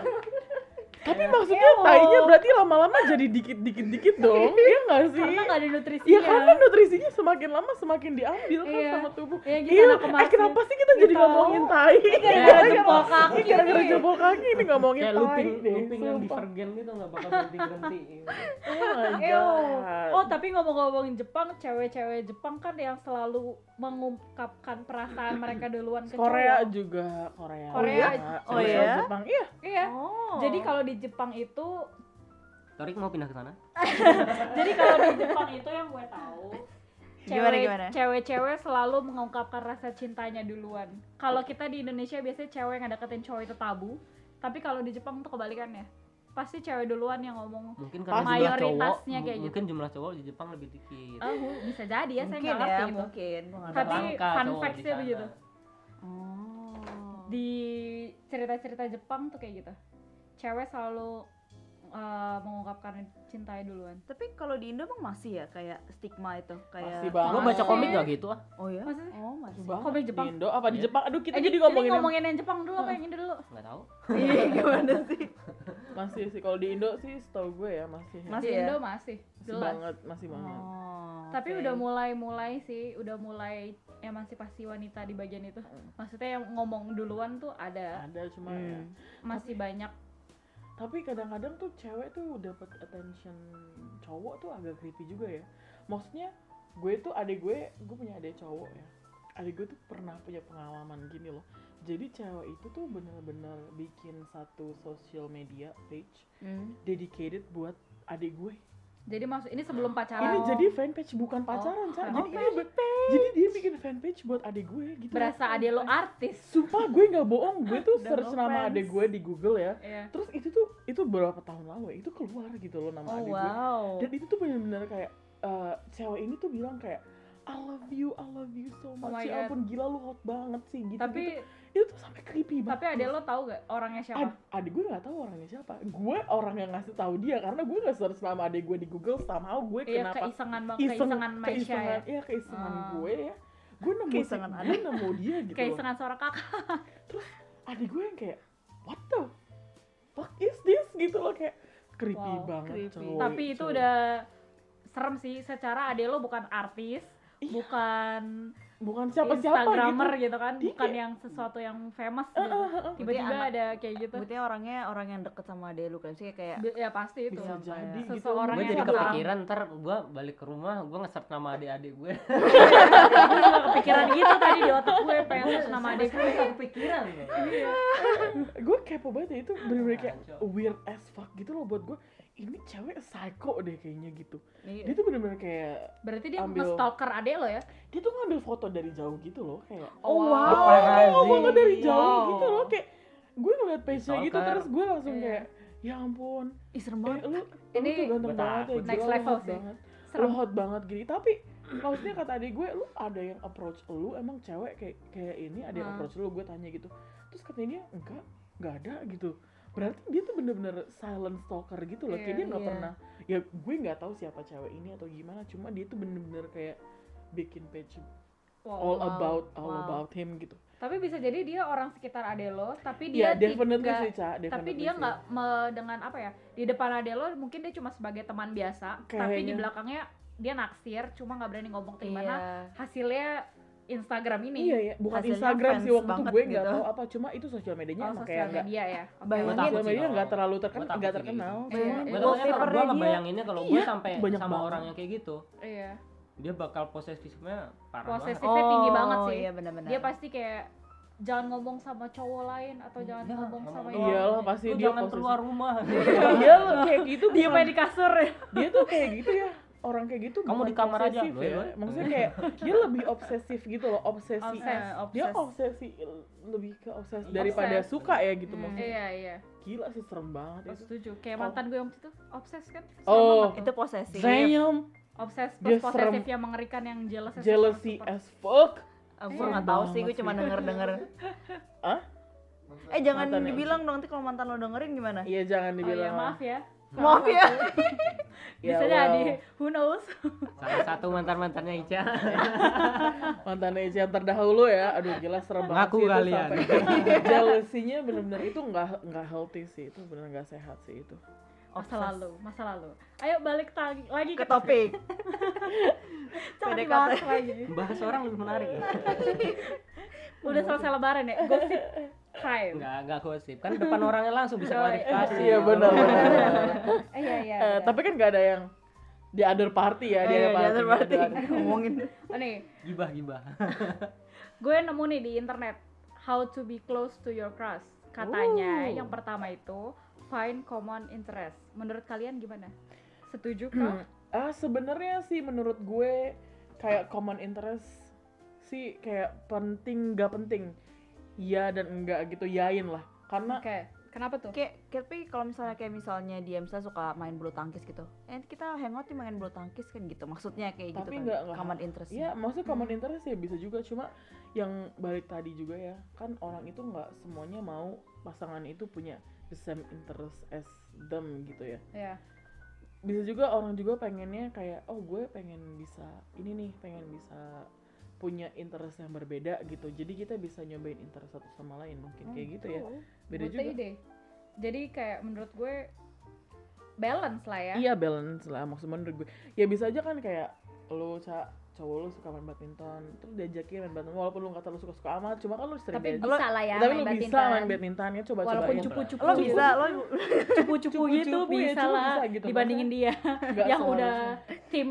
Speaker 1: Iya.
Speaker 3: Tapi maksudnya tainya berarti lama-lama jadi dikit-dikit-dikit dong. Iya enggak sih?
Speaker 2: Karena nggak ada nutrisinya.
Speaker 3: Iya karena nutrisinya semakin lama semakin diambil kan
Speaker 2: Iya.
Speaker 3: sama tubuh.
Speaker 2: Iya, gitu,
Speaker 3: Iya,
Speaker 2: anak
Speaker 3: eh
Speaker 2: emasnya.
Speaker 3: kenapa sih kita jadi
Speaker 2: Nggak tahu.
Speaker 3: ngomongin tai? Iya,
Speaker 2: gara-gara jempol kaki
Speaker 3: Gara-gara
Speaker 2: nih.
Speaker 3: jempol kaki ini ngomongin
Speaker 6: kayak
Speaker 3: tai.
Speaker 6: looping
Speaker 3: deh,
Speaker 6: looping yang di
Speaker 3: sumpah.
Speaker 6: Vergen gitu nggak bakal berhenti berhenti
Speaker 3: Oh my
Speaker 2: Ew.
Speaker 3: God.
Speaker 2: Oh tapi ngomong-ngomongin Jepang, cewek-cewek Jepang kan yang selalu mengungkapkan perasaan mereka duluan ke
Speaker 3: Korea
Speaker 2: cowok.
Speaker 3: juga, Korea.
Speaker 2: Korea.
Speaker 1: Oh,
Speaker 3: Sama
Speaker 1: iya?
Speaker 3: Jepang. Iya.
Speaker 2: Iya.
Speaker 1: Oh.
Speaker 2: Jadi kalau di Jepang itu,
Speaker 6: Torik mau pindah ke sana
Speaker 2: jadi kalau di Jepang itu yang gue tahu,
Speaker 1: Gimana,
Speaker 2: cewek-
Speaker 1: gimana?
Speaker 2: cewek-cewek selalu mengungkapkan rasa cintanya duluan. Kalau kita di Indonesia biasanya cewek yang deketin cowok itu tabu, tapi kalau di Jepang tuh kebalikannya. Pasti cewek duluan yang ngomong.
Speaker 6: mungkin karena
Speaker 3: Pas
Speaker 6: jumlah cowok
Speaker 2: mayoritasnya kayak gitu.
Speaker 6: mungkin jumlah cowok di Jepang lebih dikit
Speaker 2: Ah, bisa jadi ya, saya
Speaker 1: mungkin
Speaker 2: nggak ngerti
Speaker 1: ya,
Speaker 2: itu.
Speaker 1: mungkin.
Speaker 2: Tapi
Speaker 6: Langka
Speaker 2: fun
Speaker 6: cowok di
Speaker 2: facts-nya
Speaker 6: sana.
Speaker 2: begitu.
Speaker 1: Oh.
Speaker 2: di cerita-cerita Jepang tuh kayak gitu cewek selalu uh, mengungkapkan cintanya duluan
Speaker 1: Tapi kalau di Indo emang masih ya kayak stigma itu kayak
Speaker 3: Masih banget.
Speaker 6: Gua baca komik gak gitu ah
Speaker 1: Oh ya?
Speaker 2: Maksudnya?
Speaker 1: Oh masih.
Speaker 3: Banget
Speaker 2: Komik
Speaker 3: di
Speaker 2: Jepang.
Speaker 3: Indo apa di
Speaker 6: Iya.
Speaker 3: Jepang? Aduh, kita
Speaker 2: eh,
Speaker 3: jadi
Speaker 2: jadi
Speaker 3: ngomongin,
Speaker 2: ngomongin,
Speaker 3: yang-
Speaker 2: yang Jepang dulu apa yang Indo dulu
Speaker 6: nggak tahu
Speaker 1: Iya gimana sih?
Speaker 3: masih sih kalau di Indo sih setahu gue ya masih.
Speaker 1: Masih
Speaker 2: Di
Speaker 1: ya?
Speaker 2: Indo
Speaker 6: Iya.
Speaker 2: masih
Speaker 3: Masih
Speaker 2: jelas
Speaker 3: banget, masih banget.
Speaker 1: Oh.
Speaker 2: tapi
Speaker 1: oke.
Speaker 2: udah mulai-mulai sih udah mulai emansipasi wanita di bagian itu maksudnya yang ngomong duluan tuh ada
Speaker 3: Hmm. Ada cuma
Speaker 1: Hmm.
Speaker 3: ya.
Speaker 2: masih banyak
Speaker 3: Tapi kadang-kadang tuh cewek tuh dapat attention cowok tuh agak creepy juga ya. Maksudnya gue tuh adik gue, gue punya adik cowok ya. Adik gue tuh pernah punya pengalaman gini loh. Jadi cewek itu tuh bener-bener bikin satu social media page
Speaker 1: Hmm.
Speaker 3: dedicated buat adik gue.
Speaker 2: jadi maksud ini sebelum pacaran Oh,
Speaker 3: Ini jadi fanpage bukan pacaran, Ca. Jadi, ini be- jadi dia bikin fanpage buat adik gue gitu.
Speaker 2: berasa ada lo artis
Speaker 3: Sumpah gue nggak bohong, gue tuh
Speaker 1: Dan
Speaker 3: search nama
Speaker 1: offense.
Speaker 3: adik gue di Google ya.
Speaker 2: Iya.
Speaker 3: Terus itu tuh itu berapa tahun lalu ya, itu keluar gitu loh nama
Speaker 1: Oh
Speaker 3: adik gue.
Speaker 1: wow.
Speaker 3: Dan itu tuh bener-bener kayak eh, cewek ini tuh bilang kayak I love you, I love you so much.
Speaker 2: Oh my
Speaker 3: ya
Speaker 2: God.
Speaker 3: ampun gila lu hot banget sih gitu.
Speaker 2: tapi
Speaker 3: itu tuh sampai creepy banget.
Speaker 2: tapi ada lo tahu gak orangnya siapa
Speaker 3: Ad, adik gue nggak tahu orangnya siapa. Gue orang yang ngasih tahu dia karena gue nggak search nama adik gue di Google somehow gue
Speaker 2: iya
Speaker 3: kenapa
Speaker 2: keisengan bang
Speaker 3: iseng
Speaker 2: keisengan Maisha ya
Speaker 3: keisengan- iya keisengan
Speaker 2: Ah.
Speaker 3: gue ya gue nemu
Speaker 1: Keisengan
Speaker 3: gue nemu dia gitu loh.
Speaker 2: keisengan seorang kakak
Speaker 3: adik gue yang kayak what the fuck is this gitu loh kayak creepy
Speaker 2: Wow,
Speaker 3: banget
Speaker 1: creepy.
Speaker 3: cowok
Speaker 2: tapi itu
Speaker 3: cowok.
Speaker 2: udah serem sih secara ade lo bukan artis
Speaker 3: Iya.
Speaker 2: bukan
Speaker 3: bukan siapa siapa
Speaker 2: instagramer
Speaker 3: gitu
Speaker 2: gitu, kan
Speaker 3: Dia
Speaker 2: bukan
Speaker 3: kayak-
Speaker 2: yang sesuatu yang famous gitu.
Speaker 3: Eh, eh, eh, eh.
Speaker 2: tiba-tiba
Speaker 1: Berarti anak-
Speaker 2: ada kayak gitu
Speaker 1: Buktinya orangnya orang yang deket sama dia lu kan sih kayak
Speaker 2: Be- ya pasti itu
Speaker 3: bisa
Speaker 1: Sampai
Speaker 3: jadi gitu
Speaker 2: seseorang
Speaker 6: gue
Speaker 2: yang
Speaker 6: jadi
Speaker 2: Orang bilang.
Speaker 6: kepikiran ntar gue balik ke rumah gue nge nama adik-adik gue
Speaker 2: kepikiran itu tadi di otak gue pengen
Speaker 6: Gue
Speaker 2: search nama
Speaker 6: sampai
Speaker 2: adik
Speaker 6: sekarang nggak kepikiran loh
Speaker 3: gue Iya. kepo banget ya itu bener-bener kayak
Speaker 6: Kacau.
Speaker 3: weird as fuck gitu loh buat gue ini cewek psycho deh kayaknya gitu dia
Speaker 1: Iya.
Speaker 3: tuh bener-bener kayak
Speaker 2: berarti dia
Speaker 3: Ambil.
Speaker 2: nge-stalker adik lo ya
Speaker 3: dia tuh ngambil foto dari jauh gitu loh kayak
Speaker 2: oh wow
Speaker 3: Dia kayak
Speaker 6: Paparazzi.
Speaker 3: ngomongnya dari jauh
Speaker 1: Wow.
Speaker 3: gitu loh kayak gue ngeliat page-nya gitu
Speaker 6: Stalker.
Speaker 3: terus gue langsung
Speaker 2: Iya.
Speaker 3: kayak ya ampun
Speaker 1: Ih, serem
Speaker 3: eh,
Speaker 1: banget.
Speaker 3: lu ini
Speaker 2: Ini
Speaker 3: tuh ganteng
Speaker 6: Gua
Speaker 3: banget ya
Speaker 6: takut.
Speaker 3: gila,
Speaker 2: Next
Speaker 3: lu
Speaker 2: level
Speaker 3: hot
Speaker 2: sih.
Speaker 3: banget lu
Speaker 2: serem
Speaker 3: hot banget gini tapi maksudnya kata adik gue lu ada yang approach lu emang cewek kayak kayak ini ada yang
Speaker 2: Ah.
Speaker 3: approach lu gue tanya gitu terus katanya dia enggak enggak ada gitu berarti dia tuh bener-bener silent stalker gitu loh kayak
Speaker 2: Iya,
Speaker 3: dia nggak
Speaker 1: iya.
Speaker 3: pernah ya gue nggak tahu siapa cewek ini atau gimana cuma dia tuh bener-bener kayak bikin page
Speaker 2: Wow,
Speaker 3: all
Speaker 2: wow,
Speaker 3: about all
Speaker 2: wow.
Speaker 3: about him gitu
Speaker 2: Tapi bisa jadi dia orang sekitar ade lo, tapi
Speaker 3: Iya,
Speaker 2: dia
Speaker 3: definitely
Speaker 2: tidak-
Speaker 3: sih, Ca,
Speaker 2: tapi
Speaker 3: definitely
Speaker 2: dia
Speaker 3: sih.
Speaker 2: nggak me- dengan apa ya di depan ade lo mungkin dia cuma sebagai teman biasa, tapi di
Speaker 3: Kayaknya.
Speaker 2: belakangnya dia naksir, cuma nggak berani ngomong tuh gimana
Speaker 1: Iya.
Speaker 2: hasilnya Instagram ini.
Speaker 3: iya iya bukan
Speaker 1: hasilnya
Speaker 3: Instagram
Speaker 1: fans
Speaker 3: sih waktu itu
Speaker 1: banget
Speaker 3: gue nggak
Speaker 1: gitu.
Speaker 3: tahu apa cuma itu sosial medianya
Speaker 2: Oh,
Speaker 3: emang kayak
Speaker 2: sosial
Speaker 3: nggak
Speaker 2: media ya. Oke,
Speaker 1: Bayangin.
Speaker 2: oke.
Speaker 3: sosial media
Speaker 6: sih
Speaker 3: nggak
Speaker 6: kalau-
Speaker 3: terlalu
Speaker 6: gitu. gua
Speaker 3: terkenal
Speaker 6: takut
Speaker 3: nggak
Speaker 6: sih
Speaker 3: terkenal
Speaker 6: kayak gitu.
Speaker 2: Iya,
Speaker 1: Bayangin
Speaker 6: Gue
Speaker 2: iya.
Speaker 6: tau kalau gue
Speaker 1: Wallpapernya dia-
Speaker 6: ngebayangin kalau gue
Speaker 3: Iya,
Speaker 6: sampai
Speaker 3: banyak
Speaker 6: sama
Speaker 3: banget.
Speaker 6: orang yang kayak gitu,
Speaker 2: Iya.
Speaker 6: dia bakal posesifnya parah
Speaker 2: Posesif.
Speaker 6: banget.
Speaker 2: Sifnya
Speaker 3: Oh.
Speaker 2: tinggi banget sih.
Speaker 1: iya benar-benar.
Speaker 2: Dia pasti kayak jangan ngomong sama cowok lain atau jangan
Speaker 6: Iya,
Speaker 2: ngomong
Speaker 6: ngomong
Speaker 2: sama
Speaker 6: doang.
Speaker 2: yang
Speaker 3: iyalah
Speaker 2: lain.
Speaker 3: pasti
Speaker 6: Lu
Speaker 3: dia
Speaker 6: jangan
Speaker 3: posesif.
Speaker 6: keluar rumah.
Speaker 3: iya lo kayak gitu
Speaker 2: Diem
Speaker 3: bukan-
Speaker 2: aja di kasur ya.
Speaker 3: dia tuh kayak gitu ya orang kayak gitu
Speaker 6: Kamu
Speaker 3: bukan
Speaker 6: di kamar aja,
Speaker 3: posesif
Speaker 6: loh,
Speaker 3: ya.
Speaker 6: ya.
Speaker 3: maksudnya kayak dia lebih obsesif gitu loh obsesi
Speaker 2: Obses.
Speaker 3: dia obsesi lebih ke obses
Speaker 6: Iya.
Speaker 3: daripada
Speaker 2: Obses.
Speaker 3: suka ya gitu
Speaker 1: Hmm.
Speaker 3: maksudnya
Speaker 2: Iya, iya.
Speaker 3: gila sih serem banget
Speaker 2: Oh,
Speaker 3: itu
Speaker 2: setuju. Kayak mantan gue yang itu obses kan? Serem
Speaker 3: Oh.
Speaker 2: banget
Speaker 1: itu
Speaker 2: tuh.
Speaker 1: posesif.
Speaker 3: damn
Speaker 2: obses
Speaker 3: Dia
Speaker 2: plus
Speaker 3: serem.
Speaker 2: posesif yang mengerikan yang jealous
Speaker 3: jealousy as fuck
Speaker 1: Ah,
Speaker 2: Eh,
Speaker 1: gue nggak tahu sih, gue
Speaker 3: Banget
Speaker 1: cuma
Speaker 3: sih.
Speaker 1: denger-denger.
Speaker 3: Hah?
Speaker 1: Eh jangan
Speaker 3: Mantan ya.
Speaker 1: dibilang dong nanti kalau mantan lo dengerin gimana?
Speaker 3: iya jangan
Speaker 2: Oh
Speaker 3: dibilang
Speaker 2: iya, maaf ya.
Speaker 1: Maaf ya.
Speaker 3: Ya,
Speaker 2: Bisa jadi. Who knows?
Speaker 6: Salah satu mantan mantannya Ica.
Speaker 3: mantan Asia terdahulu ya aduh gila serem banget
Speaker 6: Ngaku
Speaker 3: sih itu
Speaker 6: kalian.
Speaker 3: sampai jealousy-nya bener-bener itu nggak nggak healthy sih itu bener nggak sehat sih itu
Speaker 2: Masa lalu, masa lalu. Ayo balik ta- lagi
Speaker 1: Ke
Speaker 2: ke
Speaker 1: topik.
Speaker 2: Jangan
Speaker 1: PDKT.
Speaker 2: dibahas lagi.
Speaker 6: Bahas orang lebih menarik ya.
Speaker 2: Udah selesai lebaran ya? Gosip time.
Speaker 6: Enggak, enggak gosip. Kan depan orangnya langsung bisa klarifikasi.
Speaker 3: iya benar
Speaker 2: Eh, iya, iya.
Speaker 3: Eh,
Speaker 2: iya.
Speaker 3: tapi kan nggak ada yang di other party ya, di
Speaker 1: Eh,
Speaker 3: other party.
Speaker 1: jangan
Speaker 3: nggak
Speaker 1: berarti
Speaker 3: ada-
Speaker 1: ngomongin.
Speaker 2: Oh, nih,
Speaker 6: Gibah, gibah.
Speaker 2: gue nemu nih di internet how to be close to your crush. Katanya yang pertama itu find common interest. Menurut kalian gimana? Setuju kah?
Speaker 3: Ah sebenarnya sih menurut gue kayak common interest sih kayak penting nggak penting. Ya dan enggak gitu yain lah. Karena
Speaker 2: Oke. Kenapa tuh?
Speaker 1: Kayak tapi kalau misalnya kayak misalnya dia misalnya suka main bulu tangkis gitu. Eh kita hangout nih main bulu tangkis kan gitu. Maksudnya kayak gitu
Speaker 3: Tapi
Speaker 1: kan.
Speaker 3: nggak- nggak-
Speaker 1: common interest. Hmm.
Speaker 3: ya maksudnya
Speaker 2: Hmm.
Speaker 3: common interest ya bisa juga cuma yang balik tadi juga ya kan orang itu nggak semuanya mau pasangan itu punya the same interest as them gitu ya.
Speaker 2: Ya.
Speaker 3: bisa juga orang juga pengennya kayak oh gue pengen bisa ini nih pengen bisa punya interest yang berbeda gitu jadi kita bisa nyobain interest satu sama lain mungkin
Speaker 1: Hmm,
Speaker 3: kayak gitu ya beda
Speaker 2: Butuh
Speaker 3: juga
Speaker 2: ide. Jadi kayak menurut gue balance lah ya.
Speaker 3: iya balance lah maksud menurut gue ya bisa aja kan kayak lo ca cowok lu suka main badminton terus diajakin main badminton walaupun lu nggak terlalu suka suka amat cuma kan lu sering
Speaker 2: Tapi
Speaker 3: diaj-
Speaker 2: bisa lah ya.
Speaker 3: tapi
Speaker 2: main
Speaker 3: lu bisa
Speaker 2: badminton.
Speaker 3: main badminton ya coba
Speaker 2: Walaupun
Speaker 3: cobain
Speaker 2: cupu-cupu.
Speaker 1: Lo bisa lo
Speaker 2: cupu-cupu gitu
Speaker 3: Cupu-cupu ya,
Speaker 2: bisa
Speaker 3: cupu
Speaker 2: lah
Speaker 3: bisa gitu.
Speaker 2: dibandingin dia
Speaker 3: Nggak
Speaker 2: yang
Speaker 3: seharusnya.
Speaker 2: udah tim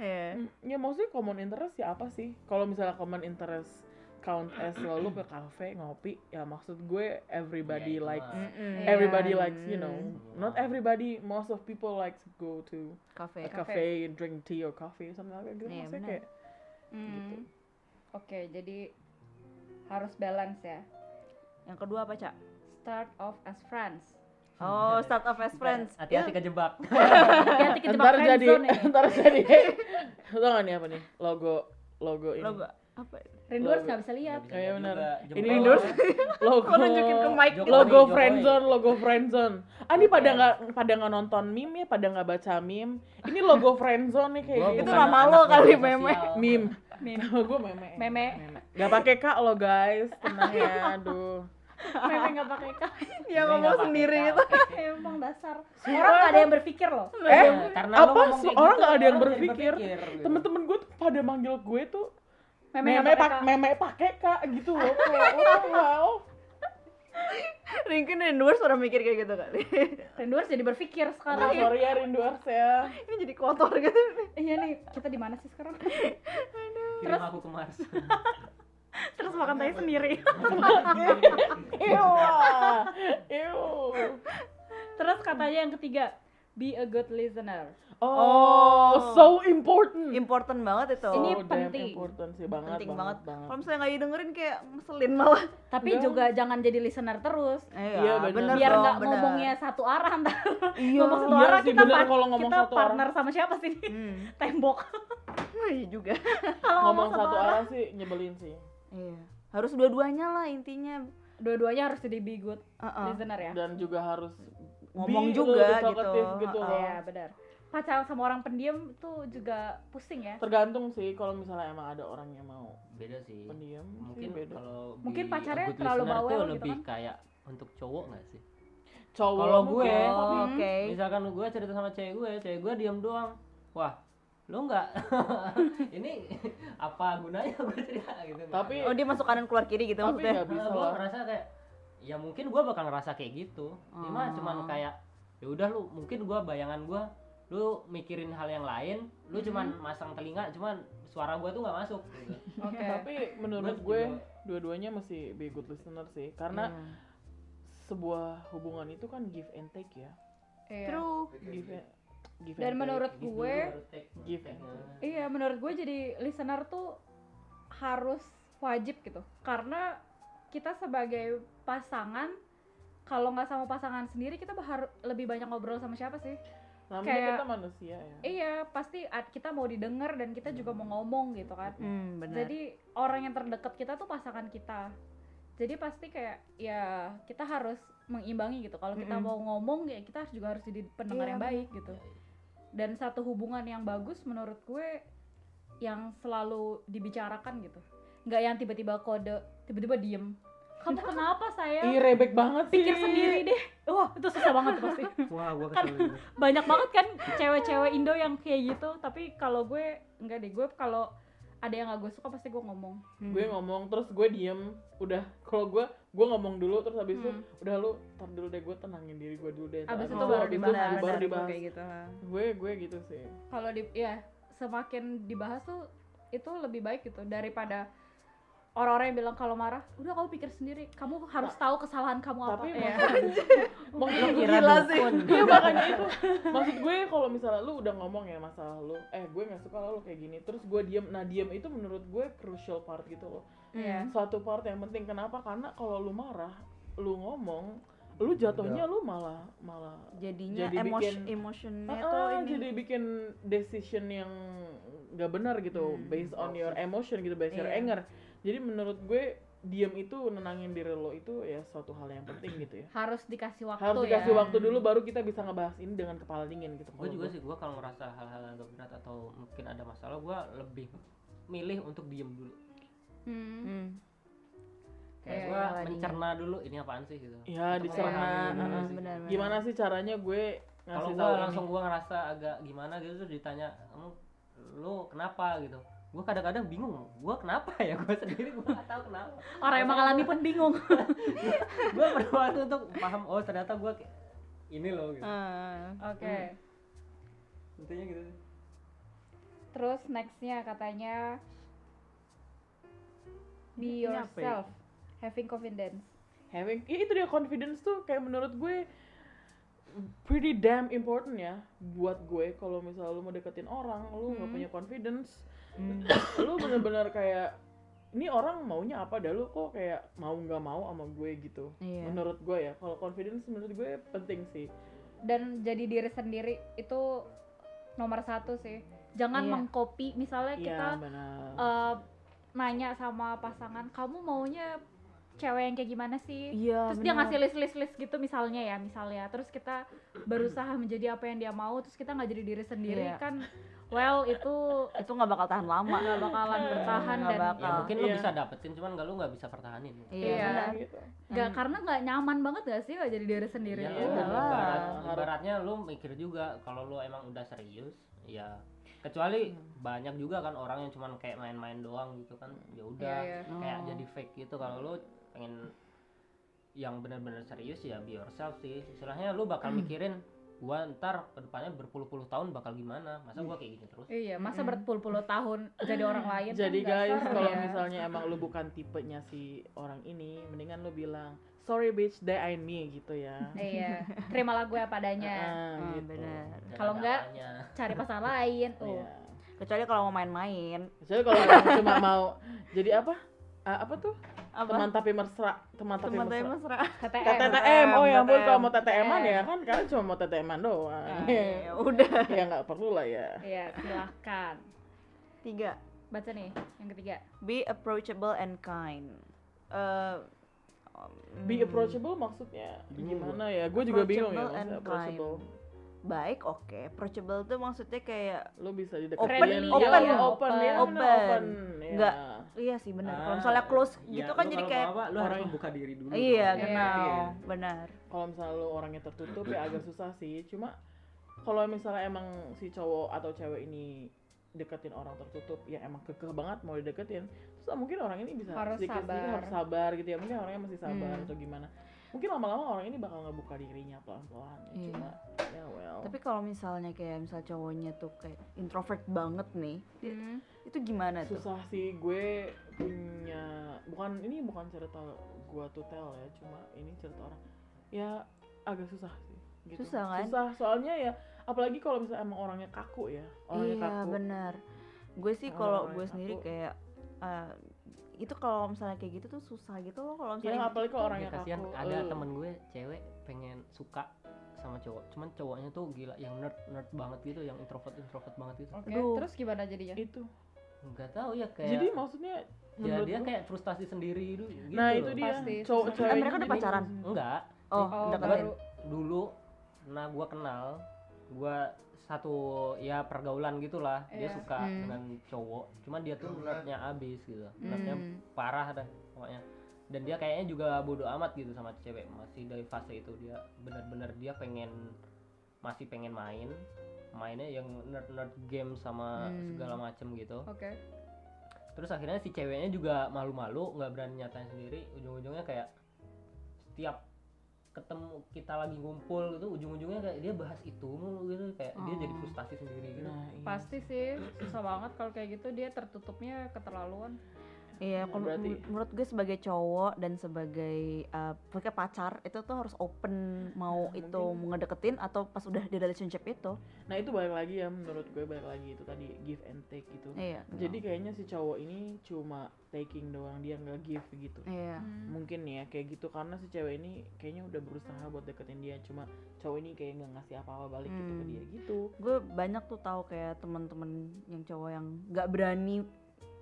Speaker 1: Iya.
Speaker 3: Mm, ya maksudnya common interest ya apa sih kalau misalnya common interest count as lalu ke kafe ngopi ya maksud gue
Speaker 6: Iya,
Speaker 3: everybody
Speaker 6: itu
Speaker 3: likes
Speaker 6: mah.
Speaker 1: Mm-mm.
Speaker 2: Iya.
Speaker 3: everybody likes you know
Speaker 6: Hmm.
Speaker 3: not everybody most of people likes to go to
Speaker 1: Kafe.
Speaker 3: a cafe and drink tea or coffee something like that
Speaker 1: Iya,
Speaker 3: gitu maksudnya
Speaker 1: benar.
Speaker 3: kayak
Speaker 2: Hmm. Oke, jadi harus balance ya.
Speaker 1: Yang kedua apa, Cak?
Speaker 2: Start off as friends.
Speaker 1: Oh, start off as friends. Ya.
Speaker 6: Hati-hati kejebak.
Speaker 2: Hati-hati kejebak
Speaker 3: ntar jadi
Speaker 2: friendzone ya.
Speaker 3: ntar jadi lo nggak nih apa nih logo logo
Speaker 1: Iya.
Speaker 3: ini
Speaker 1: Lo gua- apa?
Speaker 2: Rinduers nggak bisa lihat.
Speaker 6: Nggak bisa
Speaker 3: Oh, iya
Speaker 6: lihat
Speaker 3: benar.
Speaker 6: juga.
Speaker 3: Ini
Speaker 6: Jempol.
Speaker 3: endorse. logo
Speaker 1: Kok nunjukin ke mic?
Speaker 6: Jokowi,
Speaker 3: logo
Speaker 6: Jokowi.
Speaker 3: friendzone logo friendzone ah ini pada nggak pada nggak nonton meme ya pada nggak baca meme ini logo friendzone nih kayak
Speaker 6: Gua
Speaker 3: gitu
Speaker 1: Itu
Speaker 6: bukan
Speaker 1: nama
Speaker 6: anak
Speaker 1: lo
Speaker 6: media
Speaker 1: kali,
Speaker 6: sosial.
Speaker 1: meme.
Speaker 3: meme
Speaker 2: Meme.
Speaker 3: nama gue meme
Speaker 2: Meme.
Speaker 3: nggak pakai kak lo guys tenang
Speaker 1: Iya.
Speaker 3: ya aduh
Speaker 2: Meme nggak pakai kak.
Speaker 1: Dia
Speaker 6: Gue
Speaker 1: ngomong
Speaker 6: nggak pakai
Speaker 1: sendiri
Speaker 6: kak.
Speaker 1: itu.
Speaker 2: Emang dasar. Orang nggak ada yang berpikir loh.
Speaker 3: eh
Speaker 6: Iya, karena lo
Speaker 3: apa
Speaker 6: ngomong
Speaker 3: sih
Speaker 6: kayak
Speaker 3: orang
Speaker 6: gitu,
Speaker 3: nggak ada yang
Speaker 6: orang jadi
Speaker 3: berpikir
Speaker 6: gitu.
Speaker 3: temen-temen gue tuh pada manggil gue tuh
Speaker 2: Meme nggak
Speaker 3: meme
Speaker 2: pakai
Speaker 3: pak
Speaker 2: K.
Speaker 3: meme pakai kak gitu loh Kayak, wow, wow.
Speaker 1: Mungkin endorse orang mikir kayak gitu kali.
Speaker 2: Rinduers jadi berpikir
Speaker 3: Aduh,
Speaker 2: sekarang.
Speaker 3: sorry ya rinduers ya
Speaker 1: Ini jadi kotor gitu.
Speaker 2: Iya nih, kita di mana sih sekarang?
Speaker 6: Kirim aku ke Mars.
Speaker 3: Iya,
Speaker 2: Terus makan tai sendiri.
Speaker 3: Ew, ew.
Speaker 2: Terus katanya yang ketiga, be a good listener.
Speaker 3: Oh, so important.
Speaker 1: Important banget itu.
Speaker 2: Ini
Speaker 3: Oh, damn
Speaker 2: penting.
Speaker 3: important sih banget,
Speaker 1: penting banget. Kalau
Speaker 3: banget.
Speaker 1: misalnya nggak didengerin kayak ngeselin malah.
Speaker 2: Tapi
Speaker 3: Enggak.
Speaker 2: juga jangan jadi listener terus.
Speaker 3: Iya, bener.
Speaker 2: Biar
Speaker 1: dong,
Speaker 2: nggak
Speaker 1: bener.
Speaker 2: ngomongnya satu arah ntar.
Speaker 3: Iya,
Speaker 2: ngomong satu
Speaker 3: iya
Speaker 2: arah
Speaker 3: sih,
Speaker 2: kita,
Speaker 3: bener
Speaker 2: par-
Speaker 3: kalau ngomong
Speaker 2: kita
Speaker 3: satu arah.
Speaker 2: partner sama siapa sih?
Speaker 1: Hmm.
Speaker 2: Tembok.
Speaker 1: Wah, Iya juga.
Speaker 2: Kalau
Speaker 3: Ngomong satu arah sih nyebelin sih.
Speaker 1: Iya. Harus dua-duanya lah intinya.
Speaker 3: Nah,
Speaker 2: Dua-duanya harus jadi be good
Speaker 1: Uh-uh.
Speaker 2: listener ya.
Speaker 3: Dan juga harus
Speaker 1: Ngomong
Speaker 3: be
Speaker 1: juga
Speaker 3: a little talkative
Speaker 1: gitu.
Speaker 3: gitu.
Speaker 1: Oh.
Speaker 2: Iya, benar. pacaran sama orang pendiam tuh juga pusing ya
Speaker 3: Tergantung sih kalau misalnya emang ada orang yang mau
Speaker 6: beda sih
Speaker 3: pendiam sih
Speaker 6: mungkin
Speaker 3: beda.
Speaker 6: kalau
Speaker 2: Mungkin
Speaker 6: di
Speaker 2: pacarnya
Speaker 6: Good
Speaker 2: terlalu
Speaker 6: Listener
Speaker 2: bawel
Speaker 6: tuh
Speaker 2: gitu
Speaker 6: lebih
Speaker 2: kan?
Speaker 6: kayak untuk cowok nggak sih
Speaker 3: Cowok
Speaker 6: kalau
Speaker 3: mungkin.
Speaker 6: gue
Speaker 1: Oh, oke.
Speaker 6: misalkan gue cerita sama cewek gue cewek gue diam doang wah lu nggak ini apa gunanya gue cerita gitu
Speaker 3: tapi
Speaker 1: Oh, dia masuk kanan keluar kiri gitu
Speaker 3: tapi
Speaker 1: maksudnya.
Speaker 3: nggak bisa
Speaker 6: gue
Speaker 3: lah.
Speaker 6: ngerasa kayak ya mungkin gue bakal ngerasa kayak gitu ini
Speaker 3: Oh.
Speaker 6: mah cuman kayak ya udah lu mungkin gue bayangan gue lu mikirin hal yang lain lu
Speaker 3: Mm-hmm.
Speaker 6: cuman masang telinga cuman suara gue tuh nggak masuk gitu.
Speaker 2: oke
Speaker 3: Tapi menurut
Speaker 6: Terus
Speaker 3: gue
Speaker 6: juga-
Speaker 3: dua-duanya masih be good listener sih karena sebuah hubungan itu kan give and take ya.
Speaker 2: Iya.
Speaker 1: True.
Speaker 3: Give and, give
Speaker 2: dan
Speaker 3: and take.
Speaker 2: menurut
Speaker 6: Give
Speaker 2: gue
Speaker 6: dulu, baru take.
Speaker 3: Give
Speaker 6: Take.
Speaker 3: and take.
Speaker 2: iya menurut gue jadi listener tuh harus wajib gitu karena kita sebagai pasangan kalau nggak sama pasangan sendiri kita har- lebih banyak ngobrol sama siapa sih
Speaker 3: namanya
Speaker 2: kayak-
Speaker 3: kita manusia ya.
Speaker 2: iya pasti at- kita mau didengar dan kita juga mau ngomong gitu kan
Speaker 1: Hmm, benar.
Speaker 2: Jadi orang yang terdekat kita tuh pasangan kita. Jadi pasti kayak ya kita harus mengimbangi gitu. Kalau kita
Speaker 1: Mm-mm.
Speaker 2: mau ngomong ya kita harus juga harus jadi pendengar
Speaker 1: Iya,
Speaker 2: yang baik gitu. Dan satu hubungan yang bagus menurut gue yang selalu dibicarakan gitu. Nggak yang tiba-tiba kode, tiba-tiba diem. Kamu kenapa
Speaker 3: Ih,
Speaker 2: saya?
Speaker 3: rebek banget sih.
Speaker 2: Pikir sendiri deh. Wah itu susah banget tuh pasti.
Speaker 6: wah gue
Speaker 2: Kan-
Speaker 6: kesel gitu.
Speaker 2: Banyak banget kan cewek-cewek Indo yang kayak gitu. Tapi kalau gue nggak deh. Gue kalau ada yang nggak gue suka pasti gue ngomong.
Speaker 1: Hmm.
Speaker 3: Gue ngomong terus gue diem. Udah kalau gue gue ngomong dulu terus habis itu
Speaker 2: Hmm.
Speaker 3: udah lu tar dulu deh gue tenangin diri gue dulu deh.
Speaker 2: Abis
Speaker 3: Ntar
Speaker 2: itu baru
Speaker 3: abis
Speaker 2: dibahas.
Speaker 3: baru
Speaker 1: Benar,
Speaker 3: dibahas.
Speaker 1: kayak gitu.
Speaker 3: Gue gue gitu sih.
Speaker 2: kalau di ya semakin dibahas tuh itu lebih baik gitu daripada orang-orang yang bilang kalau marah udah kamu pikir sendiri kamu harus tahu kesalahan kamu apa
Speaker 3: Tapi
Speaker 2: ya.
Speaker 3: Maksud gue
Speaker 1: Gila sih.
Speaker 3: Iya makanya itu maksud gue kalau misalnya lu udah ngomong ya masalah lu, eh gue nggak suka lah lu kayak gini, terus gue diem. Nah diem itu menurut gue crucial part gitu loh.
Speaker 2: Iya.
Speaker 3: Suatu part yang penting kenapa? Karena kalau lu marah, lu ngomong, lu jatuhnya lu malah malah
Speaker 1: Jadinya
Speaker 3: Jadi
Speaker 1: emotion
Speaker 3: bikin-
Speaker 1: emotionnya
Speaker 3: Ah,
Speaker 1: tuh
Speaker 3: ah,
Speaker 1: ini.
Speaker 3: jadi bikin decision yang gak benar gitu
Speaker 1: Hmm.
Speaker 3: based on your emotion gitu based your
Speaker 1: Iya.
Speaker 3: anger. Jadi menurut gue diem itu nenangin diri lo itu ya suatu hal yang penting gitu ya.
Speaker 2: harus dikasih waktu
Speaker 3: harus
Speaker 2: ya
Speaker 3: dikasih waktu dulu baru kita bisa ngebahas ini dengan kepala dingin gitu
Speaker 6: gue
Speaker 3: kalau
Speaker 6: juga
Speaker 3: gua.
Speaker 6: sih gue kalau ngerasa hal-hal yang agak berat atau mungkin ada masalah gue lebih milih untuk diem dulu
Speaker 2: Hmm.
Speaker 1: Hmm.
Speaker 6: kayak
Speaker 2: Iya,
Speaker 6: gue
Speaker 1: iya,
Speaker 6: mencerna dulu ini apaan sih gitu
Speaker 3: ya
Speaker 6: Untuk
Speaker 3: dicerna
Speaker 6: memahami
Speaker 1: Iya,
Speaker 6: dulu
Speaker 1: heeh,
Speaker 6: sih.
Speaker 1: benar, benar.
Speaker 3: gimana sih caranya gue
Speaker 6: kalau
Speaker 3: ngasih
Speaker 6: gue
Speaker 3: tahu
Speaker 6: langsung
Speaker 3: ini?
Speaker 6: gue ngerasa agak gimana gitu terus ditanya kamu lu kenapa gitu gue kadang-kadang bingung gue kenapa ya gue sendiri gue gak tahu kenapa
Speaker 2: orang yang mengalami pun bingung
Speaker 6: gue perlu waktu untuk paham oh ternyata gue ini loh gitu
Speaker 1: Eh,
Speaker 2: oke
Speaker 6: intinya gitu sih
Speaker 2: terus nextnya katanya be
Speaker 3: Ini apa ya?
Speaker 2: yourself having confidence
Speaker 3: having ya itu dia confidence tuh kayak menurut gue pretty damn important ya buat gue kalau misalnya lu mau deketin orang lu nggak punya confidence
Speaker 1: hmm.
Speaker 3: lu bener-bener kayak ini orang maunya apa dah lu kok kayak mau nggak mau sama gue gitu
Speaker 1: Iya.
Speaker 3: menurut gue ya kalau confidence menurut gue penting sih
Speaker 2: dan jadi diri sendiri itu nomor satu sih jangan
Speaker 1: Iya.
Speaker 2: mengcopy misalnya kita
Speaker 3: iya benar
Speaker 2: eh, nanya sama pasangan kamu maunya cewek yang kayak gimana sih
Speaker 1: Iya.
Speaker 2: terus dia
Speaker 1: benar.
Speaker 2: ngasih list list list gitu misalnya ya misalnya terus kita berusaha menjadi apa yang dia mau terus kita nggak jadi diri sendiri
Speaker 1: Iya.
Speaker 2: kan well itu
Speaker 1: itu nggak bakal tahan lama.
Speaker 2: nggak bakalan bertahan
Speaker 1: Nggak
Speaker 2: dan
Speaker 1: bakal.
Speaker 6: ya mungkin lu
Speaker 3: Iya.
Speaker 6: bisa dapetin cuman nggak lu nggak bisa pertahanin
Speaker 1: Iya.
Speaker 2: Iya.
Speaker 1: benar.
Speaker 3: gitu
Speaker 2: nggak
Speaker 1: Hmm.
Speaker 2: karena nggak nyaman banget gak sih nggak jadi diri sendiri
Speaker 6: Iya,
Speaker 2: itu
Speaker 6: lu
Speaker 1: Iyalah.
Speaker 6: ibarat-
Speaker 1: Iya.
Speaker 6: ibaratnya lu mikir juga kalau lu emang udah serius, ya kecuali
Speaker 2: Hmm.
Speaker 6: banyak juga kan orang yang cuman kayak main-main doang gitu kan. Ya udah
Speaker 2: Iya, iya.
Speaker 6: kayak
Speaker 1: Oh.
Speaker 6: jadi fake gitu kalau lu pengen yang benar-benar serius ya be yourself sih. Istilahnya lu bakal
Speaker 2: Hmm.
Speaker 6: mikirin gua ntar kedepannya berpuluh-puluh tahun bakal gimana. Masa gua kayak gini terus?
Speaker 2: iya masa
Speaker 1: Mm-mm.
Speaker 2: berpuluh-puluh tahun jadi orang lain kan
Speaker 3: Jadi
Speaker 2: nggak
Speaker 3: guys,
Speaker 2: seru
Speaker 3: kalau
Speaker 2: ya.
Speaker 3: misalnya emang lu bukan tipenya si orang ini, mendingan lu bilang sorry bitch, that ain't me gitu ya.
Speaker 2: iya terimalah gue apa adanya
Speaker 3: Ah,
Speaker 1: Hmm,
Speaker 3: gitu.
Speaker 1: benar.
Speaker 6: Dan
Speaker 2: Kalau
Speaker 6: ada
Speaker 2: nggak-
Speaker 6: apanya.
Speaker 2: cari pasangan lain oh
Speaker 3: Iya.
Speaker 1: Kecuali kalau mau main-main.
Speaker 3: Jadi kalau orang cuma mau jadi apa? Ah, apa tuh? Teman
Speaker 1: Apa?
Speaker 3: tapi mesra, teman tapi
Speaker 1: Teman tapi
Speaker 3: mesra.
Speaker 1: mesra.
Speaker 2: KTM
Speaker 3: TTM, oh ya ampun
Speaker 1: TTM.
Speaker 3: kalau mau TTM-an ya kan kalian cuma mau TTM-an doang.
Speaker 1: Ya udah.
Speaker 3: ya nggak perlu lah ya.
Speaker 2: Iya, silahkan.
Speaker 1: Tiga.
Speaker 2: Baca nih, yang ketiga.
Speaker 1: Be approachable and kind. Eh, um,
Speaker 3: Be approachable maksudnya
Speaker 6: Bingung
Speaker 3: gimana ya? Gue juga bingung ya
Speaker 1: approachable and
Speaker 3: maksudnya approachable.
Speaker 1: kind. baik oke approachable tuh maksudnya kayak
Speaker 3: Lo bisa dideketin.
Speaker 1: Open,
Speaker 3: Friendly,
Speaker 1: open,
Speaker 3: ya,
Speaker 2: open.
Speaker 3: open, dia kan
Speaker 1: Open.
Speaker 3: open. ya.
Speaker 1: Nggak. iya sih benar
Speaker 3: Ah,
Speaker 1: kalau misalnya close
Speaker 3: iya,
Speaker 1: gitu kan jadi kayak
Speaker 6: apa, iya. lu harus
Speaker 3: orang-
Speaker 6: membuka diri dulu
Speaker 1: iya
Speaker 6: dong.
Speaker 1: genau
Speaker 6: Iya.
Speaker 1: benar
Speaker 3: ya, Kalau misalnya lo orangnya tertutup ya agak susah sih. Cuma kalau misalnya emang si cowok atau cewek ini deketin orang tertutup ya emang kekeh banget mau dideketin terus ah, mungkin orang ini bisa
Speaker 2: Harus
Speaker 3: sedikit sedikit
Speaker 2: sabar.
Speaker 3: harus sabar gitu ya mungkin orangnya masih sabar
Speaker 1: Hmm.
Speaker 3: atau gimana mungkin lama-lama orang ini bakal ngebuka dirinya pelan-pelan ya,
Speaker 1: Iya.
Speaker 3: cuma ya well
Speaker 1: tapi kalau misalnya kayak misal cowoknya tuh kayak introvert banget nih dia-
Speaker 2: Hmm.
Speaker 1: itu gimana tuh
Speaker 3: Hmm. susah sih gue punya bukan ini bukan cerita gue tuh tell ya cuma ini cerita orang ya agak susah sih gitu.
Speaker 1: Susah kan?
Speaker 3: susah soalnya ya apalagi kalau misalnya emang orangnya kaku ya orangnya
Speaker 1: iya
Speaker 3: kaku
Speaker 1: benar gue sih
Speaker 3: Orang
Speaker 1: kalau
Speaker 3: orangnya
Speaker 1: gue sendiri
Speaker 3: kaku.
Speaker 1: kayak eh, itu kalau misalnya kayak gitu tuh susah gitu loh kalau
Speaker 3: ya
Speaker 1: misalnya
Speaker 3: apalagi kalau
Speaker 6: Ya,
Speaker 3: orangnya
Speaker 6: kasihan
Speaker 3: kaku
Speaker 6: ada
Speaker 3: eh,
Speaker 6: temen gue cewek pengen suka sama cowok cuman cowoknya tuh gila yang nerd nerd banget gitu yang introvert introvert banget gitu
Speaker 2: Oke,
Speaker 1: Aduh.
Speaker 2: terus gimana jadinya? Oh, iya,
Speaker 3: itu
Speaker 6: nggak tahu ya kayak
Speaker 3: jadi maksudnya
Speaker 6: ya
Speaker 3: menurut
Speaker 6: dia
Speaker 3: lu-
Speaker 6: kayak frustasi sendiri dulu gitu
Speaker 3: nah itu
Speaker 6: loh.
Speaker 3: dia
Speaker 2: Pasti,
Speaker 3: cowok
Speaker 2: susah.
Speaker 3: cewek
Speaker 1: Eh, mereka
Speaker 3: ini
Speaker 1: udah
Speaker 3: jadi-
Speaker 1: pacaran?
Speaker 6: enggak
Speaker 1: oh,
Speaker 2: Oh,
Speaker 1: deketin
Speaker 2: baru.
Speaker 6: dulu nah gua kenal gua satu ya pergaulan gitulah dia
Speaker 2: Iya.
Speaker 6: suka
Speaker 1: Hmm.
Speaker 6: dengan cowok cuman dia tuh
Speaker 5: Pergaulan.
Speaker 6: nerdnya abis gitu nerdnya
Speaker 1: Hmm.
Speaker 6: parah dah pokoknya dan dia kayaknya juga bodoh amat gitu sama cewek masih dari fase itu dia benar-benar dia pengen masih pengen main mainnya yang nerd nerd game sama
Speaker 1: Hmm.
Speaker 6: segala macem gitu
Speaker 2: Oke.
Speaker 6: terus akhirnya si ceweknya juga malu-malu nggak berani nyatain sendiri ujung-ujungnya kayak setiap ketemu kita lagi ngumpul gitu ujung-ujungnya kayak dia bahas itu mulu gitu kayak dia jadi
Speaker 1: Oh.
Speaker 6: frustasi sendiri gitu
Speaker 3: nah iya.
Speaker 2: Pasti sih susah banget kalau kayak gitu dia tertutupnya keterlaluan.
Speaker 1: Iya, kalau
Speaker 3: Hmm, Berarti-
Speaker 1: men- menurut gue sebagai cowok dan sebagai eh, sebagai pacar itu tuh harus open mau
Speaker 3: Hmm, Mungkin-
Speaker 1: itu mau ngedeketin atau pas udah di relationship itu.
Speaker 3: nah itu balik lagi ya menurut gue balik lagi itu tadi give and take gitu
Speaker 1: Iya.
Speaker 3: jadi kayaknya si cowok ini cuma taking doang dia nggak give gitu
Speaker 1: Iya.
Speaker 3: mungkin ya kayak gitu karena si cewek ini kayaknya udah berusaha buat deketin dia cuma cowok ini kayak nggak ngasih apa-apa balik gitu ke
Speaker 1: Hmm.
Speaker 3: dia gitu
Speaker 1: Gue banyak tuh tahu kayak teman-teman yang cowok yang nggak berani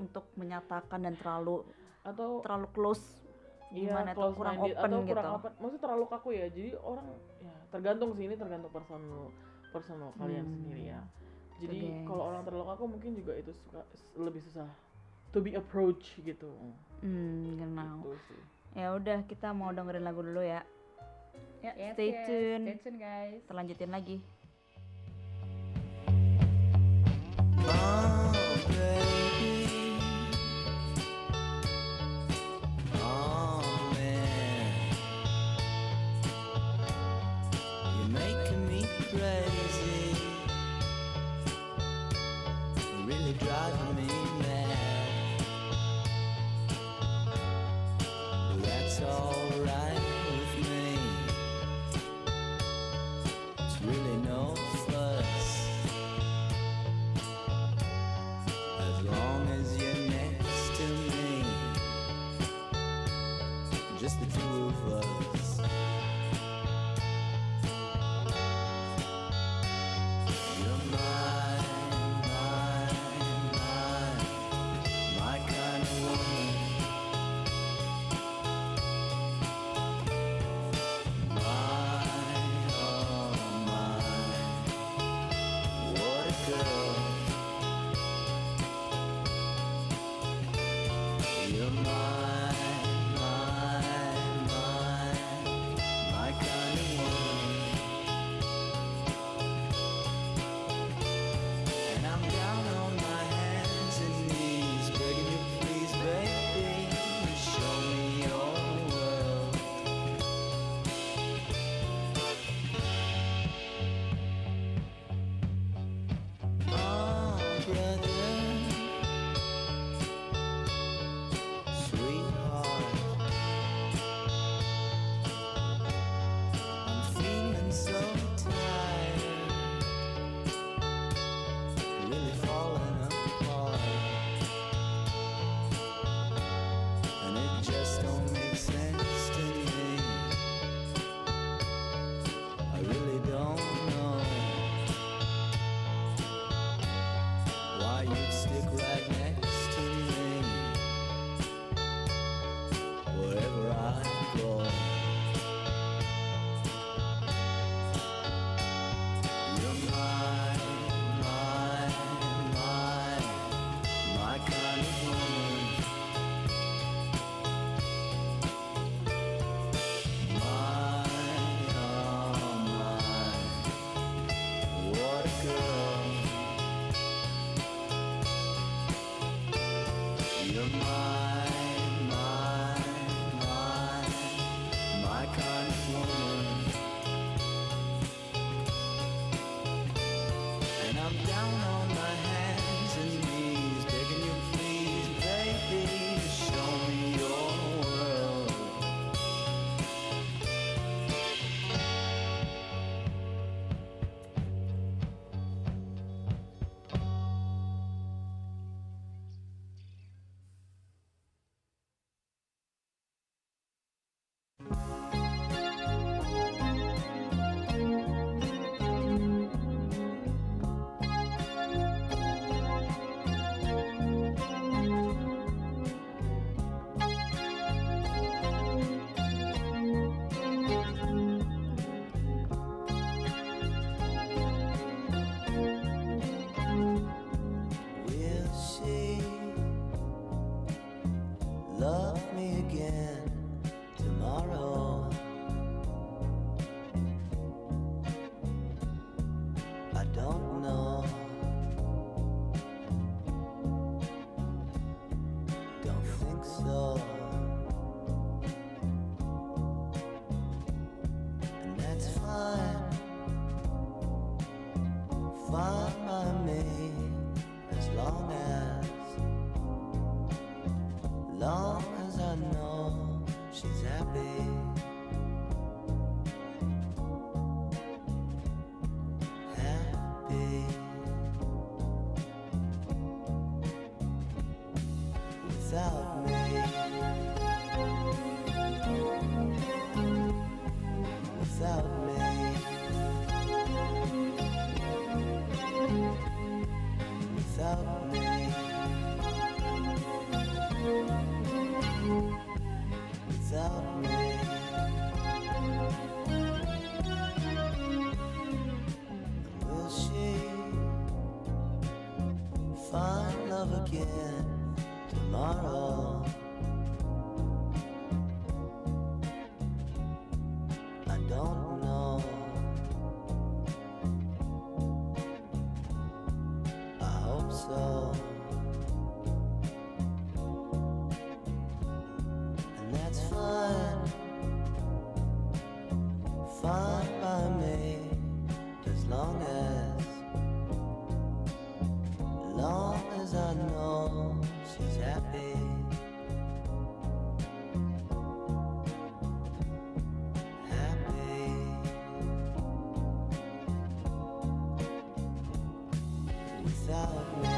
Speaker 1: untuk menyatakan dan terlalu
Speaker 3: atau Iya,
Speaker 1: terlalu close gimana tuh
Speaker 3: close
Speaker 1: kurang
Speaker 3: minded,
Speaker 1: open
Speaker 3: atau kurang
Speaker 1: gitu.
Speaker 3: open maksudnya terlalu kaku ya jadi orang ya tergantung sih ini tergantung personal personal kalian
Speaker 1: Hmm.
Speaker 3: sendiri ya jadi
Speaker 1: Oke.
Speaker 3: kalau orang terlalu kaku mungkin juga itu suka lebih susah to be approach gitu
Speaker 1: Hmm, kenal.
Speaker 3: gitu sih
Speaker 1: Ya udah kita mau dengerin lagu dulu ya. Ya,
Speaker 2: Yes,
Speaker 1: stay
Speaker 2: yes,
Speaker 1: tune.
Speaker 2: Stay tune guys.
Speaker 1: Terlanjutin lagi.
Speaker 10: Oh, baby. Oh, man. You're making me crazy. You're really driving me mad. But that's alright with me. It's really no fuss.
Speaker 12: love me again tomorrow. I don't know. Don't think so. And that's fine. Fine by me as long as long as I know she's happy. Happy without me. Without me. Without me. Without me. Will she find love again tomorrow? I don't know. I hope so. And that's fine. Fine by me. As long as, long as I know she's happy. Happy without me.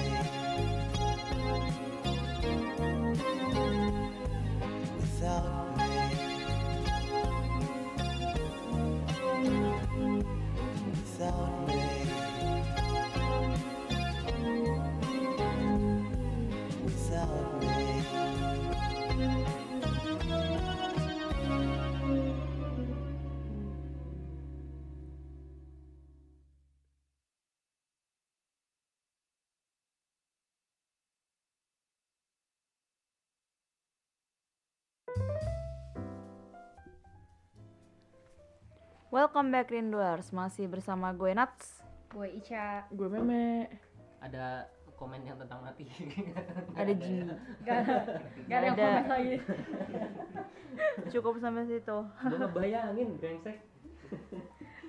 Speaker 12: Without me. Without me. Without me.
Speaker 1: Welcome back Rinduers, masih bersama gue Nats
Speaker 13: Gue Ica.
Speaker 3: Gue meme.
Speaker 6: Ada komen yang tentang mati.
Speaker 1: Ada Ji.
Speaker 13: Gak ada. Gak ada yang
Speaker 1: Ada.
Speaker 13: komen lagi.
Speaker 1: Cukup sampai situ.
Speaker 6: Gue ngebayangin brengsek.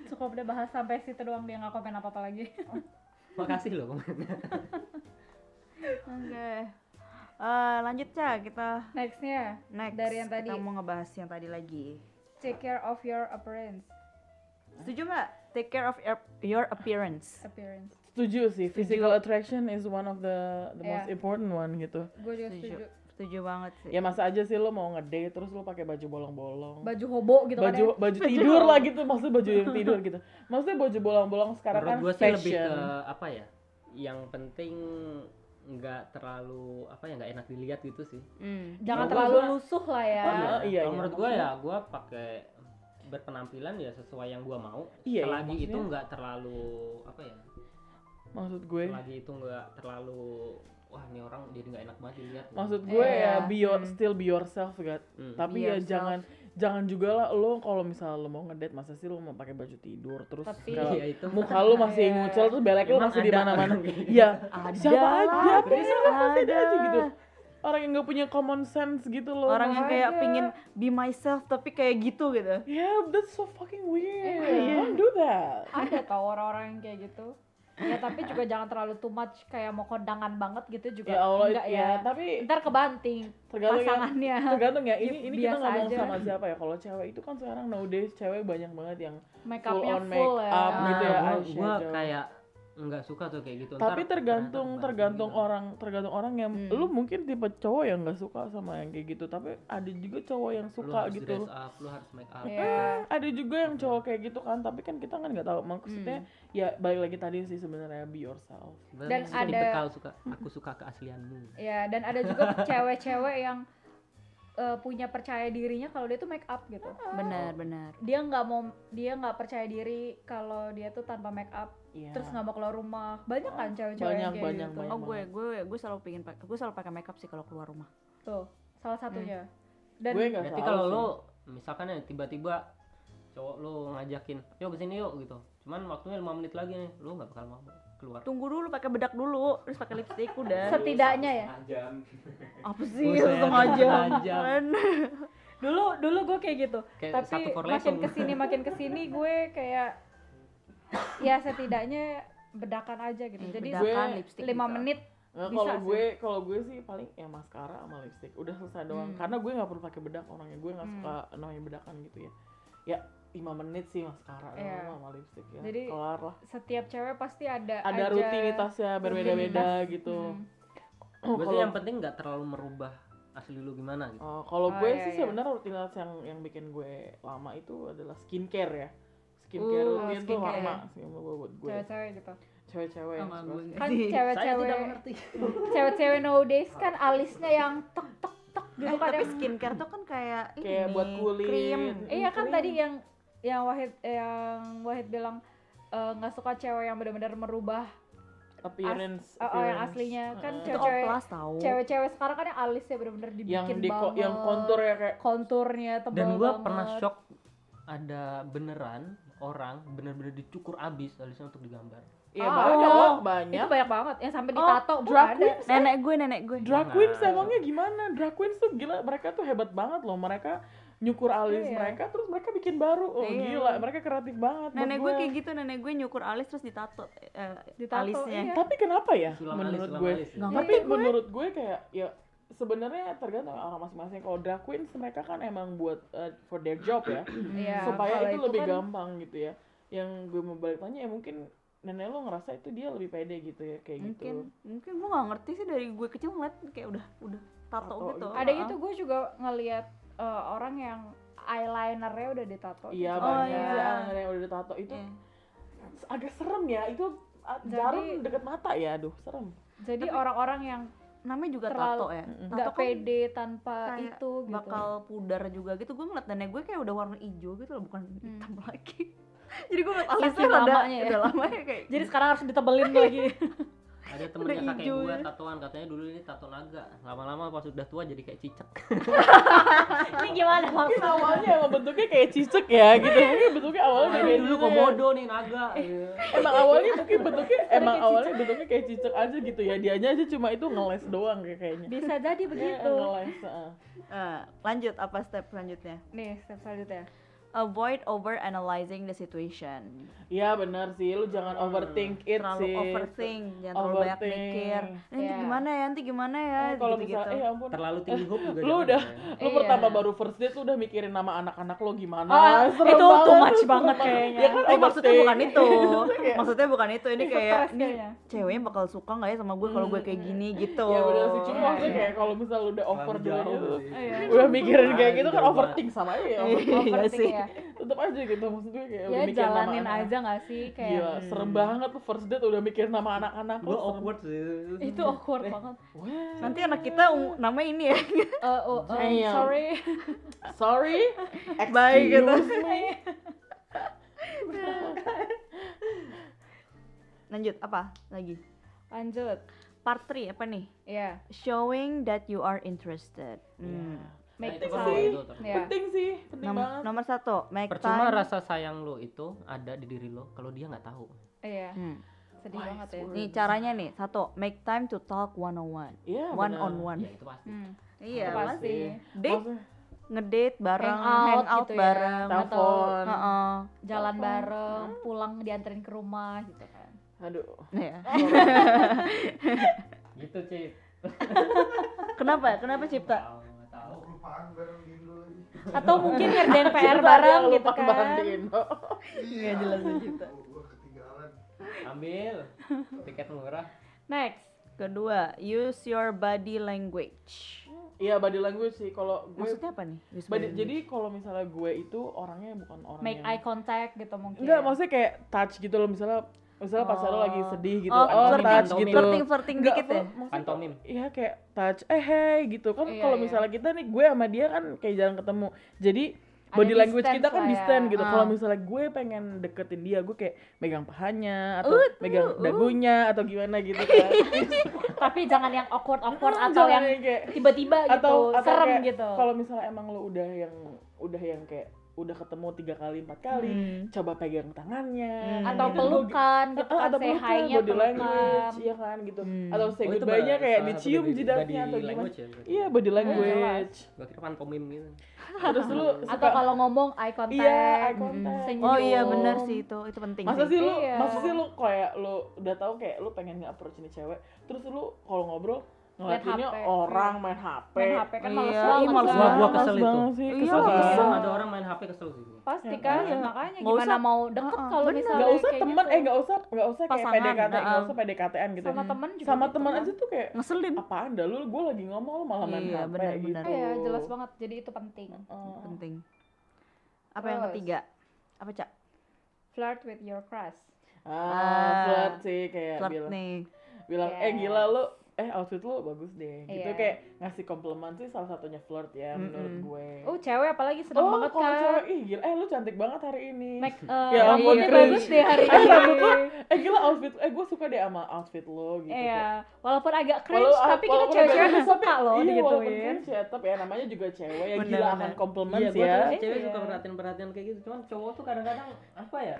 Speaker 2: Cukup udah bahas sampai situ doang dia nggak komen apa-apa lagi.
Speaker 6: Makasih loh komennya.
Speaker 1: Oke. Eh lanjut Ca, kita
Speaker 13: Nextnya
Speaker 1: next.
Speaker 13: Dari yang tadi.
Speaker 1: Kita mau ngebahas yang tadi lagi.
Speaker 13: take care of your appearance.
Speaker 1: Setuju mbak? Take care of your, your appearance.
Speaker 13: Appearance.
Speaker 3: Setuju sih. Physical attraction is one of the the most
Speaker 13: Iya.
Speaker 3: important one gitu.
Speaker 13: Gue juga setuju.
Speaker 1: Setuju banget sih.
Speaker 3: Ya masa aja sih lo mau ngedate terus lo pakai baju bolong-bolong.
Speaker 13: Baju hobo gitu kan
Speaker 3: baju
Speaker 13: ya.
Speaker 3: baju tidur lah gitu maksudnya baju yang tidur gitu maksudnya baju bolong-bolong sekarang
Speaker 6: Menurut
Speaker 3: kan
Speaker 6: gue sih
Speaker 3: fashion
Speaker 6: lebih ke apa ya? Yang penting nggak terlalu apa ya nggak enak dilihat gitu sih.
Speaker 1: Hmm.
Speaker 2: Jangan
Speaker 6: Gua-
Speaker 2: terlalu
Speaker 6: gua-
Speaker 2: lusuh lah ya.
Speaker 3: Oh, iya, iya,
Speaker 6: Kalau
Speaker 3: iya.
Speaker 6: menurut gue ya
Speaker 3: Maksudnya-
Speaker 6: gue pakai berpenampilan ya sesuai yang gue mau.
Speaker 3: Iya, iya,
Speaker 6: selagi itu
Speaker 3: maksudnya-
Speaker 6: nggak terlalu apa ya?
Speaker 3: maksud gue
Speaker 6: Selagi itu nggak terlalu wah ini orang jadi nggak enak banget dilihat.
Speaker 3: maksud gue
Speaker 1: Iya.
Speaker 3: ya be your- still be yourself kan
Speaker 6: Hmm.
Speaker 1: Be
Speaker 3: tapi ya
Speaker 1: yourself.
Speaker 3: jangan jangan juga lah lo kalau misalnya lo mau ngedate masa sih lo mau pakai baju tidur terus
Speaker 2: Tapi-
Speaker 3: kalau
Speaker 6: Iya, itu.
Speaker 3: muka lo masih
Speaker 2: Iya.
Speaker 3: ngucel terus belek lo
Speaker 6: Emang
Speaker 3: masih di
Speaker 6: ada
Speaker 3: mana-mana
Speaker 6: orang kayak gitu?
Speaker 3: ya
Speaker 1: Ada
Speaker 3: siapa
Speaker 1: lah,
Speaker 3: aja
Speaker 1: Chris,
Speaker 3: Chris, pasti ada aja
Speaker 1: ada.
Speaker 3: gitu orang yang nggak punya common sense gitu loh
Speaker 1: Orang yang kayak
Speaker 3: Makanya-
Speaker 1: pingin be myself tapi kayak gitu gitu. iya.
Speaker 3: Yeah, Ya, that's so fucking weird. Don't do that.
Speaker 2: Ada tau orang-orang yang kayak gitu. Ya tapi juga jangan terlalu too much kayak mau kondangan banget gitu juga
Speaker 3: Ya Allah,
Speaker 2: enggak
Speaker 3: ya.
Speaker 2: ya.
Speaker 3: Tapi
Speaker 2: Ntar kebanting
Speaker 3: tergantung ya,
Speaker 2: pasangannya.
Speaker 3: tergantung ya. Ini
Speaker 2: Ya,
Speaker 3: ini kita
Speaker 2: biasa
Speaker 3: ngomong
Speaker 2: aja.
Speaker 3: sama siapa ya? Kalau cewek itu kan sekarang nowadays cewek banyak banget yang
Speaker 2: Make
Speaker 3: full
Speaker 2: upnya
Speaker 3: on make
Speaker 2: full ya.
Speaker 3: up
Speaker 6: Nah,
Speaker 3: gitu ya
Speaker 6: gua- gua
Speaker 3: eyeshadow.
Speaker 6: kayak nggak suka tuh kayak gitu.
Speaker 3: Tapi
Speaker 6: Ntar
Speaker 3: tergantung
Speaker 6: ternyata
Speaker 3: tergantung
Speaker 6: kebanting
Speaker 3: orang tergantung orang yang
Speaker 1: Hmm.
Speaker 3: lu mungkin tipe cowok yang nggak suka sama yang kayak gitu. Tapi ada juga cowok yang
Speaker 6: gitu. Lu
Speaker 3: suka
Speaker 6: harus
Speaker 3: gitu.
Speaker 6: dress up, lu harus make up.
Speaker 2: Iya.
Speaker 3: Eh, ada juga yang cowok kayak gitu kan. Tapi kan kita kan nggak tahu maksudnya.
Speaker 2: Hmm.
Speaker 3: Ya balik lagi tadi sih sebenarnya be yourself.
Speaker 6: Bener,
Speaker 13: Dan
Speaker 6: suka
Speaker 13: ada-
Speaker 6: dibekal, suka aku suka keaslianmu.
Speaker 13: Ya, dan ada juga cewek-cewek yang eh, punya percaya dirinya kalau dia tuh make up gitu.
Speaker 1: Benar benar.
Speaker 13: Dia nggak mau dia nggak percaya diri kalau dia tuh tanpa make up,
Speaker 3: Iya.
Speaker 13: terus nggak mau keluar rumah. Banyak kan cewek-cewek yang
Speaker 3: Banyak,
Speaker 13: kayak
Speaker 6: Oh,
Speaker 3: banyak,
Speaker 13: gitu.
Speaker 3: banyak.
Speaker 1: Oh gue gue gue selalu pingin pakai gue selalu pakai makeup sih kalau keluar rumah.
Speaker 13: Tuh,
Speaker 2: salah satunya.
Speaker 3: Hmm.
Speaker 6: Hmm.
Speaker 2: Dan
Speaker 6: Gue nggak Berarti kalau lo misalkan ya tiba-tiba cowok lo ngajakin, yuk kesini yuk gitu. Cuman waktunya 5 menit lagi nih, lo nggak bakal mau keluar.
Speaker 1: Tunggu dulu pakai bedak dulu, terus pakai lipstik udah.
Speaker 2: Setidaknya
Speaker 3: Iya.
Speaker 2: ya.
Speaker 1: Apa sih
Speaker 6: Buset,
Speaker 1: setengah jam?
Speaker 6: setengah jam.
Speaker 1: Kan.
Speaker 2: dulu dulu gue kayak gitu
Speaker 6: Kayak
Speaker 2: tapi
Speaker 6: satu for
Speaker 2: makin
Speaker 6: lesung.
Speaker 2: kesini makin kesini gue kayak ya setidaknya bedakan aja gitu jadi
Speaker 1: Iya, bedakan,
Speaker 2: gue
Speaker 1: lipstick
Speaker 2: lima
Speaker 1: gitu.
Speaker 2: menit bisa
Speaker 3: Nggak, Eh, kalau
Speaker 2: sih.
Speaker 3: gue kalau gue sih paling ya maskara sama lipstick udah selesai
Speaker 2: Hmm.
Speaker 3: doang karena gue nggak perlu pakai bedak orangnya gue nggak
Speaker 2: Hmm.
Speaker 3: suka namanya bedakan gitu ya ya lima menit sih maskara
Speaker 2: Iya.
Speaker 3: doang sama lipstick ya
Speaker 2: Jadi,
Speaker 3: kelar lah
Speaker 2: setiap cewek pasti ada
Speaker 3: ada
Speaker 2: aja
Speaker 3: rutinitasnya berbeda-beda
Speaker 2: rutinitas.
Speaker 3: gitu
Speaker 2: Hmm.
Speaker 3: Oh,
Speaker 6: Berarti
Speaker 3: kalau-
Speaker 6: yang penting nggak terlalu merubah asli lo gimana gitu.
Speaker 3: Oh, kalau
Speaker 2: Oh,
Speaker 3: gue
Speaker 2: iya,
Speaker 3: sih
Speaker 2: iya.
Speaker 3: sebenarnya rutinitas yang yang bikin gue lama itu adalah skincare ya skincare
Speaker 2: Uh,
Speaker 3: rutin tuh
Speaker 2: skincare.
Speaker 3: lama sih menurut buat gue
Speaker 2: cewek-cewek gitu
Speaker 3: cewek-cewek yang suka
Speaker 2: kan cewek-cewek cewek-cewek nowadays kan alisnya yang tek tek tek
Speaker 1: Eh,
Speaker 2: gitu kan
Speaker 1: tapi
Speaker 2: yang-
Speaker 1: skincare tuh kan kayak ini,
Speaker 3: Kayak buat kulit.
Speaker 1: krim.
Speaker 2: iya kan tadi yang yang Wahid yang Wahid bilang eh, nggak suka cewek yang benar-benar merubah
Speaker 3: appearance,
Speaker 2: Oh, oh, yang
Speaker 3: appearance.
Speaker 2: aslinya kan
Speaker 3: Heeh.
Speaker 1: Itu
Speaker 2: cewek-cewek
Speaker 1: oplas tau.
Speaker 2: cewek-cewek sekarang kan yang alisnya benar-benar dibikin
Speaker 3: yang di
Speaker 2: banget.
Speaker 3: yang kontur ya kayak
Speaker 2: konturnya tebal
Speaker 6: Dan gue
Speaker 2: banget.
Speaker 6: pernah shock ada beneran orang bener-bener dicukur abis alisnya untuk digambar.
Speaker 3: Iya
Speaker 2: Ah,
Speaker 3: banyak
Speaker 2: oh.
Speaker 3: loh,
Speaker 2: Itu
Speaker 3: banyak.
Speaker 2: banyak banget yang sampai
Speaker 1: Oh,
Speaker 2: ditato oh,
Speaker 3: drag
Speaker 2: ada. Nah.
Speaker 3: queens. ya?
Speaker 1: Nenek gue, nenek gue.
Speaker 3: Drag
Speaker 6: Banget.
Speaker 3: queens emangnya gimana? Drag queens tuh gila, mereka tuh hebat banget loh. Mereka nyukur alis
Speaker 2: Iya.
Speaker 3: mereka, terus mereka bikin baru. Oh
Speaker 1: Iya.
Speaker 3: gila, mereka kreatif banget.
Speaker 1: Nenek gue kayak gitu, nenek gue nyukur alis terus ditato eh,
Speaker 2: Ditato,
Speaker 1: alisnya.
Speaker 2: iya.
Speaker 3: Tapi kenapa ya?
Speaker 6: Silang alis,
Speaker 3: menurut
Speaker 6: silang
Speaker 3: gue.
Speaker 6: alis.
Speaker 1: Nggak
Speaker 3: Tapi
Speaker 2: ngerti gue.
Speaker 3: menurut gue kayak ya sebenarnya tergantung orang masing-masing. Kalau drag queens mereka kan emang buat eh, for their job ya,
Speaker 2: Iya,
Speaker 3: supaya
Speaker 2: kalau
Speaker 3: itu, lebih
Speaker 2: kan
Speaker 3: gampang gitu ya. Yang gue mau balik tanya ya mungkin nenek lo ngerasa itu dia lebih pede gitu ya kayak
Speaker 1: mungkin
Speaker 3: gitu.
Speaker 1: mungkin gue nggak ngerti sih dari gue kecil ngeliat kayak udah udah tato
Speaker 3: Tato
Speaker 1: gitu.
Speaker 2: Ada
Speaker 1: Ah.
Speaker 2: gitu gue juga ngelihat eh, orang yang eyelinernya udah gitu. ditato.
Speaker 3: Iya
Speaker 1: Oh,
Speaker 3: banyak
Speaker 1: iya.
Speaker 3: yang udah ditato itu
Speaker 1: Iya.
Speaker 3: agak serem ya itu ah,
Speaker 2: Jadi-
Speaker 3: jarum deket mata ya aduh serem
Speaker 2: Jadi orang-orang yang
Speaker 1: Namanya juga
Speaker 2: Terlalu-
Speaker 1: tato ya.
Speaker 3: Mm-mm.
Speaker 1: Tato
Speaker 2: nggak
Speaker 1: kan
Speaker 2: pede tanpa
Speaker 1: kayak
Speaker 2: itu gitu.
Speaker 1: bakal pudar juga gitu. Gue ngeliat nenek gue kayak udah warna hijau gitu loh, bukan hitam lagi. Jadi gue ngeliat alisnya
Speaker 2: Saking
Speaker 1: rada,
Speaker 2: lamanya ya.
Speaker 1: udah lama ya kayak
Speaker 2: Jadi sekarang harus ditebelin lagi.
Speaker 6: Ada temennya kakek
Speaker 1: hijau
Speaker 6: gue
Speaker 1: ya.
Speaker 6: tatoan katanya dulu ini tato naga. Lama-lama pas udah tua jadi kayak cicak.
Speaker 2: Ini gimana
Speaker 3: mungkin
Speaker 2: maksudnya?
Speaker 3: awalnya emang bentuknya kayak cicak ya gitu mungkin bentuknya awalnya udah kayak
Speaker 6: Ini dulu
Speaker 3: cicak ya.
Speaker 6: komodo nih naga. Iya.
Speaker 3: emang awalnya mungkin bentuknya emang awalnya bentuknya kayak cicak aja gitu ya dianya aja cuma itu ngeles doang kayak kayaknya
Speaker 2: Bisa jadi
Speaker 3: Dia
Speaker 2: begitu.
Speaker 3: ngeles heeh.
Speaker 1: Eh, lanjut apa step selanjutnya?
Speaker 2: Nih, step selanjutnya.
Speaker 1: Avoid over analyzing the situation.
Speaker 3: Iya benar sih, lu jangan overthink it
Speaker 1: Iya. terlalu
Speaker 3: sih.
Speaker 1: overthink, jangan terlalu banyak
Speaker 3: Overthink.
Speaker 1: mikir. Nanti
Speaker 2: Iya.
Speaker 1: gimana ya, nanti gimana ya,
Speaker 3: Eh, Kalau
Speaker 1: gitu-gitu.
Speaker 3: misalnya, eh ampun,
Speaker 6: Terlalu tinggi hope juga.
Speaker 3: lu
Speaker 6: jangan,
Speaker 3: udah
Speaker 6: ya.
Speaker 3: lu
Speaker 2: gitu Iya.
Speaker 3: pertama baru first date lu udah mikirin nama anak-anak lo gimana
Speaker 2: Ah,
Speaker 3: Serem
Speaker 2: itu too much
Speaker 3: serem
Speaker 2: banget kayaknya. Oh,
Speaker 3: ya kan
Speaker 1: Tapi Oh, maksudnya
Speaker 3: overthink. Iya kan
Speaker 1: bukan itu. maksudnya bukan itu. Ini
Speaker 2: Ini
Speaker 1: kayak
Speaker 2: stres
Speaker 1: ini
Speaker 2: kayaknya.
Speaker 1: ceweknya bakal suka nggak ya sama gue kalau gue kayak gini gitu.
Speaker 3: ya benar sih cuma
Speaker 2: Iya,
Speaker 3: maksudnya
Speaker 2: iya.
Speaker 3: kayak kalau misal lu udah over
Speaker 6: Terlalu
Speaker 3: dulunya
Speaker 6: jauh
Speaker 3: tuh
Speaker 6: sih.
Speaker 2: Iya.
Speaker 3: udah mikirin kayak
Speaker 6: Ah,
Speaker 3: gitu kan
Speaker 6: jauh
Speaker 3: overthink sama aja ya overthink.
Speaker 2: Overthinking
Speaker 1: Iya, sih.
Speaker 2: ya.
Speaker 3: tetep aja gitu maksud gue kayak
Speaker 2: Ya
Speaker 3: udah mikirin nama
Speaker 1: Iya.
Speaker 2: jalanin
Speaker 3: anak
Speaker 2: aja gak sih kayak hmm.
Speaker 3: Gila, serem banget tuh first date udah mikir nama anak-anak lu
Speaker 6: Gue awkward sih.
Speaker 2: itu awkward
Speaker 3: Eh,
Speaker 2: banget.
Speaker 1: Nanti anak kita um- namanya ini ya.
Speaker 2: Eh, oh, eh,
Speaker 3: Damn.
Speaker 2: sorry.
Speaker 3: sorry
Speaker 1: Bye gitu. Lanjut apa lagi?
Speaker 2: Lanjut.
Speaker 1: Part 3 apa nih?
Speaker 2: Ya,
Speaker 1: Showing that you are interested. Hmm.
Speaker 2: make
Speaker 6: Iya, Itu
Speaker 2: time.
Speaker 6: sih.
Speaker 2: Ya.
Speaker 3: Iya. Nah, penting sih penting
Speaker 1: Nom-
Speaker 3: banget
Speaker 1: nomor satu, make
Speaker 6: Percuma
Speaker 1: time.
Speaker 6: rasa sayang lo itu ada di diri lo kalau dia nggak tahu.
Speaker 2: Iya,
Speaker 1: Hmm.
Speaker 2: sedih banget ya.
Speaker 1: Nih caranya nih, satu, make time to talk one on one.
Speaker 3: Iya,
Speaker 1: One
Speaker 3: benar.
Speaker 1: on one.
Speaker 6: Ya itu pasti.
Speaker 2: Hmm,
Speaker 1: Iya,
Speaker 2: itu pasti.
Speaker 1: Date,
Speaker 3: Maksudnya,
Speaker 1: ngedate bareng,
Speaker 2: Hangout
Speaker 1: hangout,
Speaker 2: gitu ya.
Speaker 1: bareng.
Speaker 2: Atau-
Speaker 3: telepon
Speaker 1: Heeh.
Speaker 2: Jalan bareng, pulang dianterin ke rumah gitu kan.
Speaker 3: aduh
Speaker 1: Iya.
Speaker 6: Gitu sih.
Speaker 1: Kenapa? Kenapa cipta?
Speaker 6: Tahu nggak tahu.
Speaker 14: Lupaan bareng Dindo lagi.
Speaker 2: Atau mungkin ngerjain PR
Speaker 3: Cinta
Speaker 2: bareng
Speaker 3: dia
Speaker 2: gitu
Speaker 3: lupa bareng
Speaker 2: kan.
Speaker 3: di Indo.
Speaker 14: Iya jelas Cita. Gua ketinggalan.
Speaker 6: Ambil tiket murah.
Speaker 2: Next.
Speaker 1: Kedua, use your body language.
Speaker 3: Iya body language sih kalau gue
Speaker 1: Maksudnya apa nih? Use body
Speaker 3: Badi- jadi kalau misalnya gue itu orangnya bukan orang
Speaker 2: Make
Speaker 3: yang
Speaker 2: eye contact gitu mungkin.
Speaker 3: enggak maksudnya kayak touch gitu loh misalnya misalnya pacar lo lagi sedih gitu
Speaker 1: Oh,
Speaker 3: oh,
Speaker 6: flirting,
Speaker 3: touch
Speaker 6: flirting,
Speaker 3: gitu
Speaker 1: flirting flirting
Speaker 3: Enggak,
Speaker 1: dikit ya.
Speaker 3: maksudnya-
Speaker 6: Pantomim.
Speaker 3: Iya kayak touch eh hey gitu kan
Speaker 2: Iya,
Speaker 3: kalau
Speaker 2: iya.
Speaker 3: misalnya kita nih gue sama dia kan kayak jarang ketemu jadi body language kita
Speaker 2: distance
Speaker 3: kan
Speaker 2: lah ya.
Speaker 3: distant gitu. Kalau
Speaker 2: Ah.
Speaker 3: misalnya gue pengen deketin dia, gue kayak megang pahanya atau
Speaker 2: Uh, tuh,
Speaker 3: megang
Speaker 2: uh.
Speaker 3: dagunya atau gimana gitu kan.
Speaker 2: tapi jangan yang awkward awkward
Speaker 3: Hmm,
Speaker 2: atau
Speaker 3: jangan
Speaker 2: yang
Speaker 3: yang kayak-
Speaker 2: tiba-tiba gitu serem
Speaker 3: kayak
Speaker 2: gitu
Speaker 3: Kalau misalnya emang lo udah yang udah yang kayak udah ketemu tiga kali empat kali,
Speaker 2: Hmm.
Speaker 3: coba pegang tangannya
Speaker 2: atau
Speaker 3: gitu.
Speaker 2: pelukan gitu
Speaker 3: Ah,
Speaker 2: kan
Speaker 3: atau
Speaker 2: say
Speaker 3: pelukan,
Speaker 2: hi-nya
Speaker 3: body language, iya kan gitu. Atau
Speaker 6: Oh,
Speaker 3: say
Speaker 6: itu
Speaker 3: goodbye-nya
Speaker 6: bahasa-
Speaker 3: kayak
Speaker 6: body-
Speaker 3: dicium
Speaker 6: body
Speaker 3: jidatnya atau gimana.
Speaker 6: language ya, berarti?
Speaker 3: Iya, body
Speaker 6: Iya,
Speaker 3: language.
Speaker 6: Gua kira pantomim gitu.
Speaker 3: Terus lu
Speaker 2: Hmm. atau
Speaker 3: suka-
Speaker 2: kalau ngomong eye contact,
Speaker 3: Iya, eye
Speaker 2: mm,
Speaker 3: contact.
Speaker 2: senyum.
Speaker 1: Oh iya bener sih itu, itu penting
Speaker 3: Masa sih lu,
Speaker 2: Iya.
Speaker 3: masa sih lu kayak lu udah tahu kayak lu pengen nge-approach ini cewek, terus lu kalau ngobrol ngeliatinnya
Speaker 2: HP.
Speaker 3: orang main HP.
Speaker 2: Hmm. Main HP kan males
Speaker 3: Iya,
Speaker 2: banget
Speaker 3: ih, males
Speaker 2: kan.
Speaker 3: banget.
Speaker 6: Gua kesel
Speaker 3: Males
Speaker 6: itu.
Speaker 3: banget sih,
Speaker 6: Iya,
Speaker 3: kesel banget.
Speaker 6: kesel. Ada orang main HP kesel sih. gua.
Speaker 2: pasti kan
Speaker 3: Iya.
Speaker 2: makanya
Speaker 3: Nggak
Speaker 2: gimana
Speaker 3: usah.
Speaker 2: mau deket
Speaker 3: Heeh,
Speaker 2: kalau
Speaker 3: bener.
Speaker 2: misalnya
Speaker 3: nggak usah
Speaker 2: kayak
Speaker 3: temen
Speaker 2: gitu.
Speaker 3: eh nggak usah nggak usah
Speaker 2: Pasangan,
Speaker 3: kayak PDKT nggak
Speaker 2: heeh.
Speaker 3: usah PDKT-an gitu
Speaker 2: Sama temen juga
Speaker 3: sama
Speaker 2: gitu
Speaker 3: temen
Speaker 2: kan.
Speaker 3: aja tuh kayak
Speaker 1: ngeselin
Speaker 3: apaan dah lu gue lagi ngomong lu malah main
Speaker 1: Iya,
Speaker 3: HP
Speaker 1: benar,
Speaker 3: gitu
Speaker 1: benar.
Speaker 2: Iya, jelas banget. Jadi itu penting.
Speaker 3: Oh.
Speaker 2: Hmm.
Speaker 1: penting. Apa yang
Speaker 2: Terus.
Speaker 1: ketiga? Iya. Apa cak?
Speaker 2: Flirt with your crush.
Speaker 3: ah flirt sih kayak
Speaker 1: Flirt
Speaker 3: bilang
Speaker 1: nih.
Speaker 3: bilang eh
Speaker 2: Yes.
Speaker 3: gila lu eh outfit lu bagus deh gitu
Speaker 2: Iya.
Speaker 3: kayak ngasih komplimen sih salah satunya flirt ya
Speaker 1: Mm-mm.
Speaker 3: menurut gue
Speaker 2: Oh, cewek apalagi seneng
Speaker 3: Oh,
Speaker 2: banget
Speaker 3: kalau
Speaker 2: kan.
Speaker 3: cewek, ih gila, eh lu cantik banget hari ini.
Speaker 2: Make eh,
Speaker 3: ya ampun,
Speaker 2: rambutnya
Speaker 3: cringe.
Speaker 2: bagus deh hari
Speaker 3: Eh,
Speaker 2: ini.
Speaker 3: rambut lu, eh gila outfit, eh gue suka deh sama outfit lo gitu.
Speaker 2: Iya,
Speaker 3: kayak.
Speaker 2: walaupun agak cringe
Speaker 3: Walau-
Speaker 2: tapi kita
Speaker 3: walaupun
Speaker 2: cewek-cewek
Speaker 3: agak-
Speaker 2: suka loh
Speaker 3: tapi- iya, walaupun
Speaker 2: digituin.
Speaker 3: cringe ya, tapi ya namanya juga cewek ya
Speaker 1: Bener,
Speaker 3: gila
Speaker 1: bener.
Speaker 3: akan komplimen
Speaker 6: Iya,
Speaker 3: sih
Speaker 6: gua
Speaker 3: ya.
Speaker 6: tuh cewek suka perhatian-perhatian kayak gitu. Cuman cowok tuh kadang-kadang apa ya?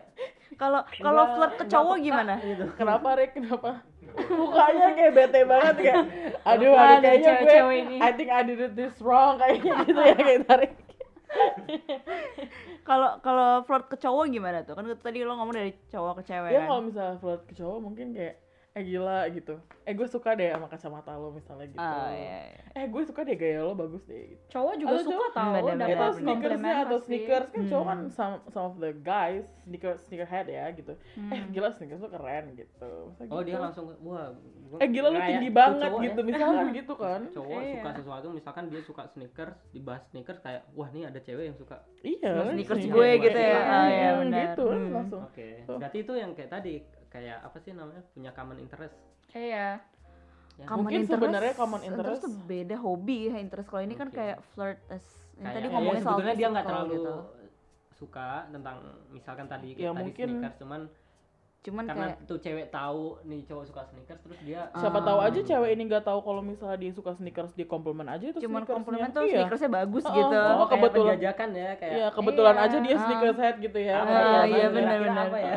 Speaker 1: Kalau kalau flirt ke cowok gimana?
Speaker 3: Kenapa Rick? Kenapa? Mukanya kayak bete banget kayak aduh
Speaker 2: Apaan
Speaker 3: aduh
Speaker 2: nih
Speaker 3: kayaknya gue
Speaker 2: cewek-cewek ini?
Speaker 3: I think I did this wrong kayaknya gitu ya kayak tarik.
Speaker 1: Kalau kalau flirt ke cowok gimana tuh? Kan tadi lo ngomong dari cowok ke cewek
Speaker 3: Ya
Speaker 1: kan.
Speaker 3: kalau misalnya flirt ke cowok mungkin kayak eh gila gitu. Eh gue suka deh sama kacamata lo misalnya gitu.
Speaker 1: Oh, iya, iya.
Speaker 3: Eh gue suka deh gaya lo bagus deh gitu.
Speaker 2: Cowok juga
Speaker 3: Atau
Speaker 2: suka
Speaker 3: cowok-
Speaker 2: tahu
Speaker 1: Bener, bener,
Speaker 2: dapat
Speaker 3: Atau
Speaker 1: bener.
Speaker 3: sneakersnya
Speaker 2: komplimen
Speaker 3: atau
Speaker 2: pasti. Hmm.
Speaker 3: sneakers kan
Speaker 6: Hmm.
Speaker 3: cowok kan some, some of the guys sneaker sneakerhead ya gitu.
Speaker 2: Hmm.
Speaker 3: Eh gila sneakers lo keren gitu. Masa
Speaker 6: Oh, dia
Speaker 3: gitu.
Speaker 6: langsung wah. gua
Speaker 3: Eh gila lo
Speaker 6: kayak-
Speaker 3: tinggi
Speaker 6: tuh
Speaker 3: banget
Speaker 6: cowok ya.
Speaker 3: gitu misalkan gitu kan.
Speaker 6: cowok
Speaker 2: Iya.
Speaker 6: suka sesuatu misalkan dia suka sneakers dibahas sneakers kayak wah nih ada cewek yang suka
Speaker 3: Iya.
Speaker 1: Sama sneakers
Speaker 6: gue gitu ya.
Speaker 1: Ah,
Speaker 3: Iya
Speaker 1: iya, benar.
Speaker 3: gitu kan
Speaker 1: Hmm.
Speaker 3: langsung.
Speaker 6: oke berarti itu yang kayak tadi kayak apa sih namanya punya common interest
Speaker 2: Iya.
Speaker 6: ya.
Speaker 1: Common
Speaker 3: Mungkin
Speaker 1: interest-
Speaker 3: sebenarnya common interest.
Speaker 1: tuh beda hobi ya interest. Kalau ini kan
Speaker 6: Oke.
Speaker 1: kayak flirt as. Ini
Speaker 6: Kayak-
Speaker 1: tadi
Speaker 6: ya,
Speaker 1: ngomongin soal
Speaker 6: sebetulnya dia nggak
Speaker 1: physical
Speaker 6: terlalu
Speaker 1: gitu.
Speaker 6: suka tentang misalkan tadi kayak
Speaker 3: Ya,
Speaker 6: tadi
Speaker 3: mungkin-
Speaker 6: sneakers cuman
Speaker 1: Cuman
Speaker 6: karena
Speaker 1: kayak Ah.
Speaker 6: tuh cewek tahu nih cowok suka sneakers terus dia
Speaker 3: Siapa tahu aja cewek ini nggak tahu kalau misalnya dia suka sneakers dia komplimen aja itu
Speaker 1: cuman
Speaker 3: sneakersnya.
Speaker 1: komplimen tuh
Speaker 3: Iya.
Speaker 1: sneakersnya bagus
Speaker 3: Oh,
Speaker 1: gitu.
Speaker 3: oh,
Speaker 6: kayak
Speaker 3: kebetulan.
Speaker 6: penjajakan ya kayak
Speaker 3: Iya, kebetulan
Speaker 2: Iya.
Speaker 3: aja dia
Speaker 1: Ah.
Speaker 3: sneakers head gitu ya.
Speaker 1: Ah,
Speaker 3: kebetulan
Speaker 1: iya,
Speaker 3: aja.
Speaker 1: bener.
Speaker 6: Kira-kira apa ya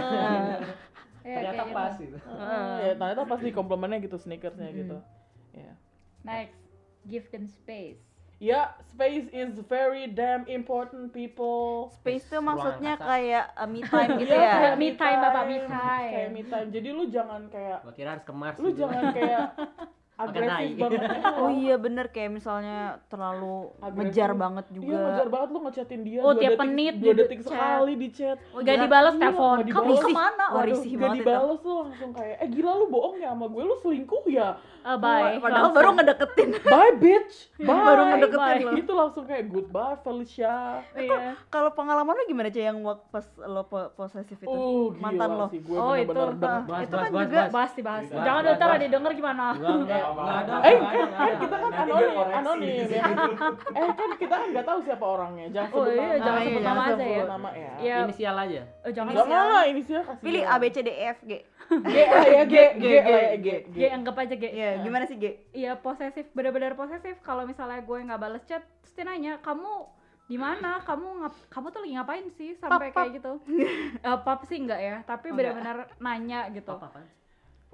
Speaker 2: Iya,
Speaker 6: ternyata
Speaker 2: kayak gitu.
Speaker 6: pas gitu
Speaker 3: Ah, Ya, ternyata pasti komplimennya gitu sneakersnya
Speaker 1: Hmm.
Speaker 3: gitu. Ya.
Speaker 2: Next, give them space.
Speaker 3: Ya, space is very damn important people.
Speaker 1: Space tuh
Speaker 6: Ruangan
Speaker 1: maksudnya
Speaker 6: kasar.
Speaker 1: kayak uh, me time gitu
Speaker 3: Iya,
Speaker 1: ya.
Speaker 2: kayak me time, Bapak, me time.
Speaker 3: Kayak me time. Jadi lu jangan kayak
Speaker 6: gua kira harus gitu. kemas
Speaker 3: lu jangan kayak agresif
Speaker 6: tai.
Speaker 3: banget gitu loh.
Speaker 1: Oh iya bener kayak misalnya terlalu
Speaker 3: Agresif.
Speaker 1: ngejar banget juga.
Speaker 3: Iya ngejar banget lu ngechatin dia
Speaker 2: Oh,
Speaker 3: dua
Speaker 2: tiap
Speaker 3: detik-
Speaker 2: menit
Speaker 3: dua
Speaker 1: gitu,
Speaker 2: di
Speaker 3: detik
Speaker 2: chat.
Speaker 3: sekali di chat.
Speaker 1: Oh,
Speaker 2: Gak
Speaker 1: gila.
Speaker 2: dibales
Speaker 3: Iya,
Speaker 2: telepon.
Speaker 3: nggak
Speaker 2: Kamu
Speaker 3: dibales.
Speaker 2: kemana?
Speaker 1: Wah,
Speaker 2: Waduh.
Speaker 1: risih
Speaker 3: Gak
Speaker 1: banget itu.
Speaker 3: dibales tuh langsung kayak eh gila lu bohong ya sama gue lu selingkuh ya.
Speaker 2: Eh, bye.
Speaker 1: Padahal baru ngedeketin.
Speaker 3: Bye bitch. Bye.
Speaker 1: Baru ngedeketin gitu.
Speaker 3: Bye.
Speaker 1: lo.
Speaker 3: Itu langsung kayak goodbye Felicia.
Speaker 2: Iya.
Speaker 1: Kan Kalau pengalaman lo gimana Cah, yang waktu pas lo po- posesif itu?
Speaker 3: Oh gila
Speaker 1: Mantan lo.
Speaker 3: sih gue
Speaker 2: Oh,
Speaker 3: bener-bener
Speaker 2: itu.
Speaker 3: deng-
Speaker 6: bahas
Speaker 1: Itu
Speaker 6: bahas
Speaker 1: kan
Speaker 6: bahas
Speaker 1: juga-
Speaker 6: bahas
Speaker 2: Bahas dibahas.
Speaker 6: Bahas,
Speaker 2: Jangan
Speaker 6: bahas,
Speaker 2: ntar
Speaker 6: bahas.
Speaker 2: ada denger gimana.
Speaker 6: Enggak, enggak, enggak ada.
Speaker 3: Eh,
Speaker 6: enggak ada,
Speaker 3: kan
Speaker 6: enggak
Speaker 3: kita kan
Speaker 6: ada. Nanti dia
Speaker 3: anonim,
Speaker 6: koreksi.
Speaker 3: anonim ya. kan? Eh kan kita kan nggak tahu siapa orangnya. Jangan
Speaker 2: Oh,
Speaker 3: sebut
Speaker 2: iya,
Speaker 3: nama.
Speaker 1: jangan
Speaker 6: Nah,
Speaker 1: sebut nama
Speaker 2: aja
Speaker 3: sebut
Speaker 2: ya.
Speaker 3: Nama ya.
Speaker 2: Iya.
Speaker 6: Inisial aja.
Speaker 2: Eh, jangan
Speaker 3: Gak
Speaker 2: sih.
Speaker 3: malah inisial kasih.
Speaker 1: Pilih
Speaker 3: dia.
Speaker 1: A B C D E F G.
Speaker 3: G lah ya G G
Speaker 1: G,
Speaker 3: lah ya G.
Speaker 1: G.
Speaker 3: G.
Speaker 2: G anggap aja G.
Speaker 1: Iya, gimana sih G?
Speaker 2: Iya posesif, benar-benar posesif. Kalau misalnya gue nggak bales chat, terus dia nanya, kamu di mana? Kamu ngap- kamu tuh lagi ngapain sih sampai kayak gitu? Eh, pap sih enggak ya, tapi
Speaker 1: Oh,
Speaker 2: benar-benar nanya gitu.
Speaker 6: Apa apaan?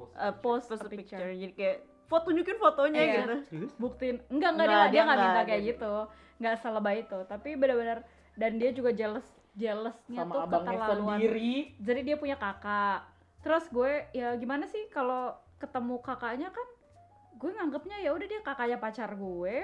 Speaker 1: Eh, post, a
Speaker 2: Post a
Speaker 1: picture. Jadi kayak foto tunjukin fotonya
Speaker 2: Iya.
Speaker 1: gitu.
Speaker 6: Serius?
Speaker 2: Buktiin. Enggak enggak
Speaker 1: Nggak,
Speaker 2: dia
Speaker 1: dia
Speaker 2: dia nggak
Speaker 1: nggak,
Speaker 2: minta
Speaker 1: dia
Speaker 2: kayak
Speaker 1: nggak.
Speaker 2: gitu. Nggak selebay itu, tapi benar-benar dan dia juga jealous jealousnya
Speaker 3: Sama
Speaker 2: tuh
Speaker 3: abangnya
Speaker 2: keterlaluan.
Speaker 3: sendiri.
Speaker 2: Jadi dia punya kakak. Terus gue ya gimana sih kalau ketemu kakaknya kan gue nganggapnya ya udah dia kakaknya pacar gue.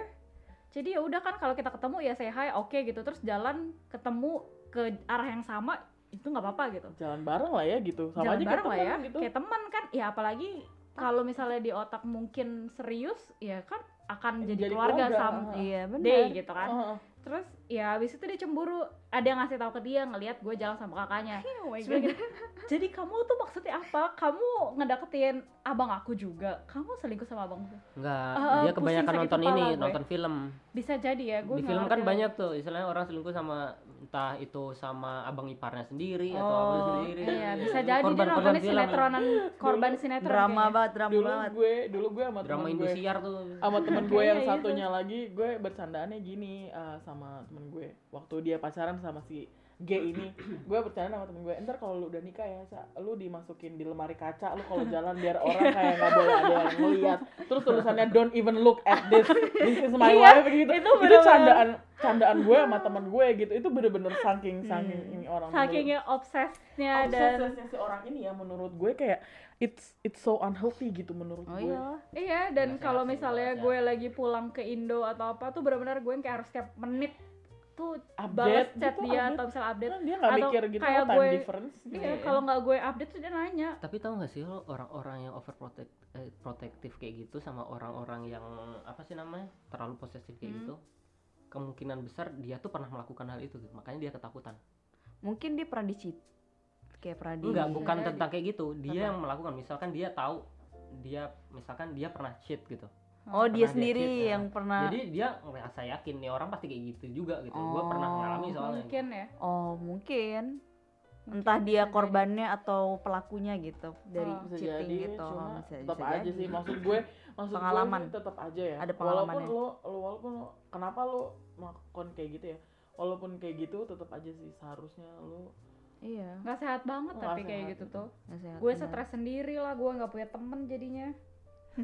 Speaker 2: Jadi ya udah kan kalau kita ketemu ya say hi, oke gitu. Terus jalan ketemu ke arah yang sama itu nggak apa-apa gitu.
Speaker 3: Jalan bareng lah ya gitu. Sama
Speaker 2: jalan
Speaker 3: aja
Speaker 2: bareng lah
Speaker 3: kayak
Speaker 2: ya.
Speaker 3: temen gitu.
Speaker 2: Kayak teman kan. Ya apalagi kalau misalnya di otak mungkin serius ya kan akan jadi,
Speaker 3: Jadi
Speaker 2: keluarga,
Speaker 3: keluarga,
Speaker 2: sama
Speaker 3: ah.
Speaker 1: Iya, benar.
Speaker 2: day gitu kan.
Speaker 3: Heeh.
Speaker 2: Terus ya abis itu dia cemburu. Eh ada yang ngasih tahu ke dia ngelihat gue jalan sama kakaknya
Speaker 15: Oh my
Speaker 2: Terus dia gini, jadi kamu tuh maksudnya apa kamu ngedeketin abang aku juga kamu selingkuh sama abang aku
Speaker 6: Enggak,
Speaker 2: Ah,
Speaker 6: dia
Speaker 2: pusing,
Speaker 6: kebanyakan
Speaker 2: sakit
Speaker 6: nonton
Speaker 2: kepala
Speaker 6: ini,
Speaker 2: gue.
Speaker 6: nonton film.
Speaker 2: bisa jadi ya gue
Speaker 6: Di film kan banyak tuh, istilahnya orang selingkuh sama entah itu sama abang iparnya sendiri atau
Speaker 2: Oh,
Speaker 6: abang sendiri.
Speaker 2: iya, bisa jadi dia
Speaker 6: Korban-korban
Speaker 2: nontonnya
Speaker 6: film ya.
Speaker 2: sinetronan korban sinetron
Speaker 1: Drama
Speaker 2: kayaknya.
Speaker 1: banget, drama
Speaker 3: dulu
Speaker 1: banget.
Speaker 3: gue dulu gue sama
Speaker 6: Drama
Speaker 3: temen
Speaker 6: Indosiar
Speaker 3: gue,
Speaker 6: tuh.
Speaker 3: sama temen gue yang
Speaker 2: Iya, iya,
Speaker 3: satunya lagi gue bercandaannya gini eh, sama temen gue waktu dia pacaran sama si G ini gue bercanda sama temen gue ntar kalau lu udah nikah ya Sa, lu dimasukin di lemari kaca lu kalau jalan biar orang kayak nggak boleh ada yang ngeliat terus tulisannya don't even look at this this is my
Speaker 2: Iya,
Speaker 3: wife gitu
Speaker 2: itu
Speaker 3: itu,
Speaker 2: bener-bener.
Speaker 3: candaan candaan gue sama temen gue gitu itu bener-bener saking saking ini orang
Speaker 2: Hmm. saking ya obsesnya dan
Speaker 3: obsesnya si orang ini ya menurut gue kayak it's it's so unhealthy gitu menurut gue
Speaker 2: Iya, dan kalau
Speaker 3: ya.
Speaker 2: misalnya gue lagi pulang ke Indo atau apa tuh benar-benar gue yang kayak harus tiap menit tuh balas
Speaker 3: Update
Speaker 2: chat
Speaker 3: gitu,
Speaker 2: dia
Speaker 3: update.
Speaker 2: atau misalnya update.
Speaker 3: Kan dia nggak
Speaker 2: atau
Speaker 3: mikir gitu,
Speaker 2: kayak
Speaker 3: oh, time
Speaker 2: gue,
Speaker 3: difference gitu
Speaker 2: Iya,
Speaker 3: ya.
Speaker 2: kalau nggak gue update tuh dia nanya.
Speaker 6: Tapi tau gak sih lo orang-orang yang overprotect eh, protektif kayak gitu sama orang-orang yang apa sih namanya terlalu posesif kayak
Speaker 1: Hmm.
Speaker 6: gitu kemungkinan besar dia tuh pernah melakukan hal itu gitu. makanya dia ketakutan
Speaker 1: Mungkin dia pernah dicit. Kayak pernah di
Speaker 6: enggak bukan
Speaker 1: Iya.
Speaker 6: tentang kayak gitu dia
Speaker 1: Apa?
Speaker 6: yang melakukan misalkan dia tahu dia misalkan dia pernah cheat gitu
Speaker 1: Oh, dia
Speaker 6: Pernah
Speaker 1: sendiri
Speaker 6: cheat, ya.
Speaker 1: yang pernah
Speaker 6: jadi dia merasa yakin nih orang pasti kayak gitu juga gitu gue pernah
Speaker 1: Oh.
Speaker 6: mengalami soalnya
Speaker 2: Mungkin ya.
Speaker 1: Oh, mungkin. Entah dia korbannya atau pelakunya gitu dari
Speaker 2: Oh.
Speaker 3: bisa
Speaker 1: cheating
Speaker 3: jadi
Speaker 1: gitu.
Speaker 3: cuma
Speaker 1: bisa,
Speaker 3: tetap
Speaker 1: bisa
Speaker 3: aja
Speaker 1: jadi.
Speaker 3: sih maksud gue maksud
Speaker 1: Pengalaman.
Speaker 3: gue tetap aja ya
Speaker 1: Ada
Speaker 3: walaupun
Speaker 1: pengalamannya.
Speaker 3: lo, lo walaupun lo kenapa lo melakukan kayak gitu ya walaupun kayak gitu tetap aja sih seharusnya lo
Speaker 1: Iya.
Speaker 2: Nggak sehat banget
Speaker 3: Nggak
Speaker 2: tapi kayak
Speaker 3: sehat.
Speaker 2: gitu tuh.
Speaker 1: Nggak sehat,
Speaker 2: Gue
Speaker 1: benar.
Speaker 2: stres sendiri lah, gue nggak punya temen jadinya.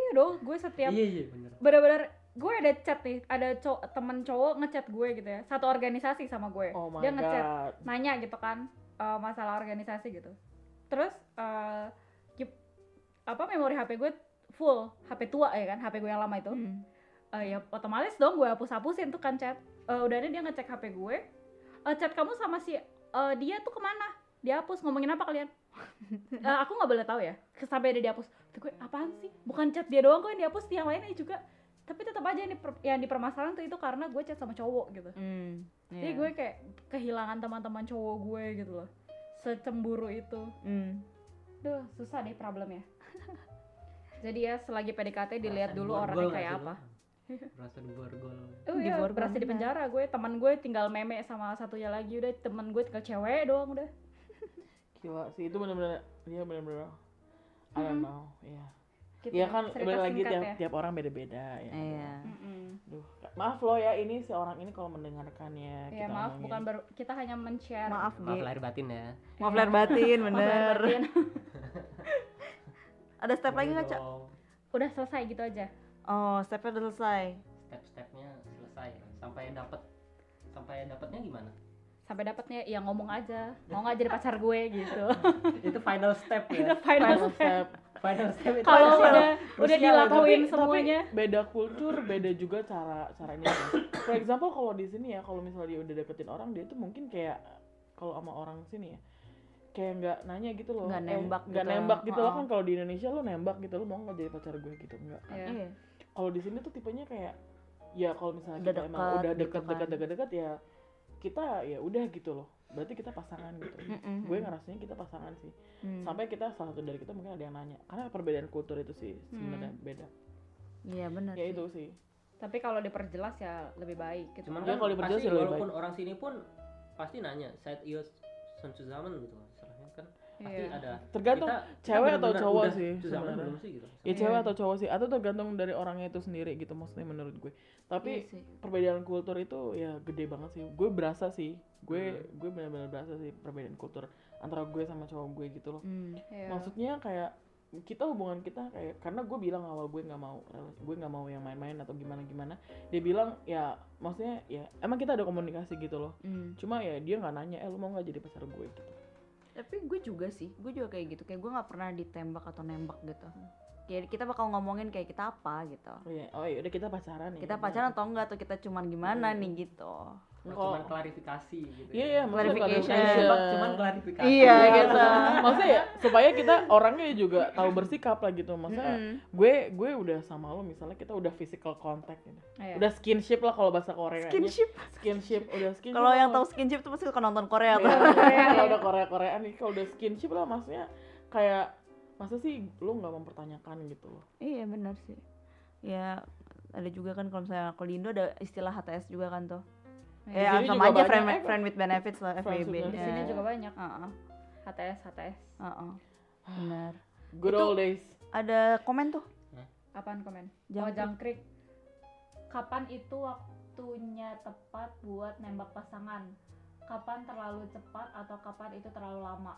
Speaker 2: iya dong, gue setiap
Speaker 6: iya iya bener
Speaker 2: bener-bener gue ada chat nih, ada cow- temen cowok ngechat gue gitu ya, satu organisasi sama gue,
Speaker 3: Oh my
Speaker 2: dia ngechat
Speaker 3: God.
Speaker 2: nanya gitu kan eh, masalah organisasi gitu, terus eh, gip- apa memori HP gue full, HP tua ya kan, HP gue yang lama itu,
Speaker 3: Hmm.
Speaker 2: Eh, ya otomatis dong gue hapus-hapusin tuh kan chat, Eh, udahnya dia ngecek HP gue, Eh, chat kamu sama si eh, dia tuh kemana? Dihapus ngomongin apa kalian? Eh, aku nggak boleh tahu ya sampai ada dihapus Kata gue apaan sih bukan chat dia doang kok yang dihapus yang lainnya juga tapi tetap aja yang, diper- yang dipermasalahan tuh itu karena gue chat sama cowok gitu jadi
Speaker 1: iya.
Speaker 2: gue kayak kehilangan teman-teman cowok gue gitu loh secemburu itu
Speaker 1: Hmm.
Speaker 2: duh susah deh problemnya jadi ya selagi PDKT dilihat dulu orangnya kayak apa
Speaker 6: berasa diborgol
Speaker 2: Oh iya, berasa di penjara gue, teman gue tinggal meme sama satunya lagi udah teman gue tinggal cewek doang udah.
Speaker 1: Nah,
Speaker 3: gila sih itu bener-bener dia bener-bener I don't know ya
Speaker 2: Gitu
Speaker 3: ya
Speaker 2: ya,
Speaker 3: kan
Speaker 2: Hmm. cerita
Speaker 3: balik lagi
Speaker 2: singkat
Speaker 3: tiap
Speaker 2: ya.
Speaker 3: tiap orang beda-beda ya
Speaker 1: Iya.
Speaker 3: Duh, maaf lo ya ini si orang ini kalau mendengarkannya
Speaker 2: Ya maaf bukan baru kita hanya men-share.
Speaker 1: Maaf,
Speaker 6: maaf
Speaker 1: Ge.
Speaker 6: lahir batin ya
Speaker 1: Maaf lahir Iya. batin,
Speaker 2: Maaf lahir
Speaker 1: bener.
Speaker 2: batin.
Speaker 1: Ada step lagi nggak, Cak?
Speaker 2: udah selesai gitu aja.
Speaker 1: Oh, stepnya udah selesai.
Speaker 6: step-stepnya selesai sampai dapat sampai dapatnya gimana
Speaker 2: Sampai dapatnya ya ngomong aja, mau nggak jadi pacar gue gitu.
Speaker 6: itu final step
Speaker 2: Itu
Speaker 6: ya
Speaker 2: final
Speaker 3: Final
Speaker 2: step.
Speaker 3: step.
Speaker 6: final step itu
Speaker 2: Kalau
Speaker 6: final
Speaker 2: udah
Speaker 6: step.
Speaker 2: udah
Speaker 6: Krusial itu.
Speaker 2: dilakuin
Speaker 3: tapi-
Speaker 2: semuanya.
Speaker 3: beda kultur beda juga cara cara ini for example kalau di sini ya kalau misalnya dia udah deketin orang dia tuh mungkin kayak kalau sama orang sini ya kayak nggak nanya gitu loh
Speaker 1: Nggak
Speaker 3: Eh,
Speaker 1: nembak
Speaker 3: nggak
Speaker 1: gitu.
Speaker 3: nembak gitu loh
Speaker 1: Oh.
Speaker 3: kan kalau di Indonesia lo nembak gitu lo mau nggak jadi pacar gue gitu enggak kan
Speaker 2: Iya.
Speaker 1: Iya.
Speaker 3: kalau di sini tuh tipenya kayak ya kalau misalnya
Speaker 1: Udah
Speaker 3: kita emang
Speaker 1: deket
Speaker 3: udah
Speaker 1: gitu
Speaker 3: deket
Speaker 1: kan.
Speaker 3: deket deket deket ya kita ya udah gitu loh berarti kita pasangan gitu
Speaker 1: Mm-mm.
Speaker 3: gue ngerasanya kita pasangan sih
Speaker 1: Hmm.
Speaker 3: sampai kita salah satu dari kita mungkin ada yang nanya karena perbedaan kultur itu sih sebenarnya beda
Speaker 1: Iya, benar. sih.
Speaker 3: ya itu sih
Speaker 2: Tapi kalau diperjelas ya lebih baik gitu.
Speaker 6: cuman
Speaker 3: Dia
Speaker 6: kan
Speaker 3: kalau diperjelas
Speaker 6: pasti
Speaker 3: ya lebih
Speaker 6: walaupun orang sini pun pasti nanya saat iyo sun zaman gitu istilahnya kan pasti
Speaker 2: Iya.
Speaker 6: ada
Speaker 3: tergantung
Speaker 6: Kita- kita
Speaker 3: cewek atau
Speaker 6: benar-benar
Speaker 3: cowok
Speaker 6: udah
Speaker 3: sih
Speaker 6: Suzaman
Speaker 3: sebenarnya.
Speaker 6: belum sih gitu
Speaker 3: ya
Speaker 2: Iya.
Speaker 3: cewek atau cowok sih atau tergantung dari orangnya itu sendiri gitu maksudnya menurut gue tapi
Speaker 1: Iya sih.
Speaker 3: perbedaan kultur itu ya gede banget sih gue berasa sih gue
Speaker 6: Hmm.
Speaker 3: gue benar-benar berasa sih perbedaan kultur antara gue sama cowok gue gitu loh
Speaker 1: Hmm.
Speaker 2: Iya.
Speaker 3: maksudnya kayak kita hubungan kita kayak karena gue bilang awal gue nggak mau rela- gue nggak mau yang main-main atau gimana gimana dia bilang ya maksudnya ya emang kita ada komunikasi gitu loh
Speaker 1: Hmm.
Speaker 3: cuma ya dia nggak nanya eh lu mau nggak jadi pacar gue gitu
Speaker 1: Tapi gue juga sih, gue juga kayak gitu. Kayak gue nggak pernah ditembak atau nembak gitu. Ya, kita bakal ngomongin kayak kita apa gitu.
Speaker 3: Oh iya, oh iya udah kita pacaran ya.
Speaker 1: Kita pacaran atau enggak atau kita cuman gimana nih gitu.
Speaker 3: Nah,
Speaker 6: Cuman klarifikasi gitu.
Speaker 3: Iya iya, maksudnya
Speaker 1: Clarification.
Speaker 6: Cuman, cuman klarifikasi.
Speaker 1: Iya, gitu.
Speaker 3: Maksudnya ya supaya kita orangnya juga tahu bersikap lah gitu. Maksudnya
Speaker 1: Mm-mm.
Speaker 3: gue gue udah sama lo misalnya kita udah physical contact gitu.
Speaker 1: Iya.
Speaker 3: Udah skinship lah kalau bahasa Korea.
Speaker 1: Skinship.
Speaker 3: Skinship udah skinship. Iya,
Speaker 1: Kalau yang tahu skinship tuh pasti suka nonton Korea tuh.
Speaker 3: Korea, kalau udah Korea Koreaan ini kalau udah skinship lah maksudnya kayak masa sih lo nggak mempertanyakan gitu loh.
Speaker 1: Iya benar sih. Ya ada juga kan kalau misalnya kalau di Indo ada istilah HTS juga kan tuh.
Speaker 2: Iya.
Speaker 1: Ya,
Speaker 2: Di sini
Speaker 1: sama
Speaker 2: juga
Speaker 1: aja
Speaker 2: banyak,
Speaker 1: friend,
Speaker 2: eh,
Speaker 1: friend with benefits lah
Speaker 2: Friends
Speaker 1: FWB.
Speaker 2: with benefits. Di sini juga banyak.
Speaker 1: HTS HTS. Heeh. Benar.
Speaker 3: Good
Speaker 1: Itu
Speaker 3: old days.
Speaker 1: Ada komen tuh.
Speaker 2: Apaan komen? Oh,
Speaker 1: Jangkrik.
Speaker 2: jangkrik. Kapan itu waktunya tepat buat nembak pasangan? Kapan terlalu cepat atau kapan itu terlalu lama?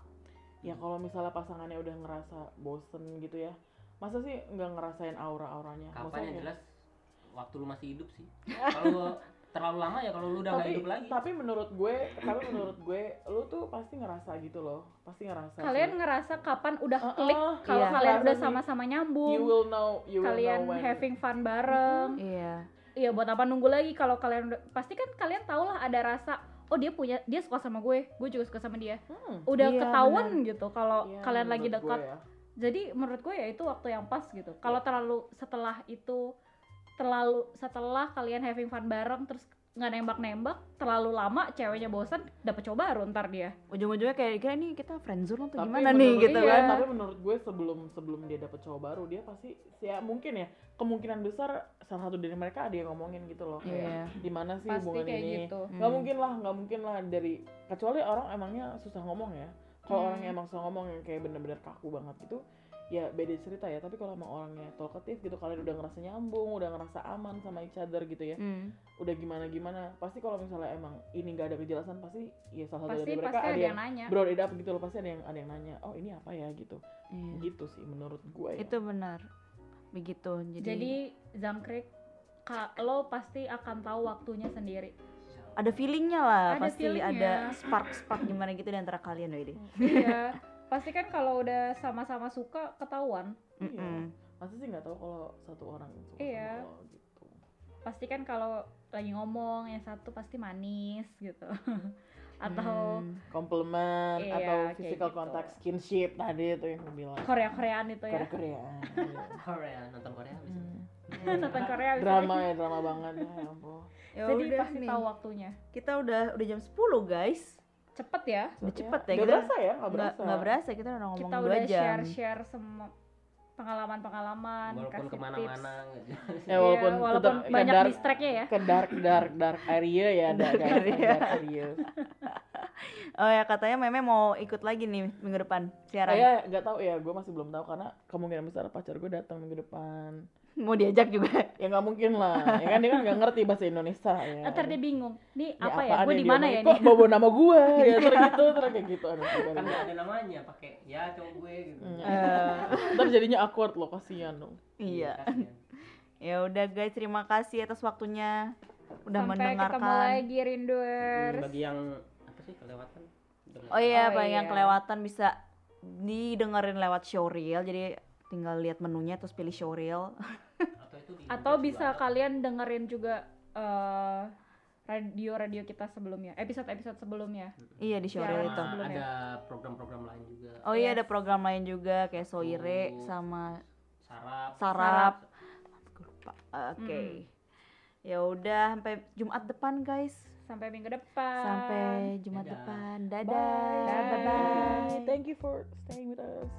Speaker 3: Ya kalau misalnya pasangannya udah ngerasa bosen gitu ya, masa sih nggak ngerasain aura-auranya?
Speaker 6: Kapan
Speaker 3: Maksudnya
Speaker 6: yang
Speaker 3: kayak-
Speaker 6: jelas waktu lu masih hidup sih. Kalau terlalu lama ya kalau lu udah nggak
Speaker 3: tapi,
Speaker 6: hidup lagi.
Speaker 3: tapi menurut gue, tapi menurut gue, lu tuh pasti ngerasa gitu loh, pasti ngerasa.
Speaker 2: Kalian
Speaker 3: sih.
Speaker 2: ngerasa kapan udah
Speaker 3: Uh-uh,
Speaker 2: klik kalau
Speaker 3: iya.
Speaker 2: kalian
Speaker 3: Ngerasa
Speaker 2: udah
Speaker 3: nih,
Speaker 2: sama-sama nyambung.
Speaker 3: you will know, you will
Speaker 2: kalian
Speaker 3: know when.
Speaker 2: having fun bareng.
Speaker 1: Iya.
Speaker 2: Iya, buat apa nunggu lagi kalau kalian udah pasti kan kalian tau lah ada rasa oh dia punya dia suka sama gue, gue juga suka sama dia.
Speaker 3: Hmm,
Speaker 2: Udah
Speaker 16: Iya,
Speaker 2: ketahuan
Speaker 16: benar.
Speaker 2: gitu kalau
Speaker 16: Iya,
Speaker 2: kalian lagi
Speaker 16: menurut gue
Speaker 2: dekat.
Speaker 16: ya.
Speaker 2: Jadi menurut gue ya itu waktu yang pas gitu. Kalau terlalu setelah itu terlalu setelah kalian having fun bareng terus nggak nembak-nembak terlalu lama ceweknya bosan dapet coba baru ntar dia
Speaker 1: ujung-ujungnya kayak kira ini kita friendzone atau
Speaker 3: Tapi
Speaker 1: gimana nih
Speaker 3: menurut-
Speaker 1: gitu
Speaker 3: iya,
Speaker 1: kan.
Speaker 3: Tapi menurut gue sebelum sebelum dia dapet cowok baru, dia pasti ya mungkin ya kemungkinan besar salah satu dari mereka ada yang ngomongin gitu loh.
Speaker 1: Iya.
Speaker 3: Kayak Gimana sih
Speaker 1: Pasti
Speaker 3: hubungan
Speaker 1: kayak
Speaker 3: ini?
Speaker 1: gitu.
Speaker 3: Gak
Speaker 1: Hmm.
Speaker 3: mungkin lah, gak mungkin lah dari kecuali orang emangnya susah ngomong ya. Kalau
Speaker 1: Hmm.
Speaker 3: orang yang emang susah ngomong yang kayak bener-bener kaku banget gitu, ya beda cerita ya. Tapi kalau emang orangnya talkative gitu, kalian udah ngerasa nyambung, udah ngerasa aman sama each other gitu ya.
Speaker 1: Hmm.
Speaker 3: Udah gimana gimana, pasti kalau misalnya emang ini nggak ada kejelasan pasti ya salah satu
Speaker 2: Pasti-
Speaker 3: dari mereka
Speaker 2: pasti
Speaker 3: ada,
Speaker 2: ada
Speaker 3: yang,
Speaker 2: yang nanya.
Speaker 3: brown it up gitu loh, pasti ada yang ada yang nanya, oh ini apa ya gitu.
Speaker 2: Iya.
Speaker 3: Gitu sih menurut gue. ya.
Speaker 1: Itu benar. Begitu. Jadi,
Speaker 2: Iya, jadi jangkrik ka- lo pasti akan tahu waktunya sendiri
Speaker 1: ada feelingnya lah
Speaker 2: Ada
Speaker 1: pasti ada
Speaker 2: feelingnya.
Speaker 1: spark spark gimana gitu di antara kalian loh ini.
Speaker 2: iya pasti kan kalau udah sama-sama suka ketahuan
Speaker 1: Mm-mm.
Speaker 3: Masa sih nggak tahu kalau satu orang suka
Speaker 2: iya
Speaker 3: sama lo gitu.
Speaker 2: pasti kan kalau lagi ngomong yang satu pasti manis gitu atau
Speaker 3: Komplement
Speaker 2: Iya,
Speaker 3: Hmm. atau
Speaker 2: kayak
Speaker 3: physical
Speaker 2: gitu.
Speaker 3: contact skinship tadi itu yang gue bilang.
Speaker 2: Korea-Koreaan itu ya.
Speaker 3: Korea-Koreaan.
Speaker 6: Korea nonton Korea bisa.
Speaker 2: nonton Korea bisa.
Speaker 3: drama ya, drama banget ya ampun.
Speaker 1: Ya
Speaker 2: jadi
Speaker 1: udah
Speaker 2: pasti
Speaker 1: nih.
Speaker 2: tahu waktunya
Speaker 1: Kita udah udah jam 10 guys.
Speaker 2: Cepet ya.
Speaker 1: Udah cepet ya.
Speaker 3: Nggak
Speaker 1: kita-
Speaker 3: Iya. berasa ya, nggak berasa.
Speaker 1: nggak berasa kita udah ngomong
Speaker 2: kita
Speaker 1: dua
Speaker 2: udah
Speaker 1: jam.
Speaker 2: share-share semua pengalaman-pengalaman
Speaker 6: Walaupun
Speaker 2: kasih
Speaker 6: kemana-mana.
Speaker 2: tips.
Speaker 6: nggak
Speaker 3: Ya, walaupun,
Speaker 2: Iya, walaupun
Speaker 3: tetap ke
Speaker 2: banyak
Speaker 3: dark-
Speaker 2: distracknya ya.
Speaker 3: Ke dark dark dark area ya ada
Speaker 1: Dark
Speaker 3: guys, ada
Speaker 1: area.
Speaker 3: dark area.
Speaker 1: Oh ya katanya Meme mau ikut lagi nih minggu depan siaran. Hmm.
Speaker 3: Saya nggak tahu ya, gue masih belum tahu karena kemungkinan besar pacar gue datang minggu depan.
Speaker 1: Mau diajak juga?
Speaker 3: Ya nggak mungkin lah, ya kan dia kan nggak ngerti bahasa Indonesia ya.
Speaker 2: Ntar dia bingung. Nih
Speaker 3: Ini
Speaker 2: apa ya?
Speaker 3: apaan
Speaker 2: Gue
Speaker 3: yang
Speaker 2: di mana
Speaker 3: diomongin?
Speaker 2: ya
Speaker 3: Kok
Speaker 2: nih?
Speaker 3: bawa nama gue? Ya terus gitu, terus kayak gitu. Aduh, aduh,
Speaker 6: Kan
Speaker 3: aduh.
Speaker 6: nggak ada namanya pakai ya cowok gue gitu.
Speaker 3: Eh, Ntar jadinya awkward loh, kasihan dong.
Speaker 1: Iya. ya udah guys terima kasih atas waktunya udah
Speaker 2: Sampai
Speaker 1: mendengarkan.
Speaker 2: ketemu lagi Rinduers.
Speaker 6: Bagi yang apa sih kelewatan? dengar.
Speaker 1: Oh iya,
Speaker 2: Oh
Speaker 1: Pak, yang
Speaker 2: iya.
Speaker 1: kelewatan bisa didengerin lewat showreel. Jadi tinggal lihat menunya terus pilih showreel.
Speaker 2: Atau bisa kalian dengerin juga eh, radio-radio kita sebelumnya, episode-episode sebelumnya.
Speaker 1: Iya, di showreel
Speaker 2: Siaran
Speaker 1: itu.
Speaker 6: Sama
Speaker 2: sebelumnya.
Speaker 6: ada program-program lain juga.
Speaker 1: Oh iya, ada program lain juga kayak Soire
Speaker 2: Oh.
Speaker 6: Tuh.
Speaker 1: sama
Speaker 6: Sarap.
Speaker 1: Sarap. Gue lupa. Oke.
Speaker 2: Mm.
Speaker 1: Ya udah sampai Jumat depan, guys.
Speaker 2: Sampai minggu depan.
Speaker 1: Sampai Jumat
Speaker 2: Dadah.
Speaker 1: depan. Dadah. Bye bye.
Speaker 3: Thank you for staying with us.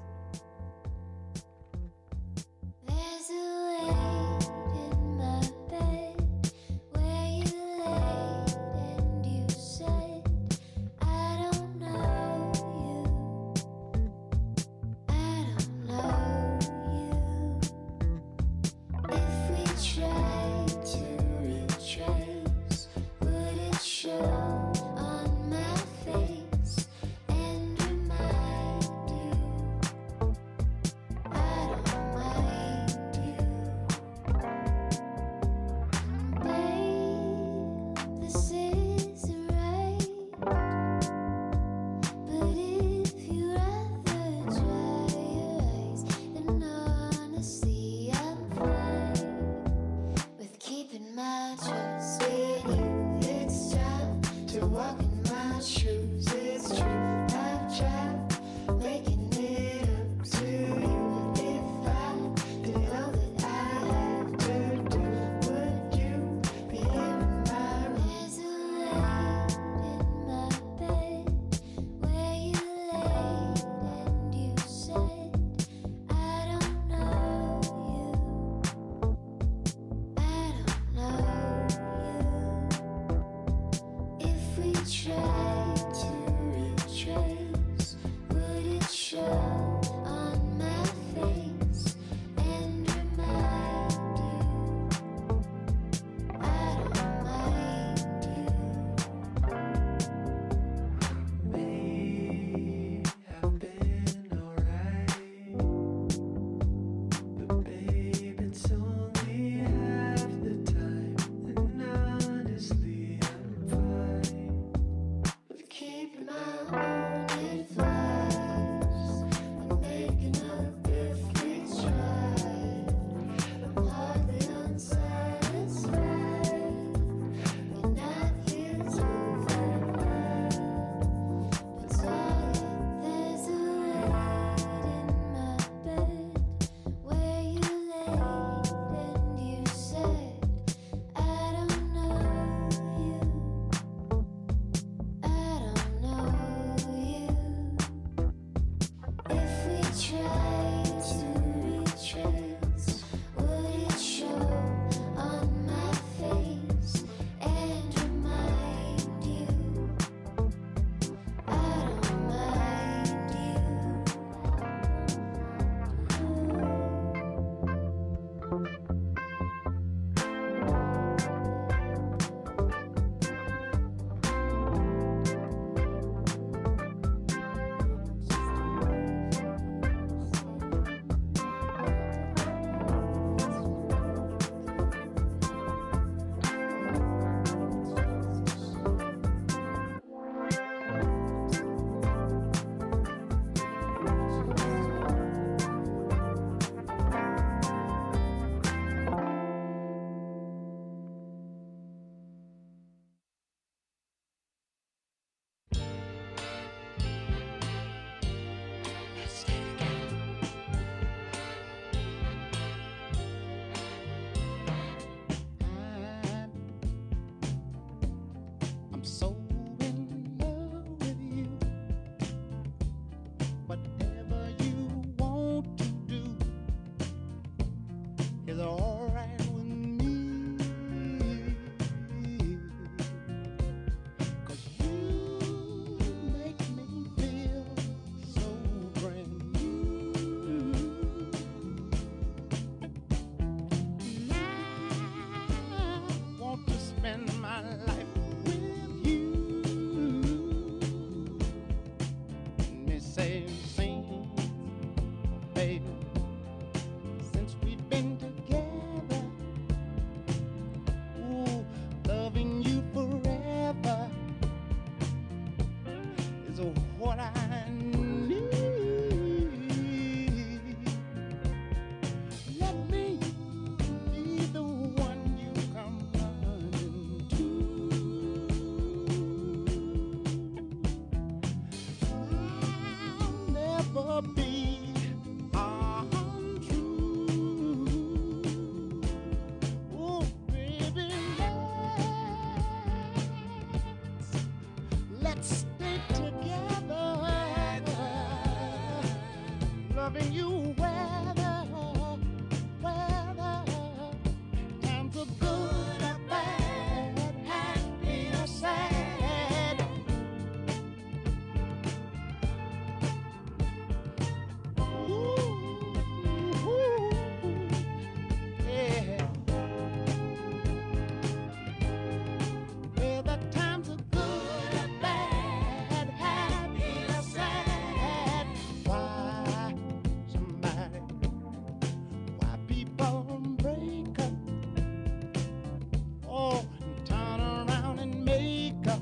Speaker 7: There's a way in my bed where you laid and you said, I don't know you. I don't know you. If we tried to retrace, would it show on my face and remind you? I don't mind you. matches with you. It's time to walk in my shoes. It's true. I've tried making it up to you. If I did all that I have to do, would you be here in my room? Is it in my bed where you laid and you said, I don't know you. If we try to retrace, would it show on my face and remind you? I don't mind you. May have been alright, but babe, it's only half the time, and honestly, I'm fine. But keeping my own advice, I'm making up if we try. I'm hardly unsatisfied. You're not here to fight. But darling, there's a light in my bed where you laid and you said, I don't know you. I don't know you. If we try to retrace, would it show on my face and remind you? I don't mind you.
Speaker 10: I'm so in love with you. Whatever you want to do is alright with me. Cause you make me feel so brand new. I want to spend my life with you. Me say, sing, baby. Since we've been together, ooh, loving you forever is what I need. Let me be the one you come running to. I'll never be untrue. Oh, baby, let's- let's stay together. Loving you whether, whether times are good or bad, happy or sad. Ooh, ooh, yeah. Whether times are good or bad, happy or sad. Why somebody, why people break up? Oh, and turn around and make up.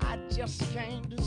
Speaker 10: I just can't
Speaker 7: uh,